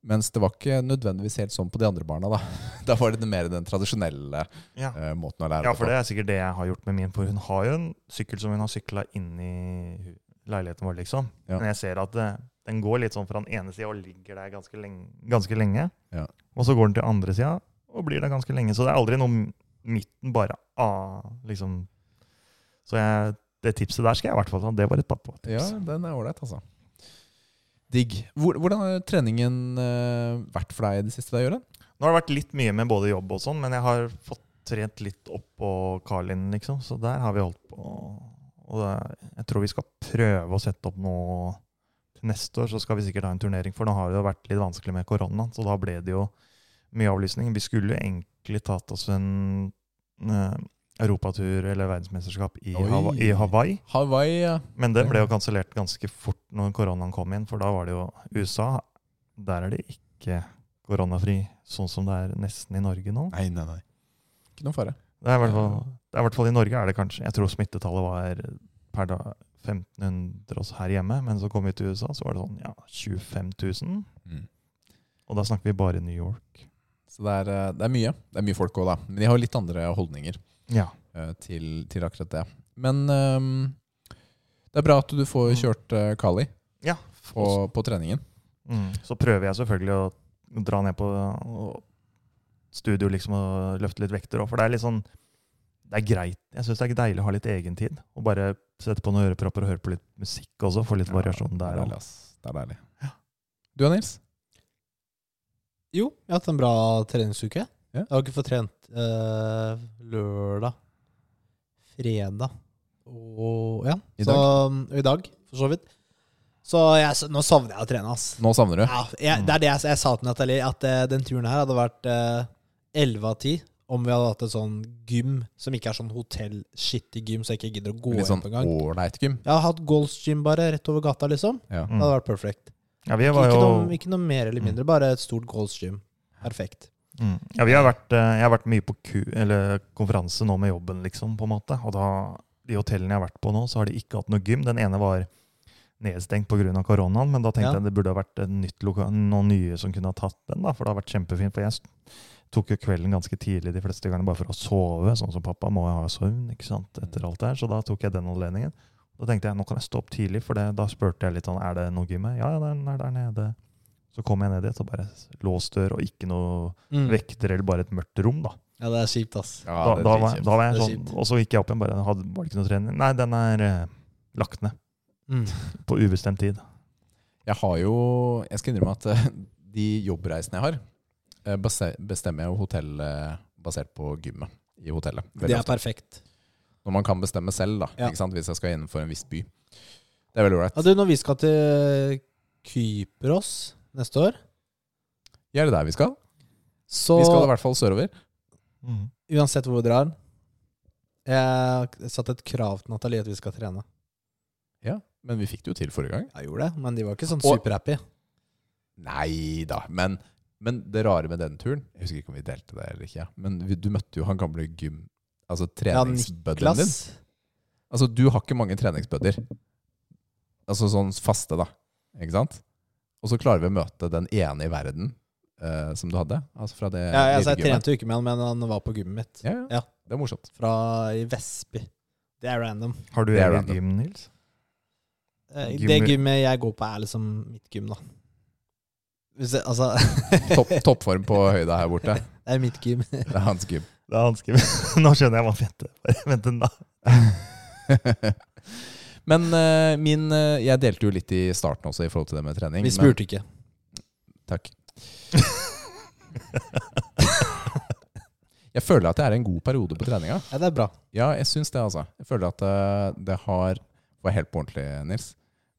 Speaker 2: Mens det var ikke nødvendigvis helt sånn på de andre barna. Da Da var det mer den tradisjonelle
Speaker 3: Ja.
Speaker 2: eh, måten å lære
Speaker 3: ja, for det
Speaker 2: det på.
Speaker 3: er sikkert det jeg har gjort med min. For hun har jo en sykkel som hun har sykla inni hu- leiligheten vår, liksom.
Speaker 2: Ja.
Speaker 3: Men jeg ser at eh, den går litt sånn fra den ene sida og ligger der ganske lenge. Ganske lenge.
Speaker 2: Ja.
Speaker 3: Og så går den til andre sida og blir der ganske lenge. Så det er aldri noe m- midten, bare ah, liksom. Så jeg, det tipset der skal jeg i hvert fall ta. Det var et pappatips.
Speaker 2: Ja, den er ålreit, altså. Digg. Hvor- Hvordan har treningen eh, vært for deg i det siste, da, Jørgen?
Speaker 3: Nå har det vært litt mye med både jobb og sånn, men jeg har fått trent litt opp på Carlin, liksom. Så der har vi holdt på. Og det, jeg tror vi skal prøve å sette opp nå til neste år, så skal vi sikkert ha en turnering. For nå har det jo vært litt vanskelig med korona, så da ble det jo mye avlysning. Vi skulle jo egentlig tatt oss en eh, europatur eller verdensmesterskap i,
Speaker 2: Oi.
Speaker 3: Hawa i Hawaii,
Speaker 2: Hawaii, ja.
Speaker 3: men det ble jo kansellert ganske fort når koronaen kom inn, for da var det jo USA. Der er det ikke koronafri, sånn som det er nesten i Norge nå.
Speaker 2: Nei, nei, nei. Ikke noen fare.
Speaker 3: Det er i hvert fall, det er i, hvert fall i Norge er det kanskje Jeg tror smittetallet var per dag 1500 oss her hjemme, men så kom vi til USA, så var det sånn ja, 25 000. Og da snakker vi bare New York.
Speaker 2: Så det er, eh, det er mye. Det er mye folk òg, da. Men de har jo litt andre holdninger
Speaker 3: Ja.
Speaker 2: eh, til, til akkurat det. Men ehm, det er bra at du får
Speaker 3: Mm.
Speaker 2: kjørt eh, Kali
Speaker 3: ja.
Speaker 2: på, på treningen.
Speaker 3: Mm. Så prøver jeg selvfølgelig å dra ned på og studio liksom og løfte litt vekter òg, for det er litt sånn Det er greit. Jeg syns det er deilig å ha litt egentid. Og bare sette på noen ørepropper og høre på litt musikk også, få litt variasjon
Speaker 2: det
Speaker 3: der
Speaker 2: er
Speaker 3: òg.
Speaker 2: deilig, ass. Det er deilig. Du da, Nils?
Speaker 1: Jo, jeg har hatt en bra treningsuke.
Speaker 2: Ja.
Speaker 1: Jeg har ikke fått trent eh, lørdag, fredag og ja.
Speaker 2: I
Speaker 1: så, og I dag, for så vidt. Så jeg, nå savner jeg å trene, ass.
Speaker 2: Nå savner du.
Speaker 1: Ja,
Speaker 2: Mm.
Speaker 1: jeg, det er det jeg, jeg sa til Nathalie, at eh, den turen her hadde vært eh, 11 av 10 om vi hadde hatt et sånn gym som ikke er sånn hotell-shitty gym, så jeg ikke gidder å gå
Speaker 2: Litt
Speaker 1: hjem
Speaker 2: sånn
Speaker 1: på en gang.
Speaker 2: ålreit gym.
Speaker 1: Jeg har hatt Goals Gym bare rett over gata, liksom.
Speaker 2: Ja.
Speaker 3: Mm.
Speaker 1: Det hadde vært perfect.
Speaker 3: Ja, vi
Speaker 1: Ikke,
Speaker 3: var jo...
Speaker 1: noe, ikke noe mer eller
Speaker 2: Mm.
Speaker 1: mindre, bare et stort Goals Gym. Perfekt.
Speaker 3: Mm. Ja, vi har vært, eh, jeg har vært mye på ku, eller konferanse nå med jobben, liksom, på en måte. Og da, de hotellene jeg har vært på nå, så har de ikke hatt noe gym. Den ene var nedstengt pga. koronaen, men da tenkte
Speaker 1: Ja.
Speaker 3: jeg det burde ha vært et nytt loka, noen nye som kunne ha tatt den, da, for det har vært kjempefint. For jeg s- tok jo kvelden ganske tidlig de fleste gangene bare for å sove, sånn som pappa må jo ha søvn ikke sant, etter alt det her, så da tok jeg den anledningen. Da tenkte jeg nå kan jeg stå opp tidlig, for det, da spurte jeg litt sånn er det noe gym her? Ja, ja, den er der nede. Så kom jeg ned dit, og bare låst dør og ikke noe vekter eller bare et mørkt rom. Da
Speaker 1: Mm. Ja, det er kjipt, ass.
Speaker 2: Ja,
Speaker 3: Da,
Speaker 2: det er
Speaker 3: da, var,
Speaker 2: dritkjipt.
Speaker 3: da var jeg
Speaker 1: Det er
Speaker 3: sånn, Og så gikk jeg opp igjen. bare, hadde, Var det ikke noe trening? Nei, den er eh, lagt ned
Speaker 1: Mm.
Speaker 3: på ubestemt tid.
Speaker 2: Jeg har jo Jeg skal innrømme at eh, de jobbreisene jeg har, eh, base- bestemmer jeg jo hotell eh, basert på gymmet i hotellet. Veldig
Speaker 1: Det er
Speaker 2: ofte.
Speaker 1: perfekt.
Speaker 2: Når man kan bestemme selv, da.
Speaker 1: Ja.
Speaker 2: Ikke sant? Hvis jeg skal innenfor en viss by. Det er veldig ålreit.
Speaker 1: Ja, du, når vi skal til Kypros neste år,
Speaker 2: Er det der vi skal?
Speaker 1: så
Speaker 2: Vi skal i hvert fall sørover.
Speaker 1: uansett hvor vi drar Jeg satte et krav til Nathalie at vi skal trene.
Speaker 2: Ja, men vi fikk det jo til forrige gang.
Speaker 1: Jeg gjorde det, men de var ikke sånn
Speaker 2: Og-
Speaker 1: superhappy.
Speaker 2: Nei da. Men, men det rare med den turen Jeg husker ikke om vi delte det eller ikke, men vi, du møtte jo han gamle gym... Altså treningsbudden din.
Speaker 1: Klass.
Speaker 2: Altså, du har ikke mange treningsbudder. Altså sånn faste, da. Ikke sant? Og så klarer vi å møte den ene i verden eh, som du hadde. Altså fra det
Speaker 1: Ja, ja, altså, jeg
Speaker 2: lille gymmet.
Speaker 1: trente jo ikke med han, men han var på gymmet mitt.
Speaker 2: Ja, ja.
Speaker 1: Ja.
Speaker 2: Det er morsomt.
Speaker 1: Fra i Vestby. Det er random.
Speaker 3: Har du
Speaker 2: Det er
Speaker 3: eget
Speaker 2: random.
Speaker 3: gym, Nils?
Speaker 1: Eh,
Speaker 3: Gym-
Speaker 1: Det gymmet jeg går på, er liksom mitt gym, da. Hvis jeg, altså
Speaker 2: Topp, toppform på høyda her borte.
Speaker 1: Det er mitt gym.
Speaker 2: Det er hans gym.
Speaker 3: Det er vanskelig. Nå skjønner jeg hva han mente. Vent en da.
Speaker 2: Men eh, min eh, Jeg delte jo litt i starten også i forhold til det med trening.
Speaker 1: Vi spurte ikke.
Speaker 2: Men, takk. Jeg føler at jeg er i en god periode på treninga.
Speaker 1: Ja, det er bra.
Speaker 2: Ja, jeg syns det, altså. Jeg føler at eh, det har Var helt på ordentlig, Nils.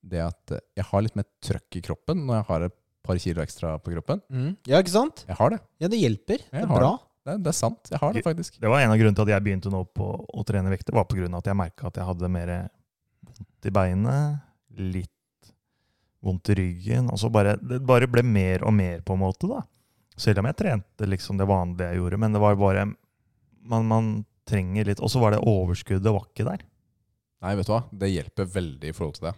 Speaker 2: Det at eh, jeg har litt mer trøkk i kroppen når jeg har et par kilo ekstra på kroppen.
Speaker 1: Mm. Ja, ikke sant?
Speaker 2: Jeg har det.
Speaker 1: Ja, det hjelper. Det
Speaker 2: Jeg
Speaker 1: er
Speaker 2: har
Speaker 1: bra.
Speaker 2: Det, det er sant. Jeg har det faktisk.
Speaker 3: Det var en av grunnene til at jeg begynte nå på å trene vekter. var på grunn av at jeg merka at jeg hadde mer vondt i beinet, litt vondt i ryggen. og så bare, Det bare ble mer og mer, på en måte. da. Selv om jeg trente liksom det vanlige jeg gjorde. Men det var bare Man, man trenger litt Og så var det overskuddet var ikke der.
Speaker 2: Nei, vet du hva. Det hjelper veldig i forhold til det.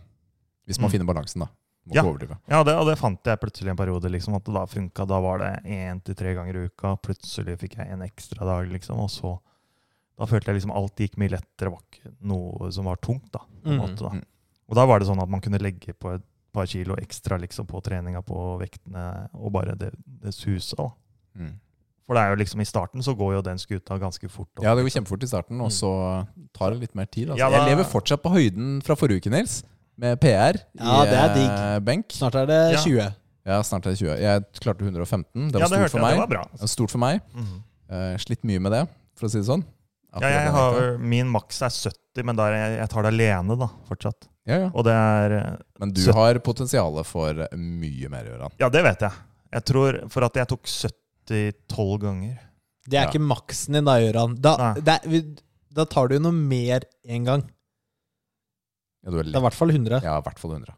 Speaker 2: Hvis man
Speaker 3: Mm.
Speaker 2: finner balansen, da. Må
Speaker 3: Ja.
Speaker 2: ikke overdrive.
Speaker 3: Ja, det, og det fant jeg plutselig en periode, liksom, at det da funka. Da var det én til tre ganger i uka. Plutselig fikk jeg en ekstra dag, liksom. Og så Da følte jeg liksom alt gikk mye lettere. Det var ikke noe som var tungt, da. På en
Speaker 1: Mm,
Speaker 3: måte, da.
Speaker 2: mm.
Speaker 3: Og da var det sånn at man kunne legge på et par kilo ekstra liksom, på treninga, på vektene, og bare det, det susa, da.
Speaker 2: Mm.
Speaker 3: For det er jo liksom, i starten så går jo den skuta ganske fort opp. liksom. Mm.
Speaker 2: Ja, det går kjempefort i starten, og så tar det litt mer tid. Altså.
Speaker 3: Ja, da-
Speaker 2: Jeg lever fortsatt på høyden fra forrige uke, Nils. Med PR
Speaker 1: Ja,
Speaker 2: i
Speaker 1: det er digg.
Speaker 2: eh, benk.
Speaker 1: Snart er det
Speaker 3: Ja.
Speaker 1: 20.
Speaker 2: Ja, snart er det 20. Jeg klarte 115. Det var
Speaker 3: Ja, det
Speaker 2: stort
Speaker 3: hørte
Speaker 2: for meg.
Speaker 3: jeg. Det var bra. altså.
Speaker 2: Det var stort for meg.
Speaker 3: Mhm.
Speaker 2: Eh, slitt mye med det, for å si det sånn. At
Speaker 3: Ja,
Speaker 2: det
Speaker 3: jeg
Speaker 2: ble
Speaker 3: har,
Speaker 2: nekta.
Speaker 3: min maks er 70, men der, jeg, jeg tar det alene, da, fortsatt.
Speaker 2: ja, ja.
Speaker 3: Og det er eh,
Speaker 2: Men du
Speaker 3: Søtt.
Speaker 2: har potensialet for mye mer, Gøran.
Speaker 3: Ja, det vet jeg. Jeg tror For at jeg tok 70 tolv ganger.
Speaker 1: Det er
Speaker 2: Ja.
Speaker 1: ikke maksen din da, Gøran. Da,
Speaker 3: Nei.
Speaker 1: det er, vi- da tar du jo noe mer en gang.
Speaker 2: Ja, du er
Speaker 1: Det er i
Speaker 2: litt,
Speaker 1: hvert fall 100.
Speaker 2: ja, i hvert fall 100.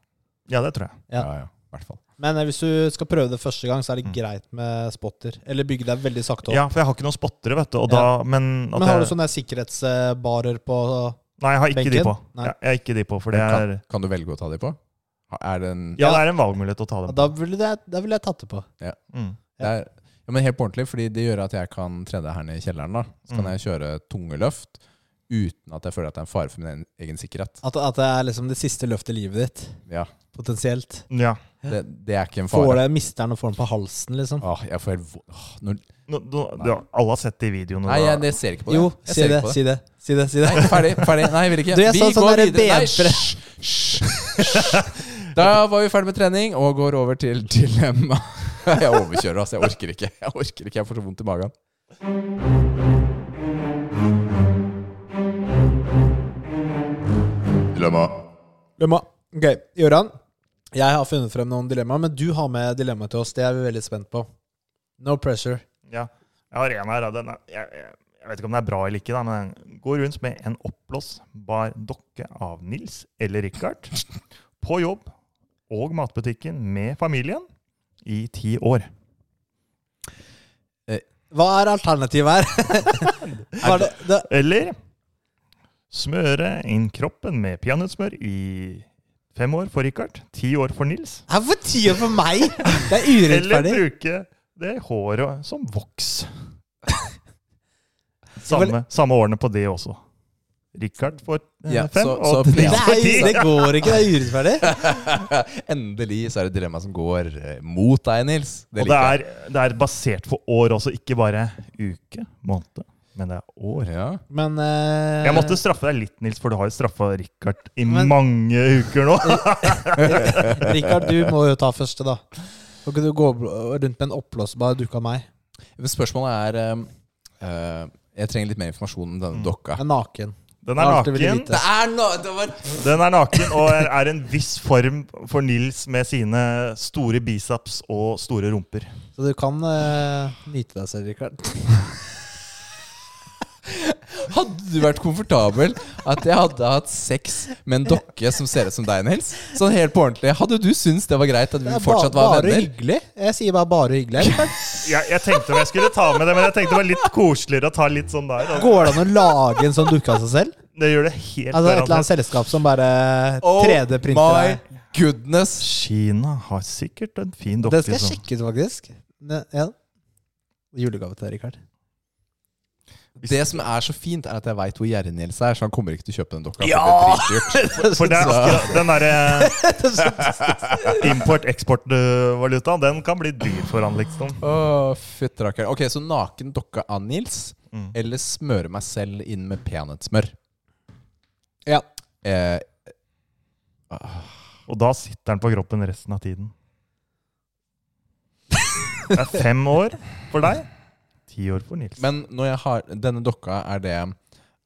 Speaker 3: Ja, det tror jeg.
Speaker 1: Ja.
Speaker 2: Ja, ja, i hvert fall.
Speaker 1: Men eh, hvis du skal prøve det første gang, så er det
Speaker 3: Mm.
Speaker 1: greit med spotter. Eller bygge deg veldig sakte opp.
Speaker 3: Ja, For jeg har ikke noen spottere, vet du. Og
Speaker 1: Ja.
Speaker 3: da, men, at
Speaker 1: Men har du
Speaker 3: jeg,
Speaker 1: sånne sikkerhetsbarer på
Speaker 3: Nei, jeg har ikke de
Speaker 1: benken?
Speaker 3: på.
Speaker 1: Nei.
Speaker 3: Jeg, jeg har ikke de på, for det
Speaker 2: Men
Speaker 3: er
Speaker 2: kan, kan du velge å ta de på? Er det en
Speaker 3: Ja, det er en valgmulighet å ta
Speaker 1: ja,
Speaker 3: dem
Speaker 1: Da
Speaker 3: på.
Speaker 1: ville jeg, da ville jeg tatt det på.
Speaker 3: Mm.
Speaker 1: Ja.
Speaker 2: Det er, ja, men helt på ordentlig, fordi det gjør at jeg kan trene her nede i kjelleren. da. Så kan
Speaker 3: Mm.
Speaker 2: jeg kjøre tunge løft uten at jeg føler at det er en fare for min egen- egen sikkerhet.
Speaker 1: At, at det er liksom det siste løftet i livet ditt,
Speaker 2: Ja,
Speaker 1: potensielt.
Speaker 3: Ja.
Speaker 2: Det, det er ikke en
Speaker 1: Får
Speaker 2: fare.
Speaker 1: det, mister den og får den på halsen, liksom.
Speaker 2: Åh, jeg får helt vo- åh, når,
Speaker 3: Nå, nå, du, alle har sett de videoene.
Speaker 2: Nei,
Speaker 3: da.
Speaker 2: jeg, det ser ikke på det.
Speaker 1: Jo, si
Speaker 2: jeg ser
Speaker 1: det,
Speaker 2: ikke på
Speaker 1: si det. Si det, si det.
Speaker 2: Nei, ferdig, ferdig. Nei, jeg vil ikke.
Speaker 1: Du, jeg
Speaker 2: vi
Speaker 1: sa sånn
Speaker 2: går
Speaker 1: der
Speaker 2: videre. Nei,
Speaker 1: benpress.
Speaker 2: hysj, hysj, hysj. Da var vi ferdig med trening og går over til dilemma. Jeg overkjører, altså. Jeg orker ikke. Jeg orker ikke, jeg får så vondt i magen. Dilemma.
Speaker 1: Dilemma. Ok, Gøran. Jeg har funnet frem noen dilemmaer, men du har med dilemma til oss. Det er vi veldig spent på. No pressure.
Speaker 3: Ja. Jeg har en her. da. Den er, jeg, jeg, jeg vet ikke om den er bra eller ikke, da, men den går rundt med en oppblåsbar dokke av Nils eller Richard på jobb og matbutikken med familien i ti år.
Speaker 1: Hva er alternativet her? Hva er det, det,
Speaker 3: Eller smøre inn kroppen med peanøttsmør i fem år for Richard, ti år for Nils.
Speaker 1: er for tida for meg! Det er
Speaker 3: Eller
Speaker 1: urettferdig.
Speaker 3: bruke det håret som voks. Samme, samme årene på det også. Richard får eh,
Speaker 2: Ja,
Speaker 3: fem,
Speaker 2: så-
Speaker 3: og
Speaker 2: så
Speaker 3: Nils får
Speaker 1: Nei,
Speaker 3: ti.
Speaker 1: det går ikke. Det er urettferdig.
Speaker 2: Endelig så er det et dilemma som går eh, mot deg, Nils.
Speaker 3: Og det er, det er basert på år også, ikke bare uke, måned, men det er år.
Speaker 2: jeg. Ja.
Speaker 1: Men eh,
Speaker 3: Jeg måtte straffe deg litt, Nils, for du har jo straffa Richard i
Speaker 1: Men-
Speaker 3: mange uker nå.
Speaker 1: Richard, du må jo ta første, da. Kan ikke du gå rundt med en oppblåsbar dukke av meg?
Speaker 2: Men spørsmålet er eh, eh, Jeg trenger litt mer informasjon om denne dokka.
Speaker 1: Jeg er naken.
Speaker 3: Den er
Speaker 1: Ja, det vil jeg
Speaker 3: naken,
Speaker 1: vite. Mm. Det
Speaker 2: er no, det var
Speaker 3: den er naken og er, er en viss form for Nils med sine store biceps og store rumper.
Speaker 1: Så du kan eh, nyte deg selv, Richard.
Speaker 2: Hadde du vært komfortabel at jeg hadde hatt sex med en dokke som ser ut som deg, Nils? Sånn helt på ordentlig. Hadde du syntes det var greit at
Speaker 1: Det
Speaker 2: vi
Speaker 1: er
Speaker 2: fortsatt
Speaker 1: ba-
Speaker 2: var
Speaker 1: bare
Speaker 2: venner?
Speaker 1: hyggelig. Jeg sier bare 'bare hyggelig'. Richard.
Speaker 3: Jeg, jeg tenkte om jeg skulle ta med det, men jeg tenkte det var litt koseligere å ta litt sånn der. da.
Speaker 1: Går det an å lage en sånn dukke av seg selv?
Speaker 3: Det gjør det
Speaker 1: Altså
Speaker 3: helt
Speaker 1: Et eller annet
Speaker 3: garantert.
Speaker 1: selskap som bare
Speaker 2: Oh
Speaker 1: 3D-printer
Speaker 2: my goodness!
Speaker 3: Kina har sikkert en fin dokke.
Speaker 1: Det skal jeg
Speaker 3: som-
Speaker 1: sjekke ut, faktisk. Ne- Ja. Julegave til deg, Richard.
Speaker 2: Det som er så fint, er at jeg veit hvor gjerrig Nils er, så han kommer ikke til å kjøpe den dokka. for
Speaker 1: Ja!
Speaker 2: det er dritdyrt.
Speaker 3: For det er akkurat den derre import-eksport-valutaen, den kan bli dyr for han, liksom.
Speaker 2: Åh, fytterakker. Ok, så naken dokka av Nils,
Speaker 3: Mm.
Speaker 2: eller smøre meg selv inn med peanøttsmør?
Speaker 1: Ja.
Speaker 2: Eh,
Speaker 3: Og da sitter han på kroppen resten av tiden. Det er fem år for deg, ti år for Nils.
Speaker 2: men når jeg har denne dokka, er det,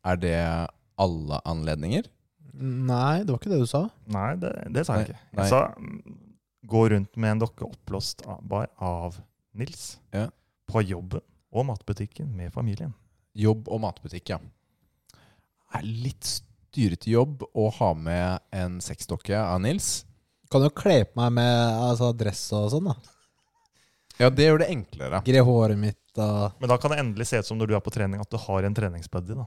Speaker 2: er det alle anledninger?
Speaker 1: Nei, det var ikke det du sa.
Speaker 3: Nei, det, det sa
Speaker 2: Nei,
Speaker 3: jeg ikke.
Speaker 2: nei.
Speaker 3: Jeg sa mm, gå rundt med en dokke oppblåst av- bar av Nils
Speaker 2: Ja.
Speaker 3: på jobben og matbutikken med familien.
Speaker 2: Jobb og matbutikk, ja. Er litt styrete jobb å ha med en sexdokke av Nils.
Speaker 1: Kan jo kle på meg med altså, dress og sånn. da
Speaker 2: Ja, det gjør det enklere.
Speaker 1: Gre håret mitt og
Speaker 3: Men da kan det endelig se ut som når du er på trening, at du har en treningsbuddy. da.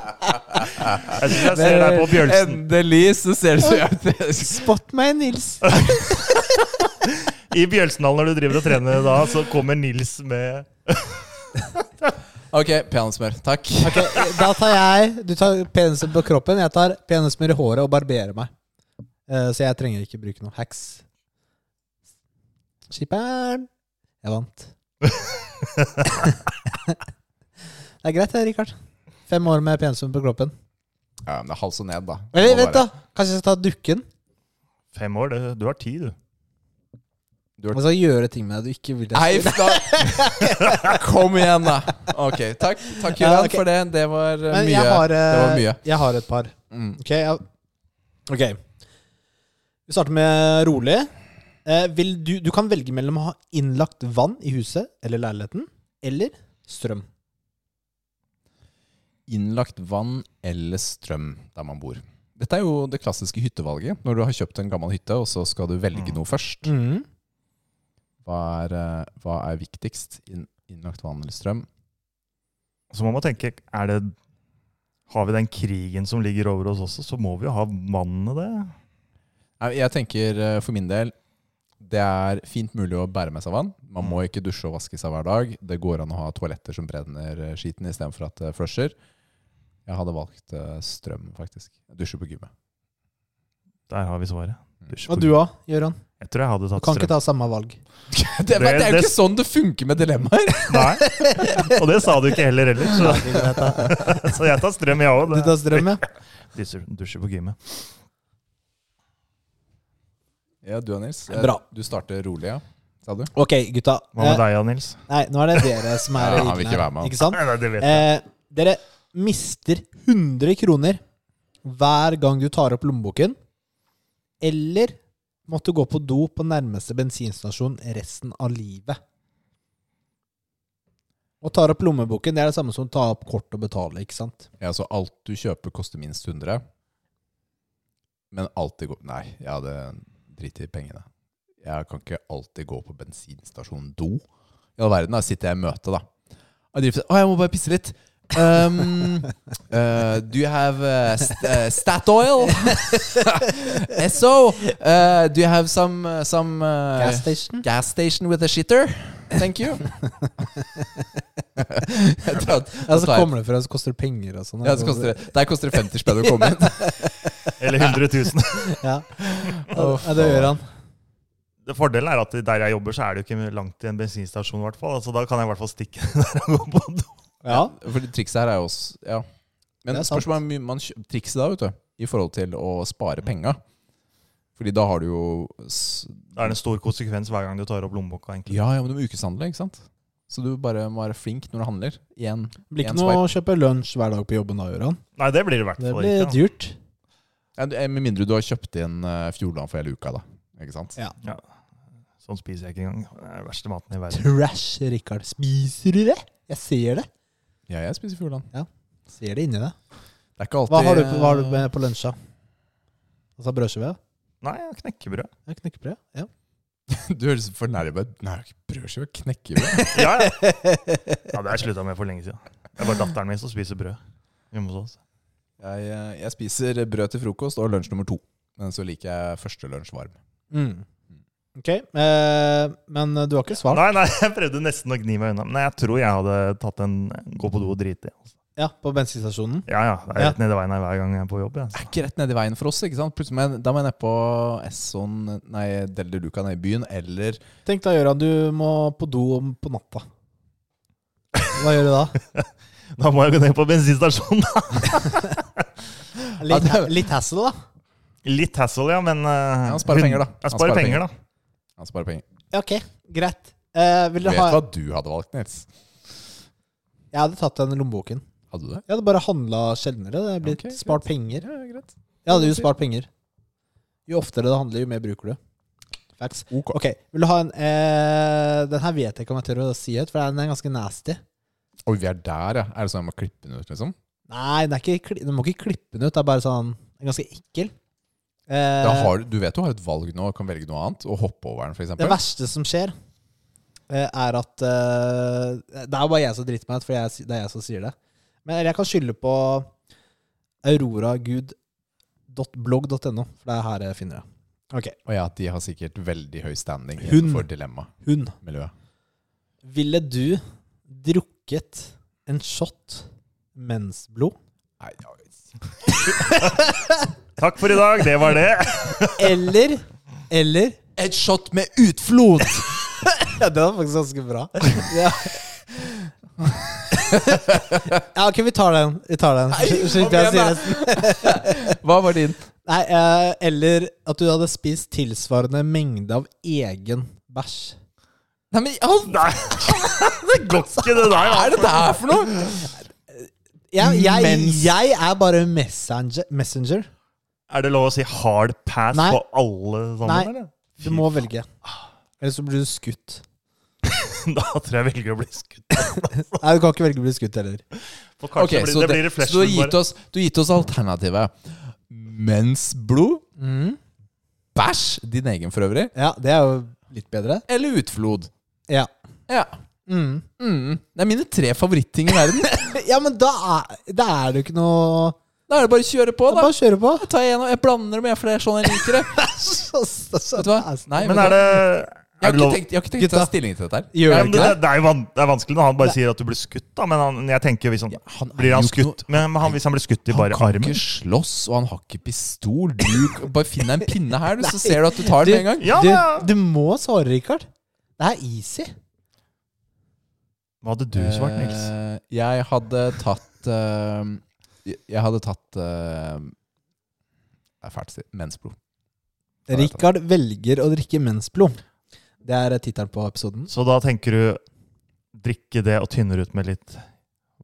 Speaker 3: Jeg synes jeg ser deg på Bjølsen.
Speaker 2: Endelig så ser det ut som
Speaker 1: Spot meg, Nils!
Speaker 3: I Bjølsendal når du driver og trener da, så kommer Nils med
Speaker 2: Ok, peanøttsmør. Takk.
Speaker 1: Ok, eh, Da tar jeg Du tar penismer på kroppen, jeg tar penismer i håret og barberer meg. Eh, så jeg trenger ikke bruke noe hacks. Skipperen! Jeg vant. det er greit, det, Richard. Fem år med penismer på kroppen.
Speaker 2: Ja, men det er hals og ned, da.
Speaker 1: Eller
Speaker 2: Det må
Speaker 1: vent,
Speaker 2: være-
Speaker 1: da! Kanskje jeg skal ta dukken?
Speaker 3: Fem år, det, du har ti, du.
Speaker 1: Og så gjøre ting med deg du ikke vil. jeg
Speaker 2: Nei,
Speaker 1: skal-
Speaker 2: da. Kom igjen, da. Ok, takk. Takk, Jørgen,
Speaker 1: Ja, ok.
Speaker 2: for det. Det var eh,
Speaker 1: Men
Speaker 2: mye.
Speaker 1: jeg har, eh,
Speaker 2: Det var mye.
Speaker 1: jeg har et par.
Speaker 2: Mm.
Speaker 1: Ok, ja. ok. Vi starter med rolig. Eh, vil du, du kan velge mellom å ha innlagt vann i huset eller leiligheten, eller strøm.
Speaker 2: Innlagt vann eller strøm der man bor. Dette er jo det klassiske hyttevalget. Når du har kjøpt en gammel hytte, og så skal du velge
Speaker 3: Mm.
Speaker 2: noe først. Hva er, eh, hva er viktigst? Inn, innlagt vann eller strøm?
Speaker 3: Så man må tenke er det, Har vi den krigen som ligger over oss også, så må vi jo ha vannet det.
Speaker 2: Nei, Jeg tenker eh, for min del det er fint mulig å bære med seg vann. Man må ikke dusje og vaske seg hver dag. Det går an å ha toaletter som brenner eh, skiten istedenfor at det flusher. Jeg hadde valgt eh, strøm, faktisk. Dusje på gymmet.
Speaker 3: Der har vi svaret. Dusj på
Speaker 1: Og du òg, Gøran.
Speaker 3: Jeg tror jeg hadde
Speaker 1: Du
Speaker 3: tatt
Speaker 1: kan ikke
Speaker 3: strøm.
Speaker 1: ta samme valg.
Speaker 2: Det, men det er jo
Speaker 3: det-
Speaker 2: ikke sånn det funker med dilemmaer!
Speaker 3: Nei. Og det sa du ikke heller ellers, så, så jeg tar strøm, jeg
Speaker 1: Du
Speaker 3: òg.
Speaker 1: tar strøm, ja.
Speaker 3: Dusjer dusjer på gymmet.
Speaker 2: Ja, du og Nils. eh,
Speaker 1: Bra.
Speaker 2: Du starter rolig, ja? Sa du?
Speaker 1: Ok, gutta.
Speaker 3: Hva med
Speaker 1: Eh,
Speaker 3: deg, ja, Nils?
Speaker 1: Nei, nå er det dere som er
Speaker 2: Ja, han vil
Speaker 1: uten
Speaker 2: ikke
Speaker 1: her,
Speaker 2: være med, han.
Speaker 1: Ikke sant?
Speaker 3: Nei, nei, det vet jeg.
Speaker 1: Eh, dere mister 100 kroner hver gang du tar opp lommeboken, eller måtte gå på do på nærmeste bensinstasjon resten av livet. Og tar opp lommeboken, det er det samme som å ta opp kort og betale, ikke sant?
Speaker 2: Ja, så alt du kjøper koster minst 100. Men alltid går Nei, jeg hadde dritt i pengene. Jeg kan ikke alltid gå på bensinstasjon do. I all verden, da sitter jeg i møte, da. Og drifter Å, jeg må bare pisse litt. Um, uh, do you have uh, st uh, Statoil? SO? Uh, do you have some, uh, some uh,
Speaker 1: Gas station.
Speaker 2: gas station with a shitter? Thank you. jeg tar,
Speaker 1: Ja, så
Speaker 2: tar jeg-
Speaker 1: kommer det fra, så koster det penger og sånn.
Speaker 2: ja, så koster det, der koster det 50 spenn å komme inn.
Speaker 1: Eh.
Speaker 3: Eller 100 000.
Speaker 1: Ja. ja, det gjør han.
Speaker 3: Det Fordelen er at der jeg jobber, så er det jo ikke langt til en bensinstasjon. i hvert fall. Altså, da kan jeg i hvert fall stikke der og gå på do.
Speaker 1: Ja.
Speaker 2: For trikset her er jo også Ja. Men
Speaker 1: Det er sant.
Speaker 2: spørsmålet er hvor mye man kjø- trikset da, vet du, i forhold til å spare penga. Fordi da har du jo s-
Speaker 3: Da er det en stor konsekvens hver gang du tar opp lommeboka. egentlig.
Speaker 2: Ja, ja, men du må ukeshandle, ikke sant? Så du bare må være flink når du handler. Igjen.
Speaker 1: Blir ikke
Speaker 2: En
Speaker 1: noe å kjøpe lunsj hver dag på jobben da, Gøran.
Speaker 3: Nei, det blir det i hvert
Speaker 1: Det
Speaker 3: fall
Speaker 1: blir
Speaker 3: ikke. da.
Speaker 1: dyrt.
Speaker 2: Ja, du- eh, Med mindre du har kjøpt inn eh, Fjordland for hele uka, da. Ikke sant?
Speaker 1: Ja.
Speaker 3: Sånn spiser jeg ikke engang. Det er den verste maten i verden.
Speaker 1: Trash, Rikard. Spiser du det? Jeg ser det.
Speaker 2: Ja, jeg spiser Fjordland.
Speaker 1: Ser det inni deg.
Speaker 2: Det er ikke alltid
Speaker 1: Hva har du, på- hva har du med på lunsja? Altså brødskive?
Speaker 3: Nei, jeg har knekkebrød.
Speaker 1: Ja, knekkebrød? Ja.
Speaker 2: Du høres fornærmet ut. Nei, det er jo ikke brødskive, knekkebrød.
Speaker 3: Ja, ja. ja, det har jeg slutta med for lenge siden. Det er bare datteren min som spiser brød hjemme hos oss.
Speaker 2: Jeg, eh, jeg spiser brød til frokost og lunsj nummer to. Men så liker jeg første lunsj varm.
Speaker 1: Mm. Ok, eh, men du har ikke svart
Speaker 3: Nei, nei, jeg prøvde nesten å gni meg unna. Men jeg tror jeg hadde tatt en gå på do og drite. Altså.
Speaker 1: ja, på bensinstasjonen?
Speaker 3: Ja, ja. Det er rett nedi veien her hver gang jeg er på jobb. Jeg.
Speaker 2: er ikke rett nedi veien for oss. ikke sant? Plutselig, må jeg- da må jeg ned på Esson, nei, Del de Luca nede i byen, eller
Speaker 1: Tenk da, Gøran, du må på do om på natta. Hva gjør du da?
Speaker 3: Da må jeg gå ned på bensinstasjonen.
Speaker 1: Litt, litt hassle, da.
Speaker 3: Litt hassle, ja, men eh,
Speaker 2: Ja, han sparer
Speaker 3: hun-
Speaker 2: penger, da.
Speaker 3: Jeg sparer penger, da.
Speaker 2: Han sparer penger.
Speaker 1: Ja, Ok, greit. Eh, vil
Speaker 2: Du
Speaker 1: du
Speaker 2: vet
Speaker 1: ha
Speaker 2: hva du hadde valgt, Nils?
Speaker 1: Jeg hadde tatt den lommeboken.
Speaker 2: Hadde du det?
Speaker 1: Jeg hadde bare handla sjeldnere. Det hadde blitt
Speaker 2: Ok,
Speaker 1: spart penger.
Speaker 2: Ja, greit.
Speaker 1: Jeg hadde jo spart penger. Jo oftere det handler, jo mer bruker du. Facts.
Speaker 2: Ok.
Speaker 1: Ok, vil du ha en eh, Den her vet jeg ikke om jeg tør å si høyt, for den er ganske nasty.
Speaker 2: Oi, vi er der, ja. Er det sånn jeg må klippe den ut, liksom?
Speaker 1: Nei, den er ikke, kli- du må ikke klippe den ut. Det er bare sånn den er ganske ekkel. Eh,
Speaker 2: Da har, du- du vet du har et valg nå, kan velge noe annet, og hoppe over den, for
Speaker 1: det
Speaker 2: eksempel.
Speaker 1: verste som skjer, eh, er at eh, Det er jo bare jeg som driter meg ut, for jeg, det er jeg som sier det. Men eller jeg kan skylde på auroragud.blogg.no, for det er her jeg finner det. Ok,
Speaker 2: Og ja, de har sikkert veldig høy standing
Speaker 1: Hun.
Speaker 2: for dilemma.
Speaker 1: hun.
Speaker 2: Miljøet.
Speaker 1: Ville du drukket en shot mensblod?
Speaker 2: Nei, ja.
Speaker 3: Takk for i dag, det var det.
Speaker 1: Eller Eller
Speaker 2: Et shot med utflod!
Speaker 1: Ja, det var faktisk ganske bra. Ja, ja ok, vi tar den. Vi tar den.
Speaker 2: Nei,
Speaker 1: Slik
Speaker 2: kom
Speaker 1: jeg sier
Speaker 2: igjen, da.
Speaker 1: resten.
Speaker 2: Hva var din?
Speaker 1: Nei, eh, eller at du hadde spist tilsvarende mengde av egen bæsj.
Speaker 2: Nei, men alt
Speaker 3: Nei, det går ikke, det der. altså.
Speaker 2: er det der for noe?
Speaker 1: Jeg, jeg,
Speaker 2: Mens-
Speaker 1: jeg er bare messenger. messenger.
Speaker 3: Er det lov å si hard pass
Speaker 1: Nei.
Speaker 3: på alle sammen,
Speaker 1: Nei.
Speaker 3: eller?
Speaker 1: Du må velge. Eller så blir du skutt.
Speaker 3: Da tror jeg jeg velger å bli skutt.
Speaker 1: Nei, du kan ikke velge å bli skutt heller.
Speaker 3: For kanskje
Speaker 2: Ok,
Speaker 3: blir,
Speaker 2: så
Speaker 3: det,
Speaker 2: det-
Speaker 3: blir
Speaker 2: Så du
Speaker 3: det
Speaker 2: har
Speaker 3: flashen
Speaker 2: gitt
Speaker 3: bare.
Speaker 2: oss, du har gitt oss alternativet mensblod,
Speaker 1: Mm.
Speaker 2: bæsj, din egen for øvrig,
Speaker 1: Ja, det er jo litt bedre.
Speaker 2: eller utflod.
Speaker 1: Ja.
Speaker 2: Ja.
Speaker 1: Mm.
Speaker 2: Mm. Det er mine tre favorittting i verden.
Speaker 1: Ja, men da er, da er det jo ikke noe
Speaker 2: Da er det bare å kjøre på, da.
Speaker 1: Bare kjøre på.
Speaker 2: Jeg, tar igjen, og jeg blander dem, jeg, for det er sånn jeg liker det. Vet du hva? Nei, sånn. vet
Speaker 3: Men
Speaker 2: du
Speaker 3: er
Speaker 2: hva?
Speaker 3: det
Speaker 2: Jeg
Speaker 3: er
Speaker 2: har
Speaker 3: det
Speaker 2: ikke
Speaker 3: lov?
Speaker 2: tenkt, jeg har ikke tenkt å ta
Speaker 1: Gutta.
Speaker 2: stilling til dette her.
Speaker 1: Gjør
Speaker 2: Ja,
Speaker 3: Nei,
Speaker 1: jeg
Speaker 2: men
Speaker 3: men det,
Speaker 2: det-
Speaker 3: det, er jo van, det er vanskelig når han bare sier at du blir skutt, da. Men han, jeg tenker jo hvis han,
Speaker 2: Ja, han er
Speaker 3: blir
Speaker 2: jo
Speaker 3: han
Speaker 2: ikke
Speaker 3: skutt Men han, hvis han blir skutt i
Speaker 2: Han
Speaker 3: bare
Speaker 2: kan
Speaker 3: armen
Speaker 2: ikke slåss, og han har ikke pistol. Du bare finn deg en pinne her, du, så ser du at du tar
Speaker 1: Du-
Speaker 2: den med en gang.
Speaker 3: Ja,
Speaker 1: Du,
Speaker 3: men-
Speaker 1: du må svare, Rikard. Det er easy.
Speaker 3: Hva hadde du svart, Nils?
Speaker 2: Eh, Jeg hadde tatt eh, Jeg jeg hadde tatt eh, Det er fælt å si. Mensblod. Hva heter det?
Speaker 1: Richard velger å drikke mensblod. Det er tittelen på episoden.
Speaker 3: Så da tenker du drikke det og tynner ut med litt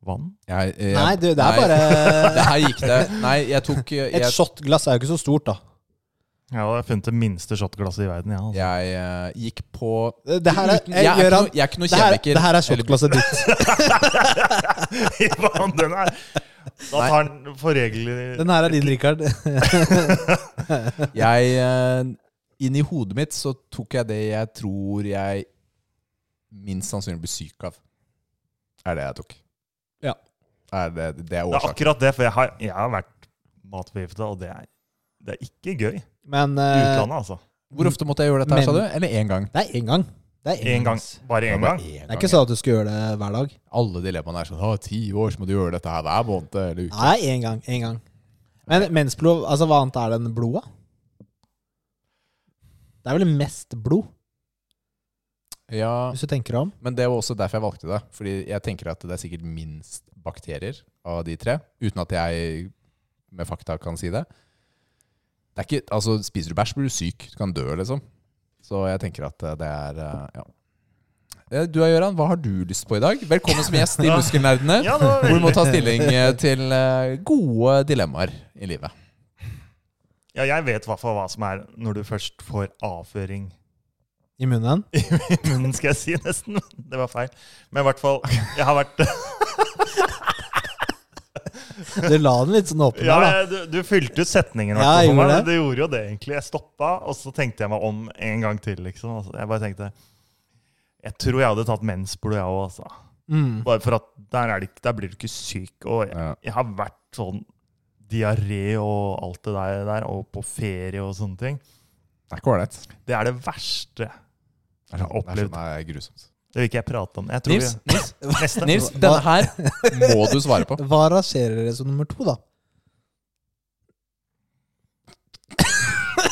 Speaker 3: vann?
Speaker 2: Jeg, eh, jeg,
Speaker 1: Nei, du, det er
Speaker 2: nei. Det
Speaker 1: bare
Speaker 2: her gikk det Nei, jeg tok eh,
Speaker 1: Et
Speaker 2: jeg,
Speaker 1: shotglass er jo ikke så stort, da.
Speaker 3: Ja, jeg har funnet det minste shotglasset i verden. Ja, altså.
Speaker 2: jeg eh, gikk på
Speaker 1: sånn. Det her er, eh,
Speaker 2: Uten- jeg, er ikke
Speaker 1: Gøran,
Speaker 2: noe, jeg er ikke noe
Speaker 1: det her,
Speaker 2: kjemiker.
Speaker 1: det her er sånn. shotglasset ditt.
Speaker 3: I vann, den er. Da tar den for regler
Speaker 1: Den her er din, Richard.
Speaker 2: Jeg, eh, inni hodet mitt så tok jeg det jeg tror jeg minst sannsynlig blir syk av. Er det jeg tok.
Speaker 1: Ja.
Speaker 2: Er det, det er
Speaker 3: Det er
Speaker 2: årsaken.
Speaker 3: akkurat det, for jeg har, jeg har vært matforgifta, og det er, det er ikke gøy. I
Speaker 1: Men eh,
Speaker 3: utlandet, altså.
Speaker 2: Hvor ofte måtte jeg gjøre dette, her, sa
Speaker 1: Men-
Speaker 2: du? Eller én gang?
Speaker 1: det er én gang. Det er
Speaker 3: Én gang. Bare
Speaker 2: Ja,
Speaker 3: én
Speaker 2: bare
Speaker 3: gang.
Speaker 2: én
Speaker 1: Det er
Speaker 2: gang,
Speaker 1: ikke
Speaker 2: ja.
Speaker 1: sånn at du skal gjøre det hver dag.
Speaker 2: Alle dilemmaene er sånn Å, ti år, så må du gjøre dette her hver måned. Eller uke.
Speaker 1: Nei, én gang. En gang. Men mensblod, altså hva annet er det enn blod, da? Det er vel mest blod,
Speaker 2: Ja,
Speaker 1: hvis du tenker deg om.
Speaker 2: men det var også derfor jeg valgte det. Fordi jeg tenker at det er sikkert minst bakterier av de tre. Uten at jeg med fakta kan si det. Det er ikke, altså Spiser du bæsj, blir du syk. Du kan dø, liksom. Så jeg tenker at eh, det er eh, Ja. Eh, Du Gøran, hva har du lyst på i dag? Velkommen som gjest i
Speaker 3: Ja.
Speaker 2: Muskelnerdene.
Speaker 3: Ja, det var
Speaker 2: Hvor du må
Speaker 3: veldig.
Speaker 2: ta stilling eh, til eh, gode dilemmaer i livet.
Speaker 3: Ja, jeg vet i hvert fall hva som er når du først får avføring
Speaker 1: I munnen.
Speaker 3: i munnen, skal jeg si, nesten. Det var feil. Men i hvert fall, jeg har vært
Speaker 1: Du la den litt sånn åpen
Speaker 3: Ja,
Speaker 1: der, da.
Speaker 3: jeg- du, du fylte ut setningen. i hvert
Speaker 1: Ja,
Speaker 3: fall
Speaker 1: jeg
Speaker 3: for meg.
Speaker 1: gjorde det.
Speaker 3: Det gjorde jo det, egentlig. Jeg stoppa, og så tenkte jeg meg om en gang til, liksom. Altså, jeg bare tenkte Jeg tror jeg hadde tatt mensblod, jeg òg, altså.
Speaker 1: Mm.
Speaker 3: Bare for at der, er det, ikke- der blir du ikke syk. Og jeg,
Speaker 2: Ja.
Speaker 3: jeg har vært sånn diaré og alt det der, der, og på ferie og sånne ting.
Speaker 2: Det er ikke ålreit.
Speaker 3: Det er det verste.
Speaker 2: Det er sånn- det er
Speaker 3: Opplevd.
Speaker 2: sånn det er grusomt.
Speaker 3: Det vil ikke jeg prate om. Jeg tror
Speaker 2: Nils, Nils,
Speaker 3: Vi, neste.
Speaker 2: Nils, denne her må du svare på.
Speaker 1: Hva rangerer det som nummer to, da?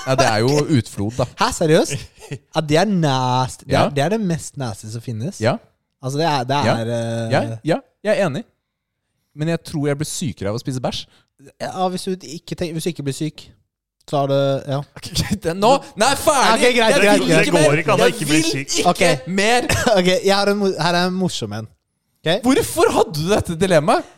Speaker 2: Ja, det er jo utflod, da.
Speaker 1: Hæ, seriøst? Ja, det er nasty. Det er,
Speaker 2: Ja.
Speaker 1: det er det mest nasty som finnes.
Speaker 2: Ja,
Speaker 1: Altså, det er, det
Speaker 2: Ja.
Speaker 1: er eh,
Speaker 2: ja, ja jeg er enig. Men jeg tror jeg blir sykere av å spise bæsj.
Speaker 1: ja, hvis, du ikke tenk- hvis du ikke blir syk, så er det Ja.
Speaker 2: Nå! Nei, ferdig!
Speaker 1: Ok, greit,
Speaker 2: jeg
Speaker 1: greit,
Speaker 2: vil
Speaker 1: greit.
Speaker 2: ikke mer!
Speaker 3: Det går ikke an å ikke bli
Speaker 2: Jeg
Speaker 3: syk.
Speaker 2: vil ikke
Speaker 1: Ok.
Speaker 2: mer!
Speaker 1: ok, jeg har en, mo- her er en morsom en.
Speaker 2: Hvorfor hadde du dette dilemmaet?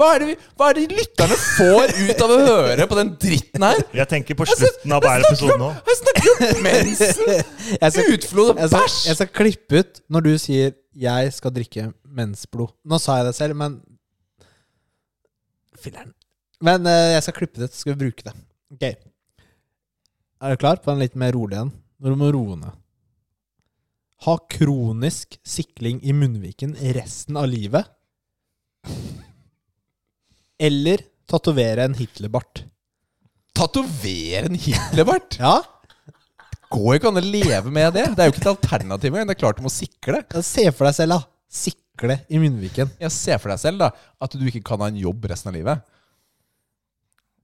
Speaker 2: Hva er, det vi, hva er det lytterne får ut av å høre på den dritten her?
Speaker 3: jeg tenker på slutten av hver episode nå.
Speaker 2: Jeg snakker om mensen,
Speaker 1: Jeg skal,
Speaker 2: utflod og
Speaker 1: jeg, skal,
Speaker 2: bæsj!
Speaker 1: jeg skal klippe ut når du sier 'jeg skal drikke mensblod'. Nå sa jeg det selv, men Filler'n. Men eh, jeg skal klippe det ut, så skal vi bruke det. Ok. Er du klar på en litt mer rolig en? Når du må roe ned. Ha kronisk sikling i munnviken resten av livet. Eller tatovere en Hitlerbart.
Speaker 2: Tatovere en Hitlerbart?
Speaker 1: Ja,
Speaker 2: Går ikke an å leve med det. Det er jo ikke et alternativ engang. Det er klart du må sikle.
Speaker 1: se for deg selv, da. Sikle i munnviken.
Speaker 2: Jeg ser for deg selv da at du ikke kan ha en jobb resten av livet.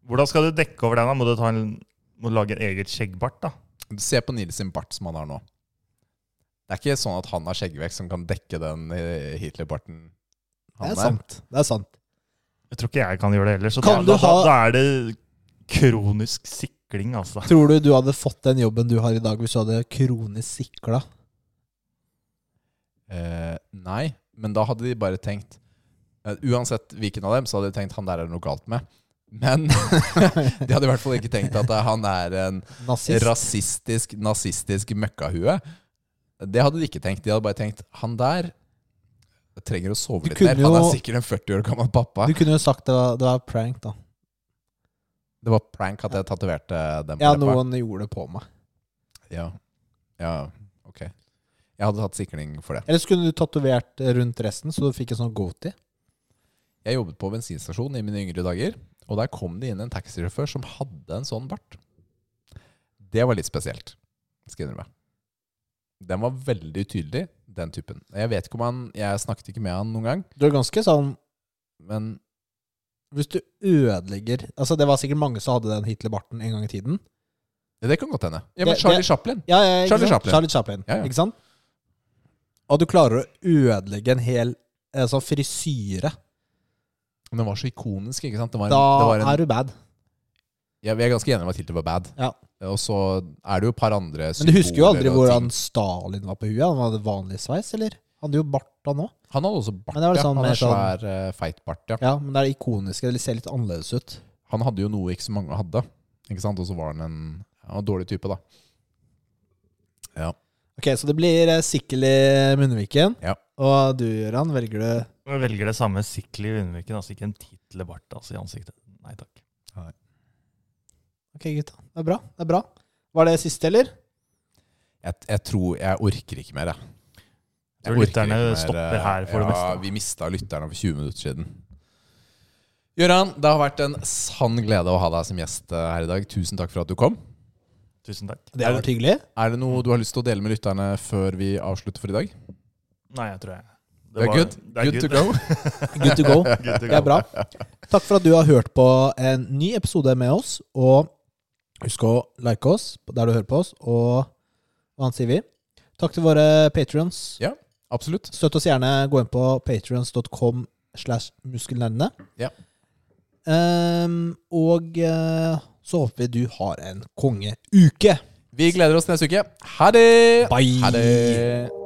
Speaker 3: Hvordan skal du dekke over den? da? Må du ta en, må du lage en eget skjeggbart, da?
Speaker 2: Se på Nils sin bart som han har nå. Det er ikke sånn at han har skjeggvekst som kan dekke den eh, Hitler-barten.
Speaker 1: Det er
Speaker 2: han er.
Speaker 1: sant. Det er sant.
Speaker 3: Jeg tror ikke jeg kan gjøre det heller. Så da,
Speaker 1: Kan du
Speaker 3: da, da,
Speaker 1: ha-
Speaker 3: da er det kronisk sikling, altså.
Speaker 1: Tror du du hadde fått den jobben du har i dag hvis du hadde kronisk sikla?
Speaker 2: Eh, nei, men da hadde de bare tenkt eh, Uansett hvilken av dem, så hadde de tenkt han der er det noe galt med. Men de hadde i hvert fall ikke tenkt at eh, han er en
Speaker 1: Nazist?
Speaker 2: rasistisk, nazistisk møkkahue. Det hadde de ikke tenkt. De hadde bare tenkt han der trenger å sove
Speaker 1: Du
Speaker 2: litt mer.
Speaker 1: kunne
Speaker 2: Han er
Speaker 1: jo-
Speaker 2: sikkert en 40 år gammel pappa.
Speaker 1: du kunne jo sagt det var, det var prank, da.
Speaker 2: Det var prank at jeg tatoverte den. på
Speaker 1: Ja,
Speaker 2: leppa.
Speaker 1: noen gjorde det på meg.
Speaker 2: Ja. ja, ok. Jeg hadde hatt sikring for det.
Speaker 1: Eller så kunne du tatovert rundt resten, så du fikk en sånn goatee.
Speaker 2: Jeg jobbet på bensinstasjon i mine yngre dager, og der kom det inn en taxisjåfør som hadde en sånn bart. Det var litt spesielt, skal jeg innrømme. Den var veldig tydelig, den typen. Jeg vet ikke om han, jeg snakket ikke med han noen gang,
Speaker 1: Du er ganske sånn
Speaker 2: men
Speaker 1: Hvis du ødelegger Altså, det var sikkert mange som hadde den Hitler-barten en gang i tiden.
Speaker 2: Ja, det kan godt hende. Ja, men
Speaker 1: Det-
Speaker 2: Charlie
Speaker 1: det-
Speaker 2: Chaplin.
Speaker 1: Ja, ja, ikke
Speaker 2: Charlie
Speaker 1: sant?
Speaker 2: Chaplin.
Speaker 1: Charlie Chaplin
Speaker 2: Ja, ja.
Speaker 1: Ikke sant? Og du klarer å ødelegge en hel eh, sånn frisyre.
Speaker 2: Den var så ikonisk, ikke sant? Det var en,
Speaker 1: Da
Speaker 2: det var en,
Speaker 1: er du bad.
Speaker 2: Ja, vi er ganske enige om at Hitler var bad.
Speaker 1: Ja.
Speaker 2: Og så er det jo et par andre
Speaker 1: Men du husker jo
Speaker 2: symboler
Speaker 1: aldri
Speaker 2: og
Speaker 1: hvordan
Speaker 2: ting.
Speaker 1: Stalin var på huet. Han hadde vanlig sveis, eller? Han hadde jo bart da nå.
Speaker 2: Han hadde også bart,
Speaker 1: Men det var
Speaker 2: ja.
Speaker 1: sånn
Speaker 2: Han
Speaker 1: mer
Speaker 2: har
Speaker 1: sånn-
Speaker 2: svær, eh, feit bart, ja.
Speaker 1: Ja, men det er ikoniske. Det ser litt annerledes ut.
Speaker 2: Han hadde jo noe ikke så mange hadde. Ikke sant? Og så var han en, han var en dårlig type, da. Ja.
Speaker 1: Ok, så det blir eh, Sikkel i Munnviken.
Speaker 2: Ja.
Speaker 1: Og du, Gøran, velger du
Speaker 3: Jeg velger det samme sikkelet i underviken, altså ikke en titlebart altså, i ansiktet. Nei takk.
Speaker 1: Ok, gutta. Det er bra. det er bra. Var det siste, eller?
Speaker 2: Jeg, jeg tror Jeg orker ikke mer, jeg.
Speaker 3: Tror
Speaker 2: orker
Speaker 3: lytterne
Speaker 2: ikke eh,
Speaker 3: stopper her for det
Speaker 2: ja,
Speaker 3: meste.
Speaker 2: Vi mista lytterne for 20 minutter siden. Gøran, det har vært en sann glede å ha deg som gjest eh, her i dag. Tusen takk for at du kom.
Speaker 3: Tusen takk.
Speaker 1: Det har vært hyggelig.
Speaker 2: Er det noe du har lyst til å dele med lytterne før vi avslutter for i dag?
Speaker 3: Nei, jeg tror jeg
Speaker 2: Det er
Speaker 3: var-
Speaker 2: good?
Speaker 3: Det er
Speaker 2: good to go?
Speaker 1: Good to go.
Speaker 3: Good to
Speaker 1: Det er bra. Takk for at du har hørt på en ny episode med oss. Og husk å like oss der du hører på oss, og hva annet sier vi? Takk til våre patrions.
Speaker 2: Ja, absolutt.
Speaker 1: Støtt oss gjerne. Gå inn på patrions.com slash muskelnerdene.
Speaker 2: Ja.
Speaker 1: Ehm, og eh, så håper vi du har en kongeuke.
Speaker 2: Vi gleder oss neste uke. Ha det!
Speaker 1: Bye!
Speaker 2: Ha det!